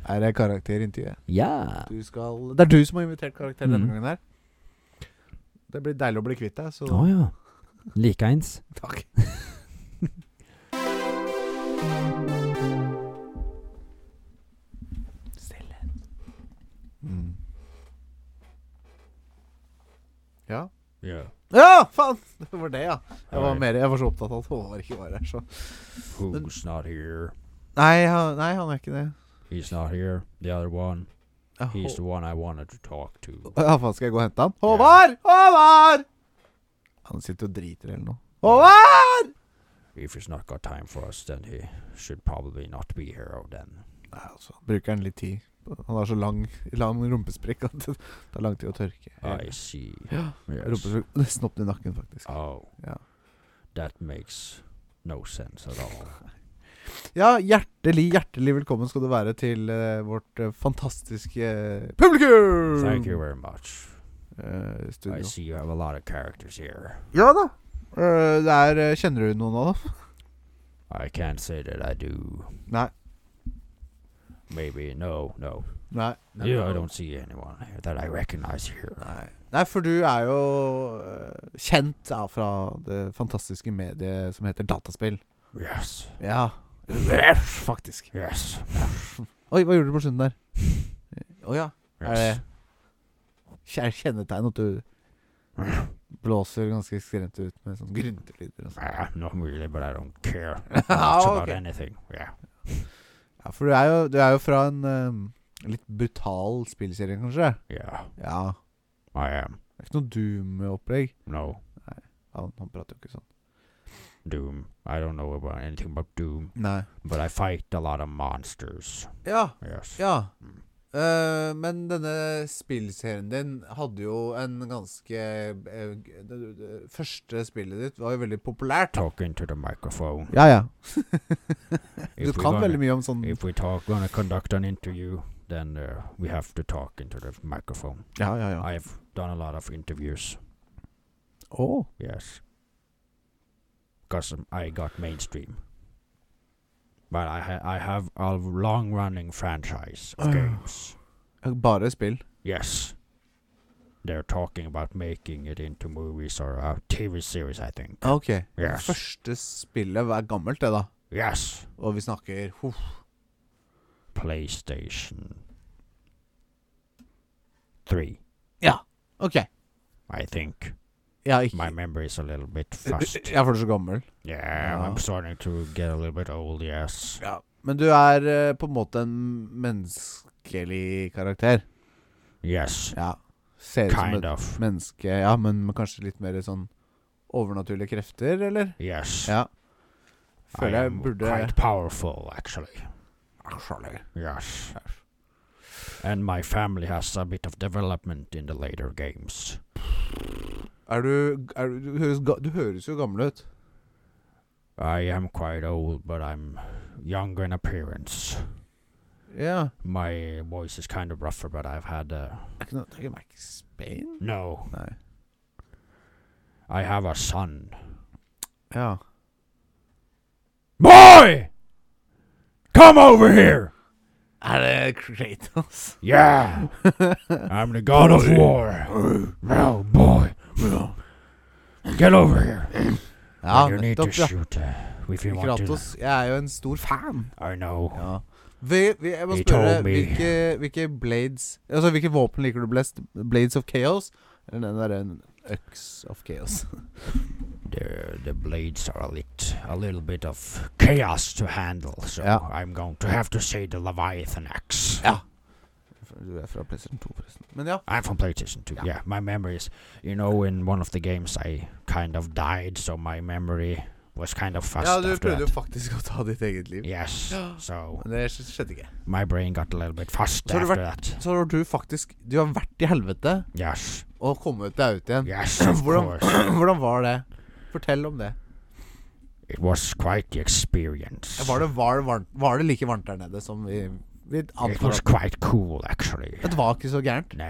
er det karakterintervjuet. Mm. Ja. Du skal, det er du som har invitert karakter denne Mhm. gangen her. Det blir deilig å bli kvitt deg, så Å ja. Likeens. takk. Stille. Mm. Ja. Yeah. Ja, faen! Det var det, ja. Jeg var, Alright. mer, jeg var så opptatt av at Håvard ikke var her, så Who's not here? Nei, han, nei, han er ikke det. He's not here. The other one. Ja, He's the Hå- one I wanted to talk to. ja, faen, skal jeg gå og hente han? Håvard! Håvard! Han sitter og driter eller noe. Håvard! If he's not got time for us, then he should probably not be here oh, then. Nei, altså, bruker han litt tid. Han har så lang, lang rumpesprekk at det tar lang tid å tørke. I see. Ja. Yes. Rumpesprekk nesten opp til nakken, faktisk. Oh. Yeah. That makes no sense at all. Ja, hjertelig, hjertelig velkommen skal du være til eh, vårt eh, fantastiske eh, publikum! Thank you very much. Eh, I studio. see you have a lot of characters here. Ja da. Eh, det er eh, Kjenner du noen av dem? I can't say that I do. Nei. Maybe no, no. Nei. Yeah, I don't see anyone that I recognize here. Nei. Nei, for du er jo eh, kjent da, fra det fantastiske mediet som heter dataspill. Yes, Ja. Faktisk. yes, Oi, hva gjorde du på slutten der? Å ja. Er det yes. kjær- kjennetegn at du blåser ganske skremt ut med sånn gryntelyder? og sånn? Ah, not really, but I don't care much Ah, about okay. anything. Yeah. Ja, for du er jo, du er jo fra en eh, litt brutal spillserie, kanskje? Yeah, Ja. I am. Det er ikke noe Doom-opplegg. No, Han, han prater jo ikke sånn. Doom. I don't know about anything about Doom, Nei. but I fight a lot of monsters. Ja, Yes. ja. Mm. Eh, men denne spillserien din hadde jo en ganske eh, g- det, det, første spillet ditt var jo veldig populært. Talking to the microphone. Ja, ja. Du If we're kan gonna- veldig mye om sånn If we talk, gonna conduct an interview, then uh, we have to talk into the microphone. Ja, ja, ja. I've done a lot of interviews. Å. Yes. Because I got mainstream. But I ha- I have a long running franchise of Oh. games. Bare spill. Yes. They're talking about making it into movies or a TV series, I think. Ok. Yes. Første spillet var gammelt, det, da. Yes. Og vi snakker huff, PlayStation 3, Ok. I think. Ja, ikke My memory is a little bit fast. Ja, for du er så gammel. Yeah, Ja. I'm starting to get a little bit old, yes. Ja. Men du er eh, på en måte en menneskelig karakter. Yes. Ja. Ser ut som Kind et of. menneske, ja, men med kanskje litt mer sånn overnaturlige krefter, eller? Yes. Ja. I Føler jeg am burde quite powerful, actually. Actually. Yes. And my family has a bit of development in the later games. Er du, er du, du, høres, ga- du høres jo gammel ut. I am quite old, but I'm younger in appearance. Ja. My voice is kind of rougher, but I've had a Er ikke noe Det er ikke Max Payne? no. Nei. I have a son. Ja. Boy, come over here. Er det Kratos? Yeah, I'm the god of war. Now, boy, get over here. Ja, you need to nettopp, ja. shoot uh, if you want to. Kratos. Jeg er jo en stor fan. I know. Ja. Vi, vi, jeg må He spørre told me. hvilke, hvilke blades Altså hvilke våpen liker du best? Blades of Chaos? Eller den derre Øks of Chaos? The, the blades are a, lit, a little bit of chaos to handle, so Yeah. I'm going to have to say the Leviathan axe. Ja. Du er fra PlayStation 2, forresten. Men ja. I'm from PlayStation 2. Yeah. Yeah. my memory is, you know, in one of the games I kind of died, so my memory was kind of fast Ja, du after prøvde jo that. faktisk å ta ditt eget liv. Yes, so Men det sk- skjedde ikke. my brain got a little bit fast Så har du after that. Så har du faktisk Du har vært i helvete Yes, og kommet deg ut igjen. Yes, Hvordan, hvordan var det? Fortell om det. It was quite the experience. Var det, var, det varmt, var det like varmt der nede som vi, vi It antar? was at- quite cool, actually. Det var ikke så gærent. No,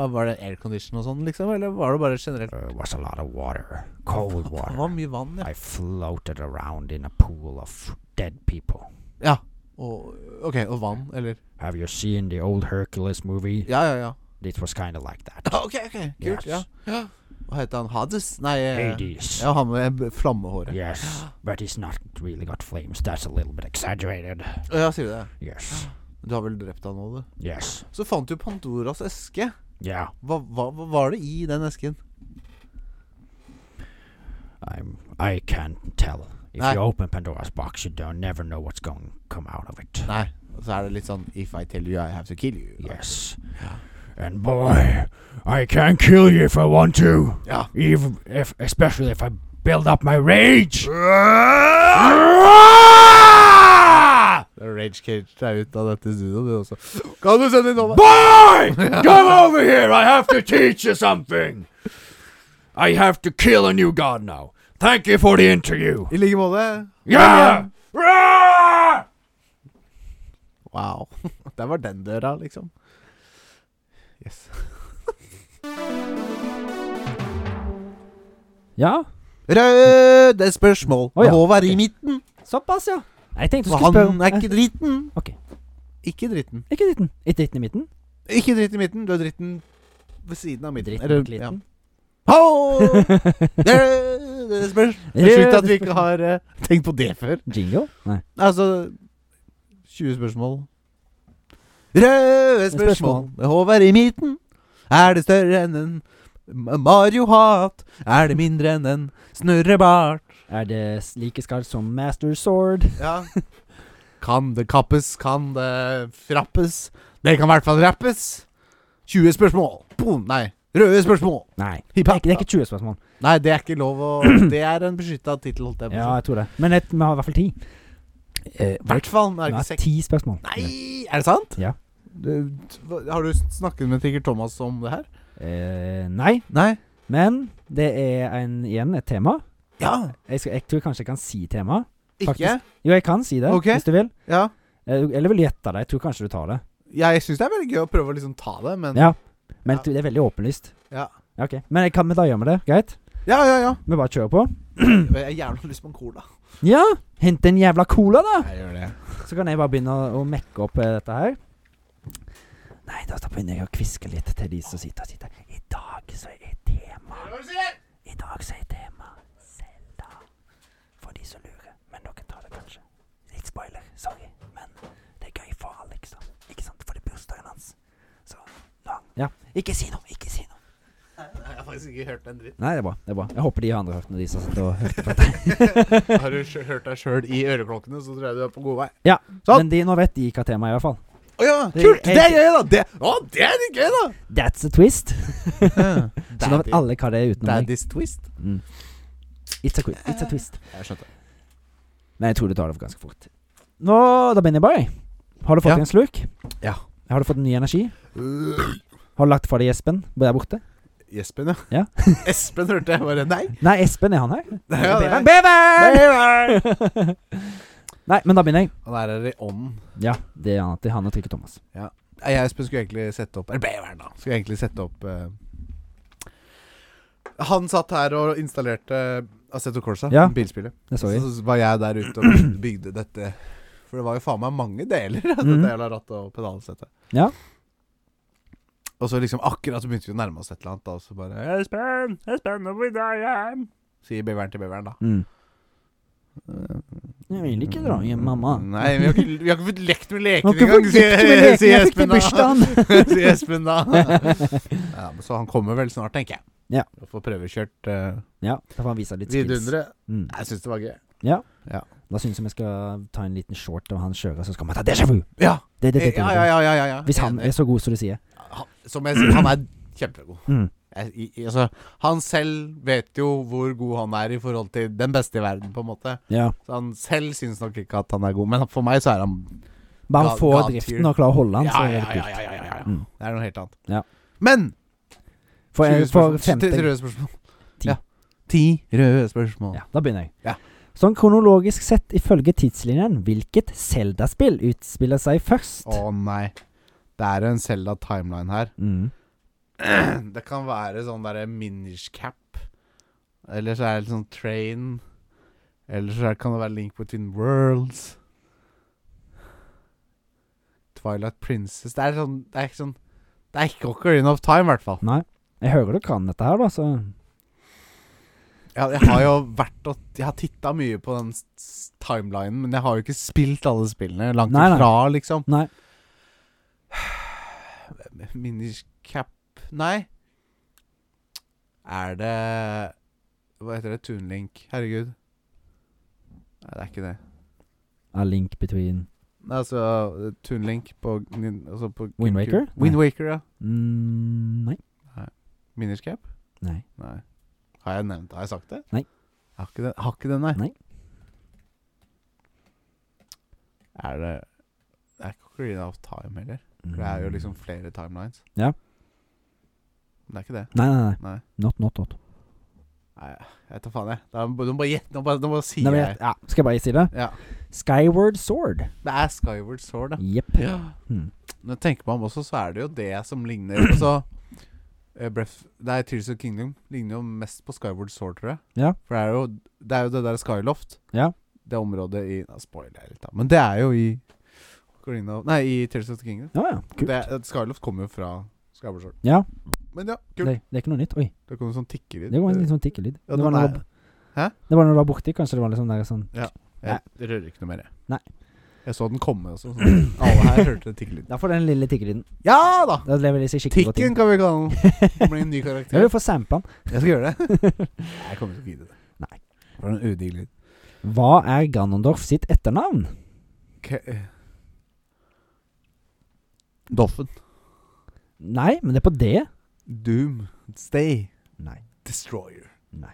Ja, Var det aircondition og sånn, liksom? Eller var det bare generelt? there was a lot of water, cold Det water. var mye vann, ja. I floated around in a pool of dead people. ja. Og, ok, og vann, eller? Have you seen the old Hercules movie? Ja, ja, ja. It was kind of like that. Ja, Ok, ok, kult. Yes. Ja. ja. Hva heter han? Hades? Nei, eh, Hades. ja, han med b- flammehåret. Yes, but he's not really got flames. That's a little bit exaggerated. Ja, sier du det? Yes, Du har vel drept han nå, du? yes, Så fant du Pandoras eske. yeah. Hva, hva, hva var det i den esken? I'm. I can't tell. If Nah. you open Pandora's box, you don't never know what's going to come out of it. Nei, så er det litt sånn If I tell you, I have to kill you. Yes. And boy, I can kill you if I want to. Ja. Even if, especially if I build up my rage. Rage Cage deg ut av dette studioet, du også. Kan du sende inn over? Boy, come over here. I have to teach you something. I have to kill a new god now. Thank you for the interview. I like måte. Yeah. Roar! Wow. Der var den døra, liksom. Yes. Ja, Røde spørsmål. Å, ja. Håvard i midten. såpass, ja. Nei, Jeg tenkte du Og skulle spørre han om er ikke dritten. Ok. Ikke dritten. Ikke dritten. Ikke dritten i midten. Ikke dritt i midten. Du er dritten ved siden av midten. Dritten Eller- mot liten. Ja. Ho! Røde spørsmål. Det er sjukt at vi ikke har eh, tenkt på det før. Jingle? Nei. Altså 20 spørsmål. Røde spørsmål Spørsmål. med Håvard i midten. Er det større enn en M- Mario-hat? Er det mindre enn en snurrebart? Er det s- like skarpt som Master Sword? Ja. Kan det kappes? Kan det frappes? Det kan i hvert fall rappes. 20 spørsmål. Boom! Nei. Røde spørsmål. Nei. Det er Hiphop. ikke, det er ikke 20 spørsmål. Nei, det er ikke lov å Det er en beskytta tittel, holdt jeg på Ja, å si. jeg tror det. Men et, vi har i hvert fall ti. Eh, I hvert fall. nå Er Vi det har ikke seks. ti spørsmål. Nei! Er det sant? Ja. Du, har du snakket med Tigger Thomas om det her? Eh, nei. Nei. Men det er en, igjen et tema. Ja. Jeg, skal, jeg tror kanskje jeg kan si temaet. Ikke? Faktisk. Jo, jeg kan si det, Ok. hvis du vil. Ja. Eh, Eller vil du gjette det? Jeg tror kanskje du tar det. Jeg syns det er veldig gøy å prøve å liksom ta det, men Ja. Men Ja. du, det er veldig åpenlyst. Ja. Ja, ok. Men jeg kan vi da gjøre med det? Greit? ja, ja. ja. Vi bare kjører på. Jeg har gjerne lyst på en cola. Ja! Hent en jævla cola, da! Jeg gjør det. Så kan jeg bare begynne å, å mekke opp eh, dette her. Nei, da da begynner jeg å kviske litt til de som sitter og sitter. I dag så er tema I dag så er tema Selda. For de som lurer. Men dere tar det kanskje. Litt spoiler, sorry. Men det er gøy for alle, ikke sant? Ikke sant? For det er bursdagen hans. Så lang. Ja. Ikke si noe! Ikke si noe! Jeg har faktisk ikke hørt den dritten. Nei, det er bra. det er bra Jeg håper de andre hørte når de satt og hørte på. Har du sjø- hørt deg sjøl i øreklokkene, så tror jeg du er på god vei. Ja, Sånn. Men de, nå vet de hva temaet er, i hvert fall. Å ja, Det- kult! jeg- Det er gøy, da! Det, å, det er litt gøy, da! That's a twist. Så nå vet Daddy- alle hva det er utenom meg. Daddy's twist. Mm. It's, a qui- Eh. it's a twist. Jeg skjønte det. Men jeg tror du tar det for ganske fort. Nå, Da begynner jeg bare. Har du fått Ja. en slurk? Ja. Har du fått ny energi? Øh, Har du lagt fra deg Espen der borte? Espen, Ja. Espen hørte jeg bare Nei. Nei, Espen er han her. Ja, det er- Beveren! Beveren! Nei, men da begynner jeg. Han er her i ånden. Ja, det er han. Det er han og Trikke Thomas. Nei, Jeg og Espen skulle egentlig sette opp Eller beveren, da. Skulle egentlig sette opp eh, Han satt her og installerte Assetto Corsa, Ja. bilspillet. Det så Så, jeg. så var jeg der ute og bygde dette. For det var jo faen meg mange deler. av Mhm. Dette jævla rattet og pedalsettet. Ja. Og så liksom akkurat så begynte vi å nærme oss et eller annet, da, og så bare Espen, Espen, nå må vi dra hjem. Sier beveren til beveren, da. Mm. Jeg vil ikke dra hjem, mamma. Eh, Nei, vi har ikke, vi har ikke fått lekt med Nå leken kan engang, jeg sier, få leke med leken, sier jeg fikk det Espen i da. bursdagen. sier Espen da. ja, men så han kommer vel snart, tenker jeg. Ja. Og får prøvekjørt uh, Ja, da får han vise litt skills. vidunderet. Mm. Jeg syns det var gøy. Da syns jeg vi skal ta en liten short av han kjører, så skal vi ta déjà vu! Ja, Det, det, det, det, Eh, ja, ja, ja, ja, ja, ja. Hvis han Enig. er så god som du sier. Han- Som jeg sier, han er kjempegod. Mm. Jeg, i, i, altså, han selv vet jo hvor god han er i forhold til den beste i verden, på en måte. Ja. Så han selv syns nok ikke at han er god, men for meg så er han Bare God- få God tier. driften og klare å holde han, Ja, så er ja, det ja, kult. ja, ja, ja, ja. Mm. Det er noe helt annet. Ja. Men For, en, for eh, femte Ti røde spørsmål. Ti. Ja. Ti røde spørsmål. Ja, da begynner jeg. Ja. Sånn kronologisk sett, ifølge tidslinjen, hvilket Zelda-spill utspiller seg først? Å nei. Det er jo en Selda-timeline her. Mm. Det kan være sånn derre Minish Cap. Eller så er det sånn Train. Eller så er- kan det være Link Between Worlds. Twilight Princess Det er sånn Det er ikke sånn Det er ikke Ocarina of Time, i hvert fall. Nei. Jeg hører du kan dette her, da, så Ja, jeg har jo vært og Jeg har titta mye på den s- s- timelinen, men jeg har jo ikke spilt alle spillene. Langt Nei, nei. ifra, liksom. Nei. Miniscap Nei. Er det Hva heter det? Tunelink? Herregud. Nei, det er ikke det. A Link Between Nei, altså eh, Tunelink på, nin- altså på Wind GameCube. Waker? Wind Waker, ja. mm, Nei. Miniscap? Nei. Nei. Har jeg nevnt det? Har jeg sagt det? Nei. Jeg har ikke det, har ikke det nei. Nei. Er det Det er ikke Ocarina of Time heller. For det er jo liksom flere timelines. Mm. Ja. Men det er ikke det. Nei, nei, nei. Nei. Not, not, not. Nei, jeg tar faen, jeg. Da må du må bare gjette. Nå bare, nå bare sier Nei, men jeg- jeg. ja, skal jeg bare si det? Ja. Skyward Sword. Det er Skyward Sword, da. Jepp. Ja. Mm. Når jeg tenker meg om også, så er det jo det som ligner Altså eh, Breath Nei, Tears of Kingdom ligner jo mest på Skyward Sword, tror jeg. Ja. For det er jo det, er jo det der Skyloft. Ja. Det området i Nå spoiler jeg litt, da. Men det er jo i Ocarina of- Nei, i Tears of the Kingdom. Ja, ja. Kult. Det, Skyloft kommer jo fra Skyward Sword. Ja. Men ja, Det, kult. det er ikke noe nytt. Oi, Det kommer sånn tikkelyd. det var en litt sånn tikkelyd. Ja, det, det var når var- du var- Hæ? det var når du var borti, kanskje det var litt sånn der sånn Ja. Jeg rører ikke noe mer, jeg. Nei. Jeg så den komme også. Sånn. Alle her hørte tikkelyden. Da får den lille tikkelyden. Ja da! Da lever de seg skikkelig godt Tikken inn. kan vi kalle den. Det blir en ny Jeg karakter. vil få sampla den. Jeg skal gjøre det. Nei, Jeg kommer ikke til å gidde det. Nei. Det var en udigg lyd. Hva er Ganondorf sitt etternavn? K- eh. Doffen. Nei, men det er på D. Doom. Stay. Nei. Destroyer. Nei.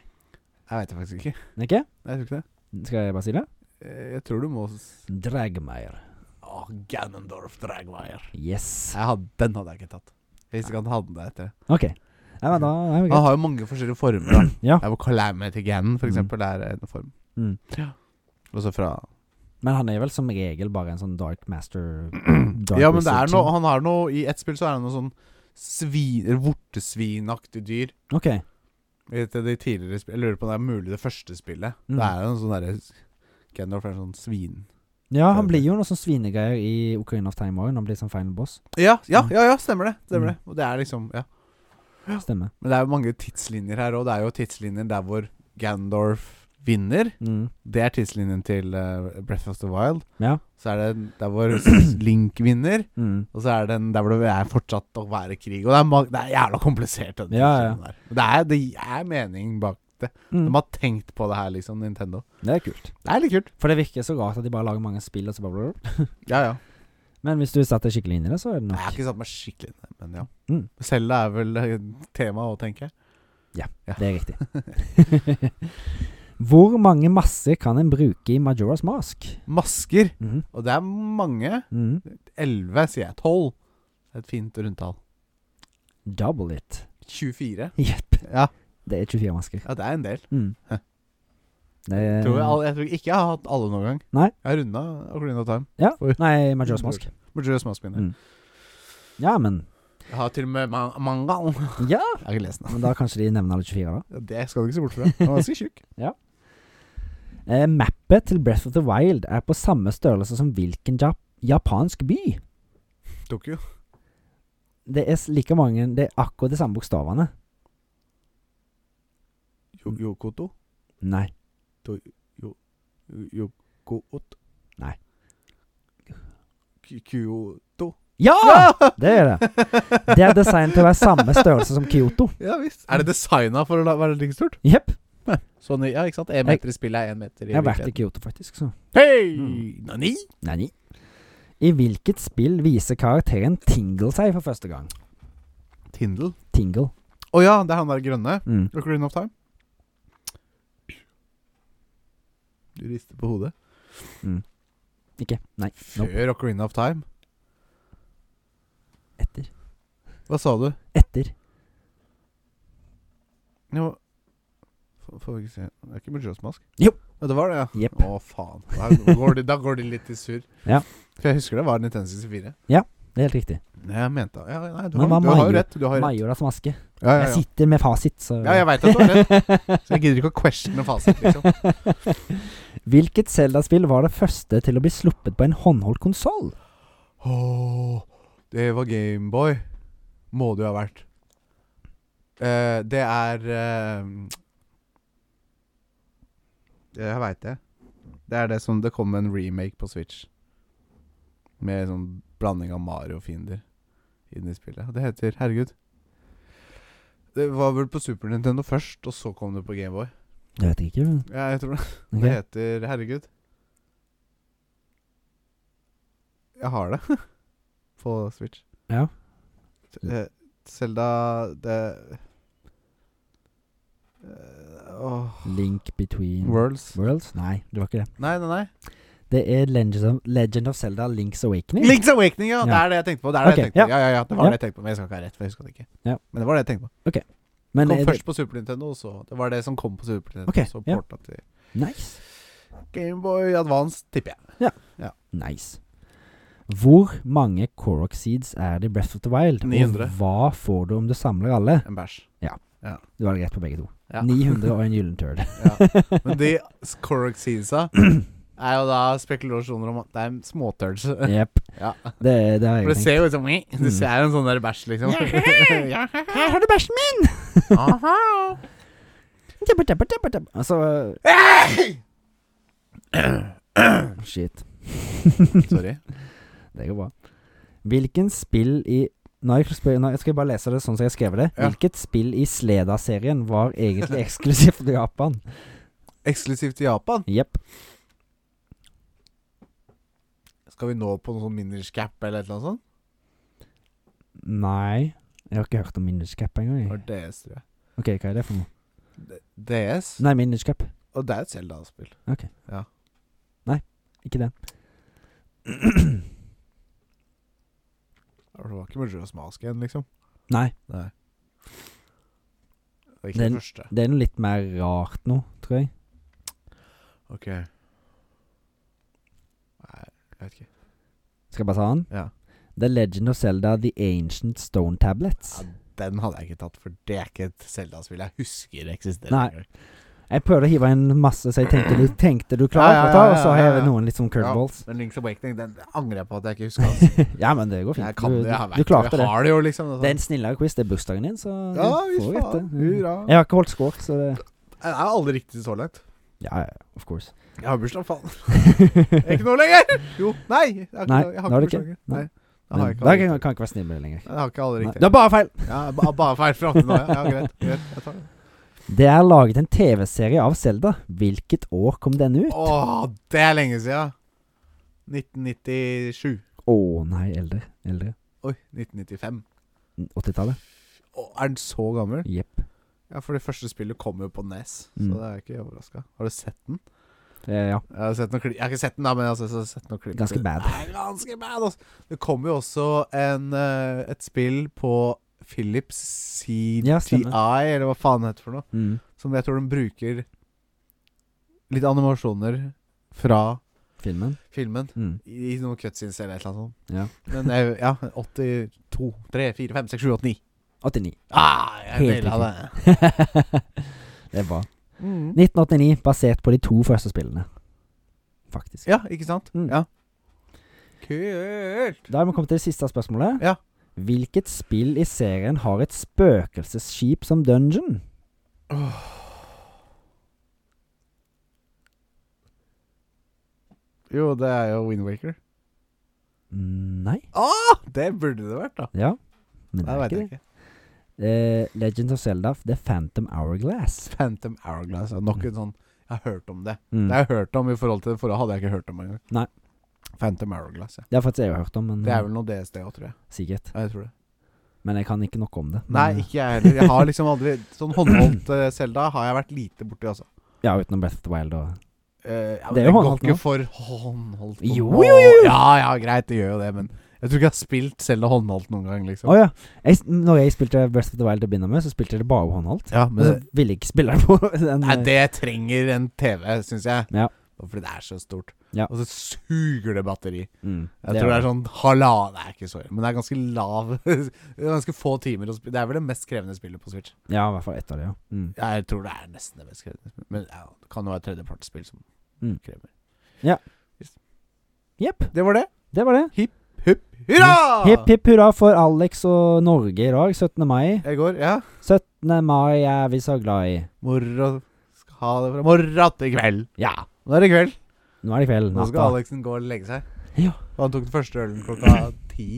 Jeg veit det faktisk ikke. Men Ikke? Nei, Jeg tror ikke det. Skal jeg bare si det? Eh, Jeg tror du må s- Dragmeyer. Å, Ganondorf Dragwire. Yes. Jeg hadde, den hadde jeg ikke tatt. Jeg visste ikke han hadde det etter det. OK. Nei, men da er vi Han greit. har jo mange forskjellige former. da Ja. Det er hvor Calamity Ganon, for Mm. eksempel, er en form. Mm. Ja. Også fra Men han er vel som regel bare en sånn dark master dark Ja, men det er wizard noe, han har noe I ett spill så er det noe sånn svin, eller vortesvinaktig dyr. ting. OK. Vet du, de tidligere spill, Jeg lurer på om det er mulig det første spillet. Mm. Det er jo en sånn derre Gendorf er en sånn svin... Ja, han blir jo noe sånn svinegreier i Ocarina of Time òg, når han blir som final boss. Ja, ja, Mm. ja, ja stemmer det. Stemmer Mm. det. Og det er liksom Ja. Stemmer. Men det er jo mange tidslinjer her òg. Det er jo tidslinjer der hvor Gandorf vinner. Mm. Det er tidslinjen til eh, Breath of the Wild. Ja. Så er det der hvor Link vinner. Mm. Og så er det den der hvor det er fortsatt å være krig. Og det er, ma- det er jævla komplisert. Den Ja, ja. diskusjonen Der. Men Det, er, det er mening bak det. Mm. De har tenkt på det her, liksom, Nintendo. Det er kult. Det er litt kult. For det virker så rart at de bare lager mange spill, og så bare Ja, ja. Men hvis du satte deg skikkelig inn i det, så er det Jeg har nok ikke satt meg skikkelig inn i det, men ja. Mm. Selda er vel eh, tema å tenke. Det er riktig. Hvor mange masser kan en bruke i Majoras mask? Masker. Mhm, Og det er mange. mhm. Elleve, sier jeg. Tolv. Det er Et fint rundtall. Double it. 24. Jepp. Ja, Det er 24 masker. ja det er en del. Mm. Hæ. Det er, Tror jeg, all- jeg tror ikke jeg har hatt alle noen gang. Eh. Nei. Jeg har runda Ocarina of Time. ja. Nei, Majoras mask. Majora Smaskpinner. Mm. Ja, men Jeg har til og med man mangal. Ja, Jeg har ikke lest den. men da kanskje de nevner alle 24, da. Ja, Det skal du ikke se bort fra. Han var ganske tjukk. Eh, mappet til Breath of the Wild er på samme størrelse som hvilken jap japansk by? Tokyo. Det er s- like mange Det er akkurat de samme bokstavene. Jo- Yokoto. Nei. Jo- Yokoot. Nei. Ky- Kyoto. Ja! Det er det. Det er designet til å være samme størrelse som Kyoto. Ja visst. Er det designa for å la- være like stort? Jepp. Sånn, i- ja, ikke sant? Én meter i spillet er én meter i Jeg har vært i Kyoto, faktisk. Så. Hei! Mm. Nani? Nei, nei. I hvilket spill viser karakteren Tingle seg for første gang? Tindel. Tingle. Å ja, det er han der grønne. Mm. Ocarina of Time. Du rister på hodet. Ikke. Nei. Nope. Før Ocarina of Time? Etter. Hva sa du? Etter. Jo F- Får vi ikke se Det er ikke Mujosmask? Jo. Ja, det var det, ja? Jepp. Å, faen. Da går, de, da går de litt i surr. Ja. For jeg husker det var Nintendo 64. Det er helt riktig. Nei, jeg mente ja, Nei, du har, du Men hva har jo Mario- rett. Du har rett. Majoras maske. Ja, ja, Jeg ja. sitter med fasit, så ja, jeg veit at du har rett. Så jeg gidder ikke å questione fasit, liksom. Hvilket Zelda-spill var det første til å bli sluppet på en håndholdt konsoll? Åh, det var Gameboy. Må det jo ha vært. Eh, det er eh, Jeg veit det. Det er det som Det kom en remake på Switch. Med sånn blanding av Mario-fiender inn i spillet. Og Det heter Herregud. Det var vel på Super Nintendo først, og så kom det på Gameboy. Jeg vet ikke. men- Ja, jeg tror det. ok. Det heter Herregud. Jeg har det på Switch. Ja. Eh, Zelda det Eh, åh. Link between Worlds. Mm. Worlds? Nei, det var ikke det. Nei, nei, nei. Det er Legend of, Legend of Zelda Links Awakening. Link's Awakening, ja! Det Ja. er det jeg tenkte på. Det er det Ok, jeg tenkte på. ja. Ja, ja, ja, det var Ja. det jeg tenkte på. Men jeg skal ikke ha rett, for jeg husker det ikke. Ja. Men det var det jeg tenkte på. Men kom er det, først på Super Nintendo, og så Det var det som kom på Super Nintendo. Ok, Så ja. porta til nice. Gameboy Advance, tipper jeg. nice. Hvor mange Korok Seeds er det i Breath of the Wild? 900. Og hva får du om du samler alle? En bæsj. Du har det greit på begge to. Ja. 900 og en gyllen turd. Men de Corrock Seedsa er jo da spekulasjoner om at det er småturds. Jepp. Ja. Det, det har For det jeg tenkt. ser jo ut som Du ser jo en sånn der bæsj, liksom. Ja. Her har du bæsjen min! Dabba, dabba, dabba, dabba. Altså Shit. Sorry. Det går bra. Hvilken spill i Nå jeg skal, spør, nå skal jeg bare lese det sånn som jeg har skrevet det. Ja. Hvilket spill i Sleda-serien var egentlig eksklusivt for Japan? Eksklusivt til Japan. Jepp. Skal vi nå på noe sånn miniscap eller et eller annet sånt? Nei. Jeg har ikke hørt om Minuscap engang. Det jeg. var DS, tror jeg. Ok, hva er det for noe? D- DS? Nei, Minuscap. Og det er et Zelda-spill. Ikke den. Det var ikke Majora's Mask igjen, liksom. Nei. Nei. Det er ikke Den- det første. Det er noe litt mer rart nå, tror jeg. Ok. Nei, jeg vet ikke. Skal jeg bare ta den? Ja. The Legend of Zelda The Ancient Stone Tablets. Ja, den hadde jeg ikke tatt, for det er ikke et Zelda-spill jeg husker eksisterer. Nei. engang. Jeg prøvde å hive inn masse, så jeg tenkte du tenkte du klarer Ja, ja, å ta, og ja, så ja, har ja, jeg ja. noen litt sånn curveballs. Men Link's Awakening den angrer jeg på at jeg ikke husker. Altså. ja, men det går fint. Jeg kan du, det, jeg du, vet du det. klarte det. Jeg har det jo, liksom. Det er en snillere quiz. Det er bursdagen din, så du ja, får fy jo et, faen. eh, Hurra. Jeg har ikke holdt score, så det Jeg er aldri riktig så langt. Ja, ja, of course. Jeg har bursdag, faen. Jeg er ikke noe lenger! Jo, nei. Jeg har ikke, Nei, jeg har ikke bursdag. Nei. Da har nå er det ikke. Nei. Men jeg da ikke kan alle jeg kan jeg ikke være snill med deg lenger. Nei, Jeg har ikke alle Nei, riktig. Det er bare feil! Ja, ba- bare feil fram til nå. Ja, ja greit. greit. Jeg tar det. Det er laget en TV-serie av Selda. Hvilket år kom denne ut? Å Åh, det er lenge siden. 1997. nei, eldre. Eldre. Oi, 1995. 80-tallet. Åh, er den så gammel? Jepp. Ja, for det første spillet kom jo på NES, Mm. så det er jeg ikke overraska. Har du sett den? Eh, ja. Jeg har, sett noen kli jeg har ikke sett den, da, men jeg har sett, sett noen klipp. Ganske bad. Nei, ganske bad altså. Det kom jo også en, eh, et spill på Philips CGI, Ja, stemmer. eller hva faen det heter for noe. Mm. Som jeg tror de bruker litt animasjoner fra Filmen. filmen. Mm. I i noen cutscenes eller et eller annet sånt. Ja. Men jeg, ja, 82, 3, 4, 5, 6, 7, 8, 9. 89. Ah, jeg Helt naila det. det er bra. Mm. 1989, basert på de to første spillene. Faktisk. Ja, ikke sant? Mm. Ja. Kult! Da er vi kommet til det siste spørsmålet. Ja. Hvilket spill i serien har et spøkelsesskip som dungeon? Jo, det er jo Windwaker. Mm, Nei. Ah, det burde det vært, da. Ja. Men det Nei, er veit ikke jeg det. ikke. Eh, Legend of Zelda The Phantom Hourglass. Phantom Hourglass er nok en sånn Jeg har hørt om det. Mm. Det har jeg hørt om i forhold til det forrige, hadde jeg ikke hørt om engang. Nei. Mm. Phantom Hourglass, ja. Det har faktisk jeg hørt om, men eh, Det er vel noe DSD òg, tror jeg. sikkert. Ja, jeg tror det. Men jeg kan ikke nok om det. Men, Nei, eh, ikke jeg heller. Jeg har liksom aldri Sånn håndholdt eh, Zelda har jeg vært lite borti, altså. Ja, utenom Breath of the Wild og Eh, ja, men Det er jo håndholdt går nå. ikke for håndholdt. Jo, jo, jo, jo. Ja, ja, greit, det gjør jo det, men Jeg tror ikke jeg har spilt selv og håndholdt noen gang, liksom. Å ja. Jeg, når jeg spilte Breath of the Wild til å begynne med, så spilte jeg det bare håndholdt. Ja, Men men så det, ville jeg ikke spille det på den nei, det trenger en TV, syns jeg. Ja. Fordi det er så stort. Ja. Og så suger det batteri. mm, Jeg tror det er sånn halvannen Det er ikke så men det er ganske lav det er Ganske få timer å spille. Det er vel det mest krevende spillet på Switch. Ja, i hvert fall ett av det, ja. Mm. Jeg tror det er nesten det mest krevende spillet. Men ja, det kan jo være et tredjepartsspill som Mm. krever Jepp. Det var det. Det var det. Hupp hurra! Hipp hipp hurra for Alex og Norge i dag, 17. mai. Jeg går, ja. 17. mai er vi så glad i. Morgen skal ha det fra morgen til kveld. Ja. Nå er det kveld. Nå er det kveld. Nå skal Natta. Alexen gå og legge seg. Ja. Og han tok den første ølen klokka ti.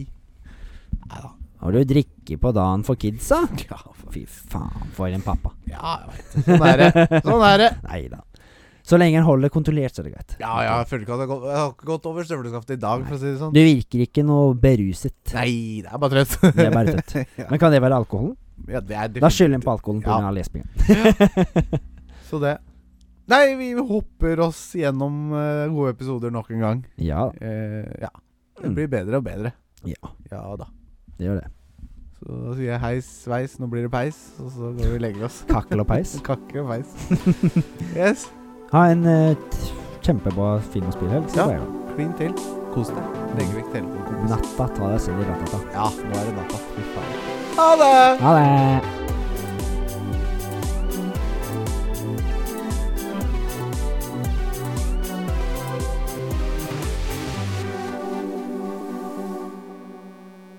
Nei da. Har du drikke på dagen for kidsa? Ja, Fy faen, for en pappa. ja jeg vet det. Sånn er det. Sånn er det. Nei da. Så lenge en holder kontrollert, så er det greit. Ja, ja, jeg føler ikke at jeg har gått- jeg har ikke gått over støvleskaftet i dag, for å si det sånn. Du virker ikke noe beruset. Nei, det er bare trøtt. Det er bare tøtt. Ja. Men kan det være alkoholen? Ja, det er Da skylder en på alkoholen Ja. pga. av lesbingen. Så det. Nei, vi hopper oss gjennom eh, gode episoder nok en gang. Ja, Eh, ja. Det Mm. blir bedre og bedre. Ja. Ja da. det gjør det. Så da sier jeg heis, sveis, nå blir det peis, og så går vi og legger oss. Kakkel og peis. Kakke og peis. yes. Ha en eh, t- kjempebra film- og spillhelg. Ja. så sier jeg da. Klin til. Kos deg. Legger vekk telefonen. kompis. Natta, ta deg selv i ratata. Ja, nå er det natta. Fy faen. Ha det! Ha det!